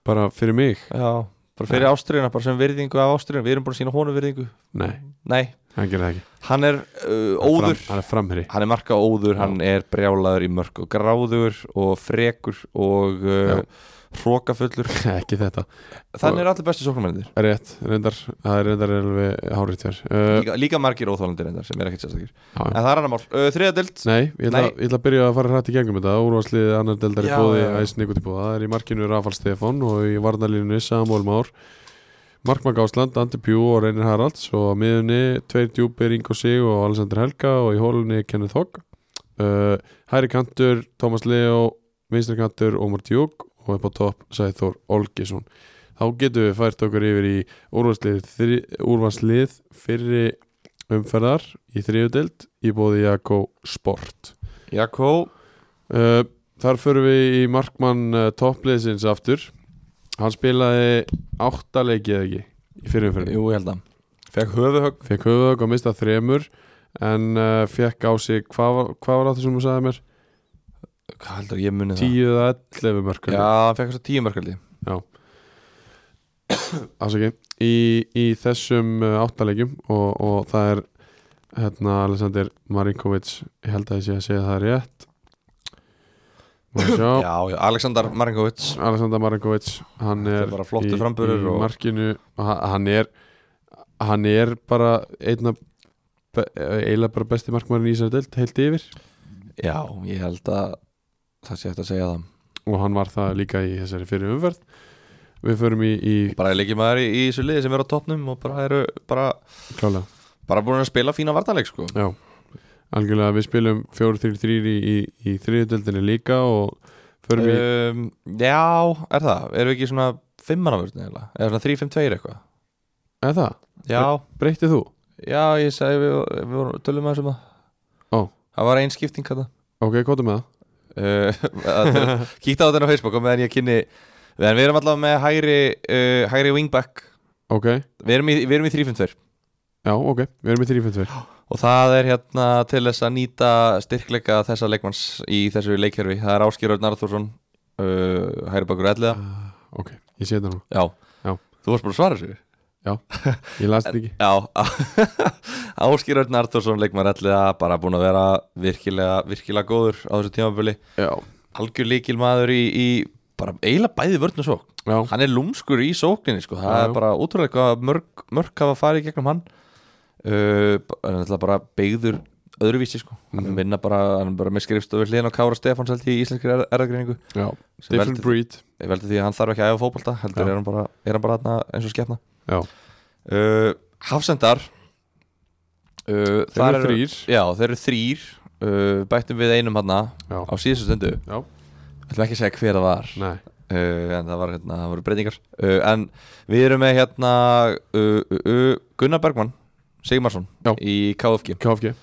S3: bara fyrir mig,
S4: já, bara fyrir ástriðuna, bara sem virðingu af ástriðuna við erum bara að sína honum virðingu,
S3: nei,
S4: nei
S3: hann gerir það ekki
S4: hann er uh,
S3: Hann er
S4: óður
S3: fram- hann er framherri
S4: hann er marka óður,
S3: Já.
S4: hann er brjálaður í mörg og gráður og frekur og uh,
S3: Já.
S4: hrókafullur
S3: ekki þetta,
S4: þannig er allir bestu sóknumennir
S3: rétt, reyndar það er reyndar alveg hárið þér uh,
S4: líka, líka margir óþálandir reyndar sem er ekkert sérstakir
S3: já,
S4: en
S3: já.
S4: það er annar mál, uh, þriðadild
S3: Nei, ég ætla,
S4: Nei.
S3: ég ætla að byrja að fara hrætt í gegnum þetta Úrvarsliðið annar deldar í
S4: Já,
S3: bóði
S4: já, já.
S3: Æs Nikotibóða, það er í markinu Rafal Stefán og í varnalínu Samúl Már Markmann Gásland, Andi Pjú og Reynir Haralds og á miðunni tveir djúpir Ingo Sig og Alessandr Helga og í hólunni Kenneth Hogg uh, Hæri kantur, Tómas Leo vinstri kantur, Ómar Djúk og upp á topp Sæþór Olgesson þá getum við fært okkur yfir í úrvarslið, þri, úrvarslið fyrri umferðar í þriðudeld í bóði Jakko Sport
S4: Jakko,
S3: uh, Þar förum við í markmann uh, toppliðsins aftur Hann spilaði áttaleiki eða ekki í fyrir umferðinu
S4: jú ég held að fekk höfuhögg
S3: Fekk höfuðögg og mistað þremur en uh, fekk á sig, hvað, var- hvað var það sem hún sagði mér?
S4: hvað heldur ég muni það?
S3: 10 eða 11 mörkur
S4: já, hann fekk þess að tíu mörkaldi
S3: afsaki, í, í þessum uh, áttalegjum og, og það er hérna Alexander Marinkovic ég held að ég sé að segja það rétt Má sjá
S4: já, já, Alexander Marinkovic
S3: Alexander Marinkovic hann
S4: Þetta er
S3: er
S4: bara flottur
S3: í,
S4: framburður
S3: í
S4: og-
S3: markinu Ha- hann er hann er bara einna eiginlega bara besti markmarin í þessari deild heilt yfir
S4: já, ég held að það sé eftir að segja það
S3: og hann var það líka í þessari fyrir umferð við förum í, í
S4: bara er leikið maður í, í þessu liði sem er á toppnum og bara eru bara,
S3: klálega
S4: bara búin að spila fína vartanleik sko
S3: Já, algjörlega við spilum 4-3-3 í, í, í þriðutöldinni líka og förum í
S4: um, já, er það erum við ekki svona fimmannavörðin eða eða svona 3-5-2 eitthvað
S3: Eða það,
S4: já,
S3: breytið þú?
S4: já, ég segi við, við vorum tölum að þessum að
S3: Ó.
S4: það var ein skipting þetta
S3: Ok, kóta með það
S4: uh, að- kíktu á þetta á Facebook og meðan ég kynni meðan við erum allavega með hægri, uh, hægri wingback
S3: Ok,
S4: við erum í, við erum í 352
S3: já, ok, við erum í 3-5-2
S4: og það er hérna til þess að nýta styrkleika þessa leikmanns í þessu leikherfi það er Áskir Örn Arþórsson uh, hægri bakur elliða
S3: Ok, ég sé þetta nú,
S4: já.
S3: Já.
S4: þú varst bara að svara sér
S3: ég las þetta ekki
S4: já Áskir Örn Arþórsson leikmann elliða bara búin að vera virkilega, virkilega góður á þessu tímabili
S3: Já,
S4: algjör líkil maður í, í bara eiginlega bæði vörn og sók
S3: já,
S4: hann er lúmskur í sókninni sko. það
S3: Já, já.
S4: er bara ótrúlega hvað mörg, mörg hafa farið gegnum hann uh, hann er náttúrulega bara beigður öðruvísi sko hann
S3: Mhm.
S4: vinna bara, hann er bara með skrifstofu hliðin á Kára Stefáns held ég í íslenskri erð- erðagreiningu
S3: já,
S4: sem
S3: different
S4: veldur-
S3: breed
S4: ég veldi því að hann þarf ekki að æfa fótbolta heldur
S3: Já.
S4: er hann bara, er hann bara þarna eins og skefna
S3: já,
S4: uh, Hafsendar uh,
S3: þeir
S4: þar
S3: eru þrýr
S4: já, þeir eru þrýr uh, bættum við einum hann á
S3: já,
S4: síðustu stundu
S3: já,
S4: ætlum ekki að segja hver það var uh,
S3: nei,
S4: en það var hérna, það voru breytingar uh, en við erum með hérna uh, uh, uh, Gunnar Bergmann Sigmarsson
S3: Já.
S4: í KFG
S3: KFG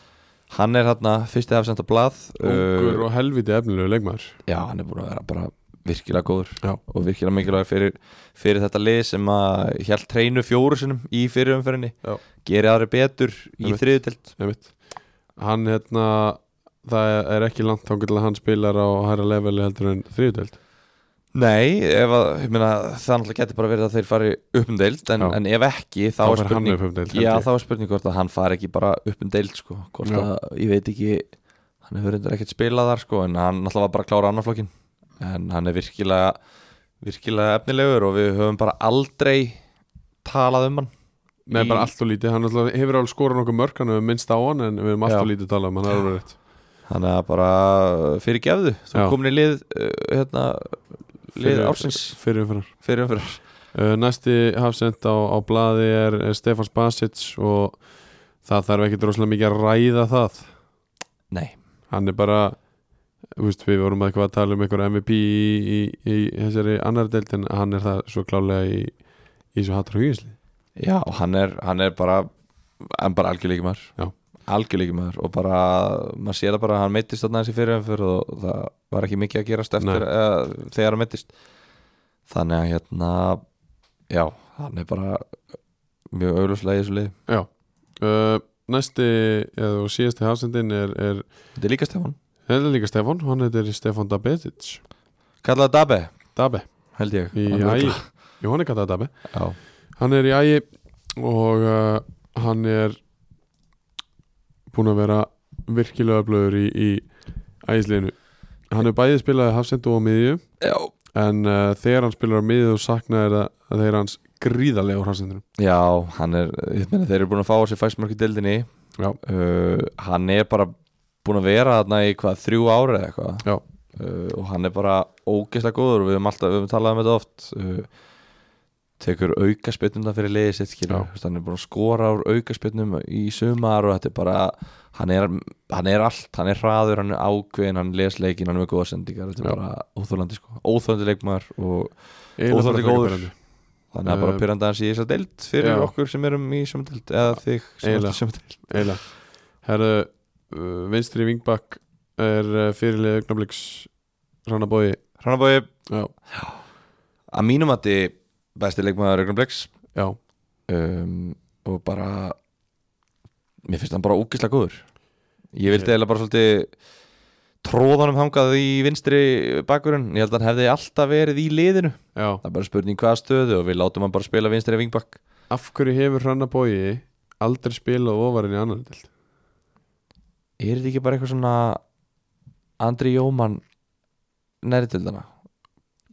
S4: hann er hérna fyrsti hafsenda blað
S3: ungur
S4: Uh,
S3: og helviti efnilegu leikmaður
S4: já, hann er búin að vera bara virkilega góður
S3: Já.
S4: og virkilega mikilvægur fyrir, fyrir þetta lið sem að hjælt treinu fjóru sinum í fyrirumferinni
S3: Já.
S4: geri aðri betur í
S3: Einmitt.
S4: þriðutelt
S3: einmitt. hann hérna það er ekki langt þá til að hann spilar á hæra leveli heldur en þriðudeld
S4: Nei, ef að, ég meina, það náttúrulega getur bara verið að þeir fari upp um deild en,
S3: Já.
S4: en ef ekki, þá,
S3: þá
S4: er
S3: er hann
S4: spurning
S3: upp um deild
S4: Já, þá er spurning hvort að hann fari ekki bara upp um deild sko, hvort
S3: Já.
S4: að, ég veit ekki hann hefur reyndar ekkert spilað þar sko, en hann náttúrulega var bara að klára annarflokkin en hann er virkilega virkilega efnilegur og við höfum bara aldrei talað um hann
S3: Nei,
S4: í-
S3: bara allt og lítið, hann alltaf hefur alveg skorað nokkuð mörg hann hefur minnst á hann en við erum allt
S4: Já.
S3: og lítið talað um hann er alveg rétt
S4: Þannig að bara fyrir gefðu Þú
S3: Já.
S4: er komin í lið uh, hérna, lið
S3: Fyrir-
S4: ársins
S3: fyrir umfyrir
S4: fyrir umfyrir
S3: uh, Næsti hafsend á, á blaði er er Stefan Spasic og það þarf ekkit rosalega mikið að ræða það
S4: Nei,
S3: hann er bara þú veist, við vorum eitthvað að tala um einhver MVP í, í, í þessari annar deild en hann er það svo klálega í, í svo hattur og hýðisli
S4: já, og hann er, hann er bara hann bara algjörleiki
S3: Já.
S4: maður algjörleiki maður og bara maður sér það bara að hann meittist þarna þessi fyrir umfyrir og það var ekki mikið að gerast eftir
S3: Nei.
S4: uh, þegar hann meittist þannig að hérna já, hann er bara mjög augljóslega í þessu lið
S3: Já uh, Næsti eða og síðasti hafsendin er, er
S4: Þetta er líka Stefán
S3: þetta er líka Stefan, hann heitir Stefan Dabetic
S4: Kallaði Dabe,
S3: Dabe
S4: held ég
S3: í
S4: Hann er
S3: ægi
S4: örugglega-
S3: Jú, hann er kallað Dabe
S4: Já,
S3: Hann er í ægi og uh, hann er búinn að vera virkilega öflögur í, í ægisliðinu Hann er bæðið spilaði hafsendu og miðju
S4: já
S3: en uh, þegar hann spilar á miðið og saknaði það að þeir hans gríðarlega úr hafsendunum
S4: Já, hann er, ég meina þeir eru búin að fá á sig fæstmörk í deildinni
S3: Já.
S4: uh, Hann er bara búin að vera þarna í hvað, þrjú ára eða eitthvað
S3: Já.
S4: uh, Og hann er bara ógeðslega góður og við höfum alltaf, við höfum talað um þetta oft uh, Tekur aukaspyrnuna fyrir liðið sitt skilur
S3: Já.
S4: Þú veist, Hann er búin að skora úr aukaspyrnum í sumar og þetta er bara Hann er, hann er allt, hann er hraður, hann er ákveðin, hann les leikinn, hann er með góða sendingar Þetta er
S3: Já. bara
S4: bara óþólandi sko, óþólandi leikmaður og
S3: Eiginlega
S4: Og það er
S3: bara
S4: góður.
S3: frekar
S4: Þannig að bara
S3: Um,
S4: pyrranda hans í þessa deild fyrir
S3: já.
S4: okkur sem erum í sama deild eða þig sem
S3: eiginlega.
S4: ert í sama deild
S3: pirrandi. Eiginlega. Herðu, uh, vinstri vingbakk er uh, fyrirlega augnabliks Rannabói
S4: Hrannabói,
S3: Já,
S4: að mínum að þið besti leikmaður augnablegs
S3: já,
S4: um, og bara mér finnst hann bara ógislega góður ég
S3: Ég-
S4: vildi eiginlega bara svolítið tróðanum hangað í vinstri bakurinn, ég held að hann hefði alltaf verið í liðinu,
S3: já.
S4: það er bara spurning hvaða stöðu og við látum hann bara spila vinstri vingbakk
S3: Af hverju hefur Rannabói aldrei spilað ofarinn í annan delt?
S4: er þetta ekki bara eitthvað svona Andri Jóman næri til þarna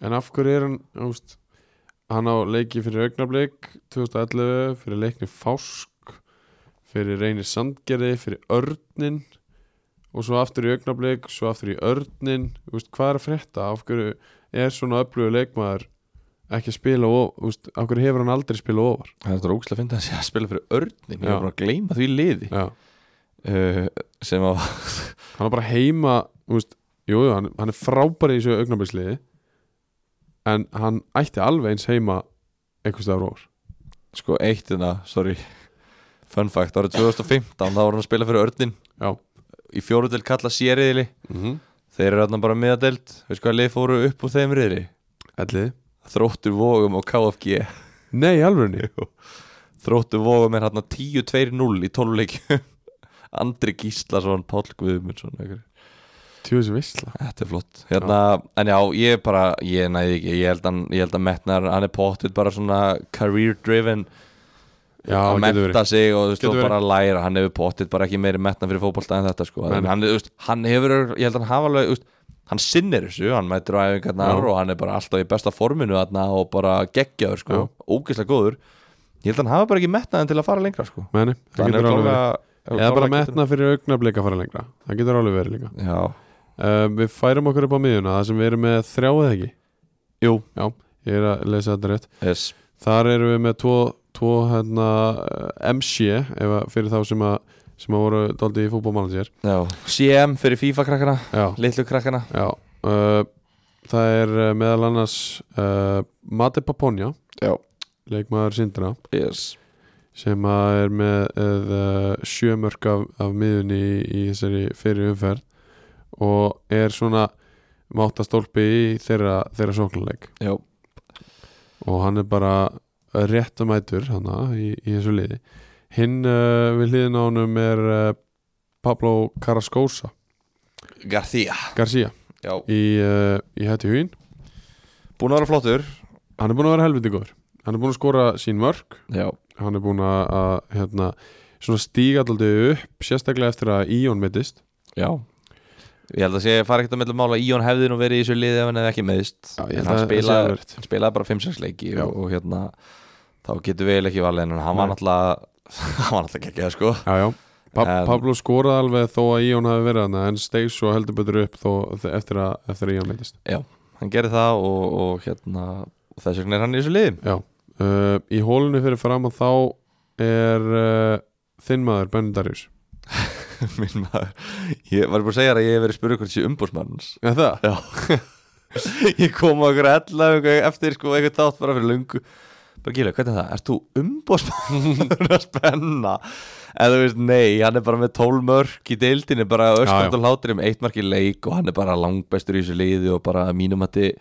S3: En af hverju er hann, úst, hann á leiki fyrir augnablik 2011, fyrir leikni Fásk, fyrir reyni Sandgerði, fyrir Örnin og svo aftur í augnablik, svo aftur í Örnin, úst, hvað er að frétta? Af hverju er svona öflugur leikmaður ekki að spila og, úst, af hverju hefur hann aldrei spila ofar?
S4: Það er ógæslega að finna að sé að spila fyrir örnin Ég
S3: Já.
S4: var bara að gleyma því liði
S3: Já,
S4: uh, sem að
S3: hann er bara heima, úst, jú, jú, hann, hann er frábæri í þessu augnabliksliði en hann ætti alveg eins heima einhvers staðar ofar.
S4: sko eitt hérna, sorry fun fact, árið 2015 þá var hann að spila fyrir örnin
S3: Já.
S4: í fjórudel kalla sériðili
S3: Mm -hmm.
S4: þeir eru þarna bara miðadelt, veist hvað lið fóru upp úr þeim riðri,
S3: Elliði?
S4: þróttur vógum og KFG
S3: Nei, alveg
S4: þróttur vógum er hérna 10-2-0 í 12 leikjum Andri Gíslason, Páll Guðmundsson einhverjir.
S3: Tjóðis vissla
S4: Þetta er flott hérna, En já, ég er bara, ég næði ekki Ég held, hann, ég held að metnar, hann er pottit bara svona career driven
S3: Já,
S4: að
S3: getur verið.
S4: metta sig og, þú veist,
S3: Getur
S4: og
S3: verið.
S4: bara læra Hann hefur pottit bara ekki meiri metna fyrir fótbolta en þetta sko.
S3: Nei,
S4: En
S3: nei.
S4: hann, þú veist, hann hefur, ég held að hann hafa alveg þú veist, Hann sinnir þessu, hann mætir á æfingarnar
S3: Já.
S4: og hann er bara alltaf í besta forminu þarna og bara geggjaður sko, ógeðslega góður Ég held að hann hafa bara ekki metnaðin til að fara lengra sko.
S3: Meni, það
S4: Hann er
S3: getur alveg verið
S4: klálega
S3: eða bara metna fyrir augnablik að fara lengra það getur alveg verið líka
S4: Já,
S3: uh, við færum okkur upp á miðjuna það sem við erum með þrjá eða ekki
S4: jú,
S3: já, ég er að lesa þetta rétt
S4: yes
S3: þar erum við með tvo, tvo hérna, eh, MC ef að, fyrir þá sem að sem að voru daldi í fútbolmanager
S4: Já, CM fyrir FIFA krakkana,
S3: já,
S4: litlu krakkana
S3: já uh, það er eh, meðal annars uh, Mate Paponja
S4: Já.
S3: leikmaður Sindra
S4: Yes
S3: sem að er með uh, sjömörk af, af miðunni í, í þessari fyrir umferð og er svona máttastólpi í þeirra, þeirra sóknuleik
S4: Já,
S3: og hann er bara réttamætur hana, í, í þessu liði hinn uh, við liðin á honum er uh, Pablo Carrascosa
S4: Garcia
S3: Garcia
S4: Já,
S3: í, uh, í hætti hugin
S4: búin að vera flottur
S3: hann er búin að vera helviti góður hann er búin að skora sín mörg
S4: Já,
S3: hann er búin að, að hérna, svona stíga alltaf upp sérstaklega eftir að Íon mittist
S4: já Ég held að sé, fara ekkert að mellum mála Íon hefði nú verið í þessu liði ef hann hefði ekki meðist
S3: Já, ég
S4: En
S3: held
S4: hann
S3: að það sé
S4: spilaði,
S3: alveg rétt.
S4: hann spilaði bara 5-6 leiki
S3: Já.
S4: og, og hérna Þá getur við eiginlega ekki valið En hann var
S3: Nei.
S4: náttúrulega Hann var náttúrulega ekki sko
S3: Já, já Pa
S4: En-
S3: Pablo skoraði alveg þó að Íon hafi verið hann en steig svo heldur betur upp þó, eftir að, eftir að Íon meittist
S4: Hann gerði það og, og hérna og Þess vegna er hann í þessu liði
S3: Já, uh, í hólunni fyrir fram að þá er uh, þinn maður Benny Darius
S4: Minn maður Ég var bara að segja þér að ég hef verið spurði hvort sé umbúrsmanns
S3: Er það?
S4: Já Ég kom á okkur ella eftir sko eitthvað þátt bara fyrir lungu Bara gíla, hvernig er það? Erst þú umbóðsmann að spenna? En þú veist, nei, hann er bara með 12 mörk í deildinni bara öskand
S3: Já, já.
S4: og hlátur um eitt mark í leik og hann er bara langbestur í þessu liði og bara að mínum að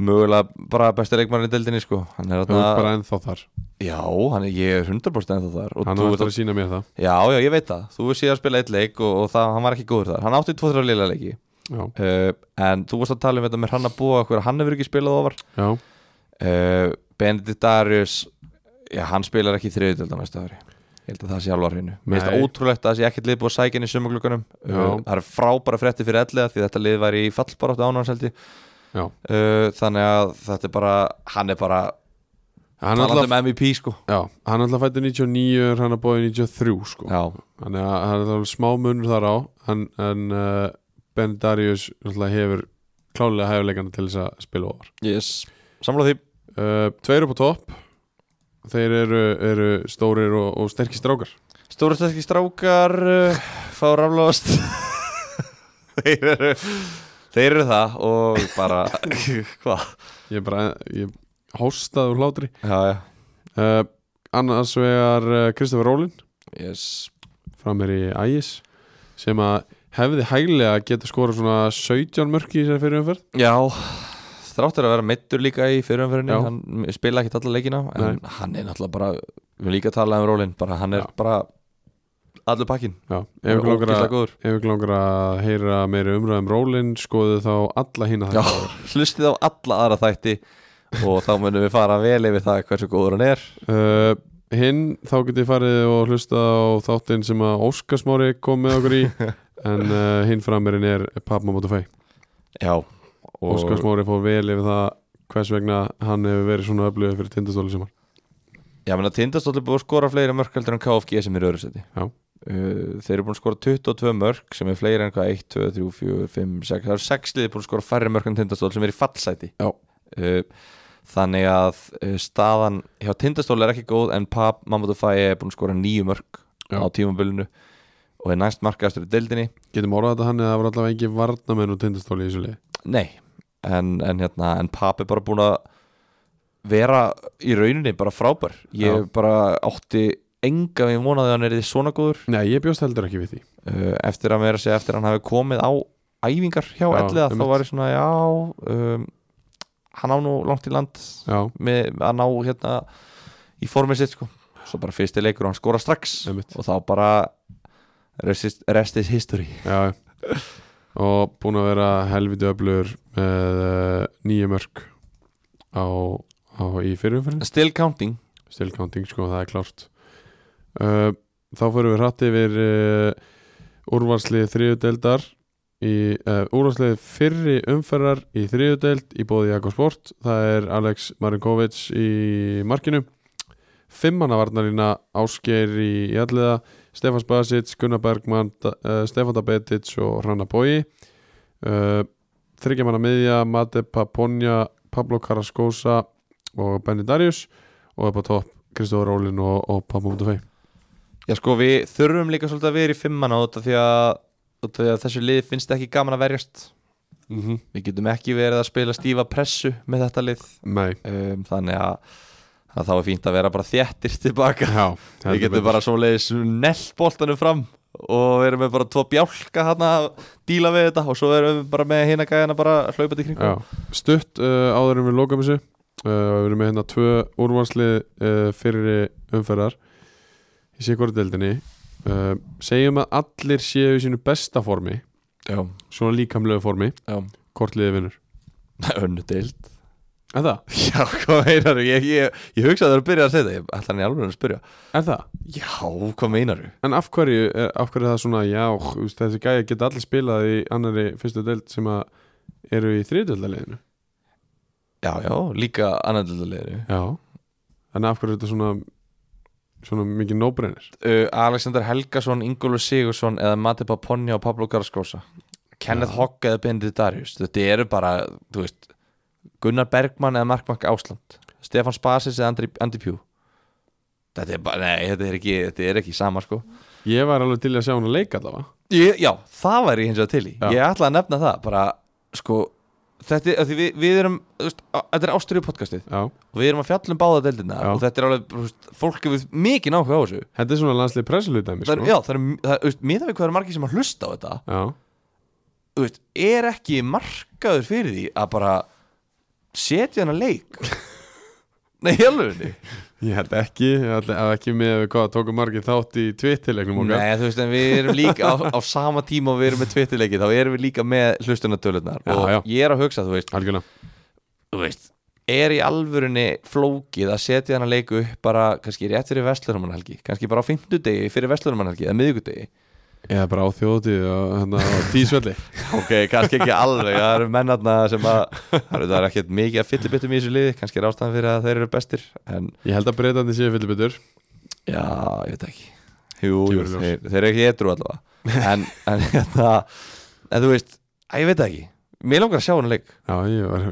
S4: mögulega bara bestur leikmann í deildinni sko Hann er
S3: Það er bara
S4: þarna,
S3: ennþá þar
S4: já, hann er, ég er 100% ennþá þar og
S3: Hann
S4: þú
S3: var
S4: ert
S3: eftir að sína mér það
S4: Já, já, ég veit það, þú veist síðan að spila eitt leik og, og það, hann var ekki góður þar Hann átti 2-3 liðlega leiki
S3: Já,
S4: uh, en þú varst að tala um þetta með hann að búa hver hann hefur ekki spilað ofar
S3: já,
S4: uh, Benedikt Darius já, hann spilar ekki þriðutöld á næsta ári ég held að það sé alveg á hreinu mér finnst
S3: Nei.
S4: það ótrúlegt að það sé ekkert lið búið að sækja inn í sömuglökunum uh,
S3: Já.
S4: það er frábæra frétti fyrir ellega því þetta lið væri í fallbarátt ánánseldi
S3: já
S4: uh, þannig að þetta er bara hann er bara
S3: Hann
S4: talandi
S3: alltaf,
S4: um MVP sko
S3: já, hann alltaf fættu 99 en hann er bóðið 93 sko
S4: já,
S3: Þannig að hann er alveg smá munur þar á en, en uh, Benny Darius alltaf hefur klálega hæfuleikana til þess að spila ofar
S4: yes samla því
S3: uh, Tveir upp á topp Þeir eru, eru stórir og, og sterkir strákar
S4: Stórstæðski strákar uh, fá raflóðast þeir, eru, þeir eru það og bara hvað?
S3: Ég bara, ég hóstaði úr hlátri
S4: Já, já,
S3: uh, Annars vegar uh, Kristoffer Rólin
S4: yes
S3: framir í Ægis sem að hefði hæglega geta skora svona 17 mörk í þessari fyrir umferð
S4: Já, þráttur að vera meittur líka í fyrirumferðinni,
S3: Já.
S4: hann spila ekki alla leikina en hann er náttúrulega bara við höfum líka að tala um rólinn, bara hann er
S3: Já.
S4: bara allur pakkin,
S3: Já, ef
S4: hann
S3: ykkur
S4: er
S3: langar
S4: ógæslega
S3: að-
S4: góður
S3: ef ykkur langar að heyra meiri umræðum Rólin skoðu þá alla hína
S4: Já,
S3: það
S4: hlustið á alla aðra þætti og þá munum við fara vel yfir það hversu góður hann er
S3: uh, Hinn þá getið farið og hlusta á þáttinn sem að Óskarsmári kom með okkur í en uh, hinn framirinn er Pappmamotafæ
S4: Já, og
S3: Óskarsmári fór vel yfir það hvers vegna hann hefur verið svona öflugð fyrir tindastóli sem hann
S4: Já, menn að Tindastóll er búið að skora fleiri mörk heldur en KFG sem er öðru seti
S3: Já.
S4: Þeir eru búin að skora 22 mörk sem er fleiri en hvað 1, 2, 3, 4, 5, 6 Það eru 6 liðið búin að skora færri mörk en Tindastóll sem er í fallsæti
S3: Já.
S4: Uh, Þannig að uh, staðan hjá Tindastóll er ekki góð en Pab Mamadufæ er búin að skora 9 mörk
S3: Já.
S4: á tímabilinu og er næst markaðastur í deildinni
S3: Getum orðað þetta hann eða það var allavega ekki varnamenn og tindastóli í þessu liði
S4: Nei, en, en, hérna, en Pab er bara búin að vera í rauninni bara frábær Ég
S3: Já.
S4: bara átti enga við vonaði að hann er því svona góður
S3: Nei, ég bjóst heldur ekki við því
S4: uh, eftir að vera að segja eftir að hann hafi komið á æfingar hjá
S3: Já,
S4: Elliða þá
S3: einmitt.
S4: var ég svona já um, hann á nú langt í land
S3: Já,
S4: með að ná hérna í formið sitt sko svo bara fyrsti leikur og hann skora strax
S3: Einmitt.
S4: og þá bara rest is, rest is history
S3: já Og búin að vera helviti öflugur með uh, nýju mörk á, á í fyrirumferðin
S4: still counting
S3: Still counting, sko, það er klárt uh, Þá fyrir við hratt yfir uh, úrvarslið þriðudeldar í uh, úrvarslið fyrri umferðar í þriðudeld í bóði Jakobsport það er Alex Marinkovic í markinu fimmannavarnarina Ásgeir í Jalliða Stefán Spasic, Gunnar Bergman uh, Stefán Dabetic og Hranna Bói uh, Þryggjamanna miðja Mate Paponja, Pablo Carrascosa og Benny Darius og upp á topp Kristofur Rólin og, og Pablo Mutafei
S4: Já sko við þurfum líka svolítið að vera í fimmanna út af því að, út af því að þessu lið finnst ekki gaman að verjast
S3: mm -hmm.
S4: Við getum ekki verið að spila stífa pressu með þetta lið
S3: Nei,
S4: um, Þannig að, að þá er fínt að vera bara þjættir tilbaka
S3: já
S4: Við getum bara svoleiðis nellt boltanum fram og erum við bara tvo bjálka hann að díla við þetta og svo erum við bara með hina gæðina bara hlaupandi í kringum
S3: Já, stutt uh, áður en við lokum þessu uh, Við erum með hérna tvö úrvanslið uh, fyrir umferðar í sigur deildinni uh, Segjum að allir séu í sínu besta formi
S4: Já,
S3: svona líkamlegu formi,
S4: já
S3: hvort liðið vinnur
S4: Önnu deild
S3: Er það?
S4: Já, hvað meinaru? Ég, ég, ég hugsaði að það er að byrja að segja þetta Ég ætla hann í alveg að spyrja
S3: Er það?
S4: Já, hvað meinaru?
S3: En af hverju, er, af hverju er það svona já, þú veist, þessi gæja geta allir spilað í annari fyrstu deild sem að eru í þriðdeildaliðinu
S4: Já, já, líka annan deildarleginu
S3: Já En af hverju er þetta svona svona mikið nóbreinir
S4: uh, Alexander Helgason, Ingólfur Sigursson eða Mati Paponja og Pablo Garskósa Kenneth Hogg eða Benedikt Darius þetta eru bara, þú veist Gunnar Bergmann eða Markmark Ásland Stefan Spasis eða Andri, Andi Pjú þetta er bara, nei, þetta er ekki þetta er ekki sama, sko
S3: Ég var alveg til í að sjá hún að leika allavega
S4: ég, Já, það væri ég hins vegar til í
S3: Já.
S4: Ég ætla að nefna það, bara, sko þetta er, af því við, við erum, þú veist, á- þetta er ásturju podcastið
S3: Já
S4: og við erum að fjalla um báða deildina
S3: Já.
S4: og þetta er alveg, þú veist, fólk hefur mikið náhuga á þessu
S3: Þetta er svona landslið pressulutæmi
S4: það
S3: sko.
S4: er, já, það er, það er, veist, miðað við hvað er margir sem að hlusta á þetta
S3: já,
S4: þú veist, er ekki markaður fyrir því að bara setja hann að leik nei, helvunni
S3: ég held ekki ég held að ekki með við hvað tókum margir þátt í tvittilegnum okkar
S4: nei, þú veist, en við erum líka á, á sama tíma og við erum með tvittileiki, þá erum við líka með hlustunatölunar
S3: Já,
S4: og
S3: já.
S4: ég er að hugsa, þú veist,
S3: algjörna
S4: þú veist er í alvörunni flókið að setja hann að leik upp bara, kannski rétt fyrir vestlunumannhelgi kannski bara á fimmtudegi fyrir vestlunumannhelgi eða miðvikudegi
S3: eða bara á þjóðutíð og hérna á tísvelli
S4: Ok, kannski ekki alveg, það eru mennarna sem að það eru- það er ekkert mikið að fyllibittum í þessu liði, kannski er ástæðan fyrir að þeir eru bestir en
S3: ég held að breytandi séu fyllibitur
S4: já, ég veit ekki Jú, jú
S3: Kemur í ljós.
S4: þeir, þeir eru ekki etru allavega en, en, hérna, en þú veist, að ég veit það ekki Mér langar að sjá hann leik
S3: já, ég var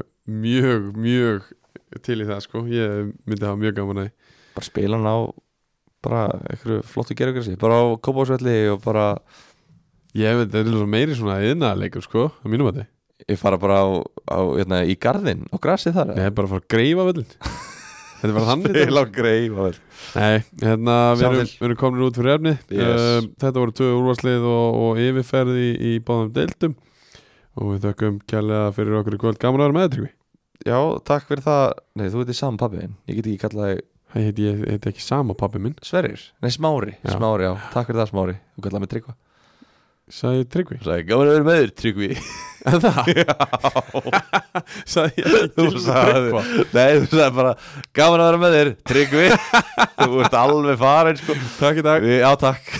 S3: mjög, mjög til í það sko, ég myndi hafa mjög gaman að því.
S4: bara spila hann á bara einhverju flottu gerugrasi bara á kópásvelli og bara
S3: ég veit, það er svona meiri svona yðnaðarleikur sko, á mínum að þið
S4: ég fara bara á, á hérna, í garðin og grasið þar
S3: ég hef bara að fara að greifa völlin þetta er bara þannig þetta.
S4: Spila á greif og vel
S3: Nei, hérna við
S4: Sjá
S3: erum,
S4: til.
S3: við erum komin út fyrir efni
S4: Yes.
S3: Þetta voru tvö úrvarslið og, og yfirferði í, í báðum deildum og við þökkum kjærlega fyrir okkur í kvöld Gaman að vera með þetta Tryggvi.
S4: Já, takk fyrir það Nei, þú veitir saman pappiðin Ég get ekki kallað þig
S3: Hæ, heiti ég heiti ekki sama pappi minn
S4: Sverrir? Nei, Smári,
S3: Já.
S4: Smári, já, takk fyrir það Smári Þú kallar mig Tryggva
S3: Sæði Tryggvi
S4: Sæði, gaman að vera með þér Tryggvi
S3: En það? Sæði ég
S4: Þú sagði, nei, þú sagði bara Gaman að vera með þér, Tryggvi Þú ert alveg farin, sko
S3: Takk í dag
S4: Já, takk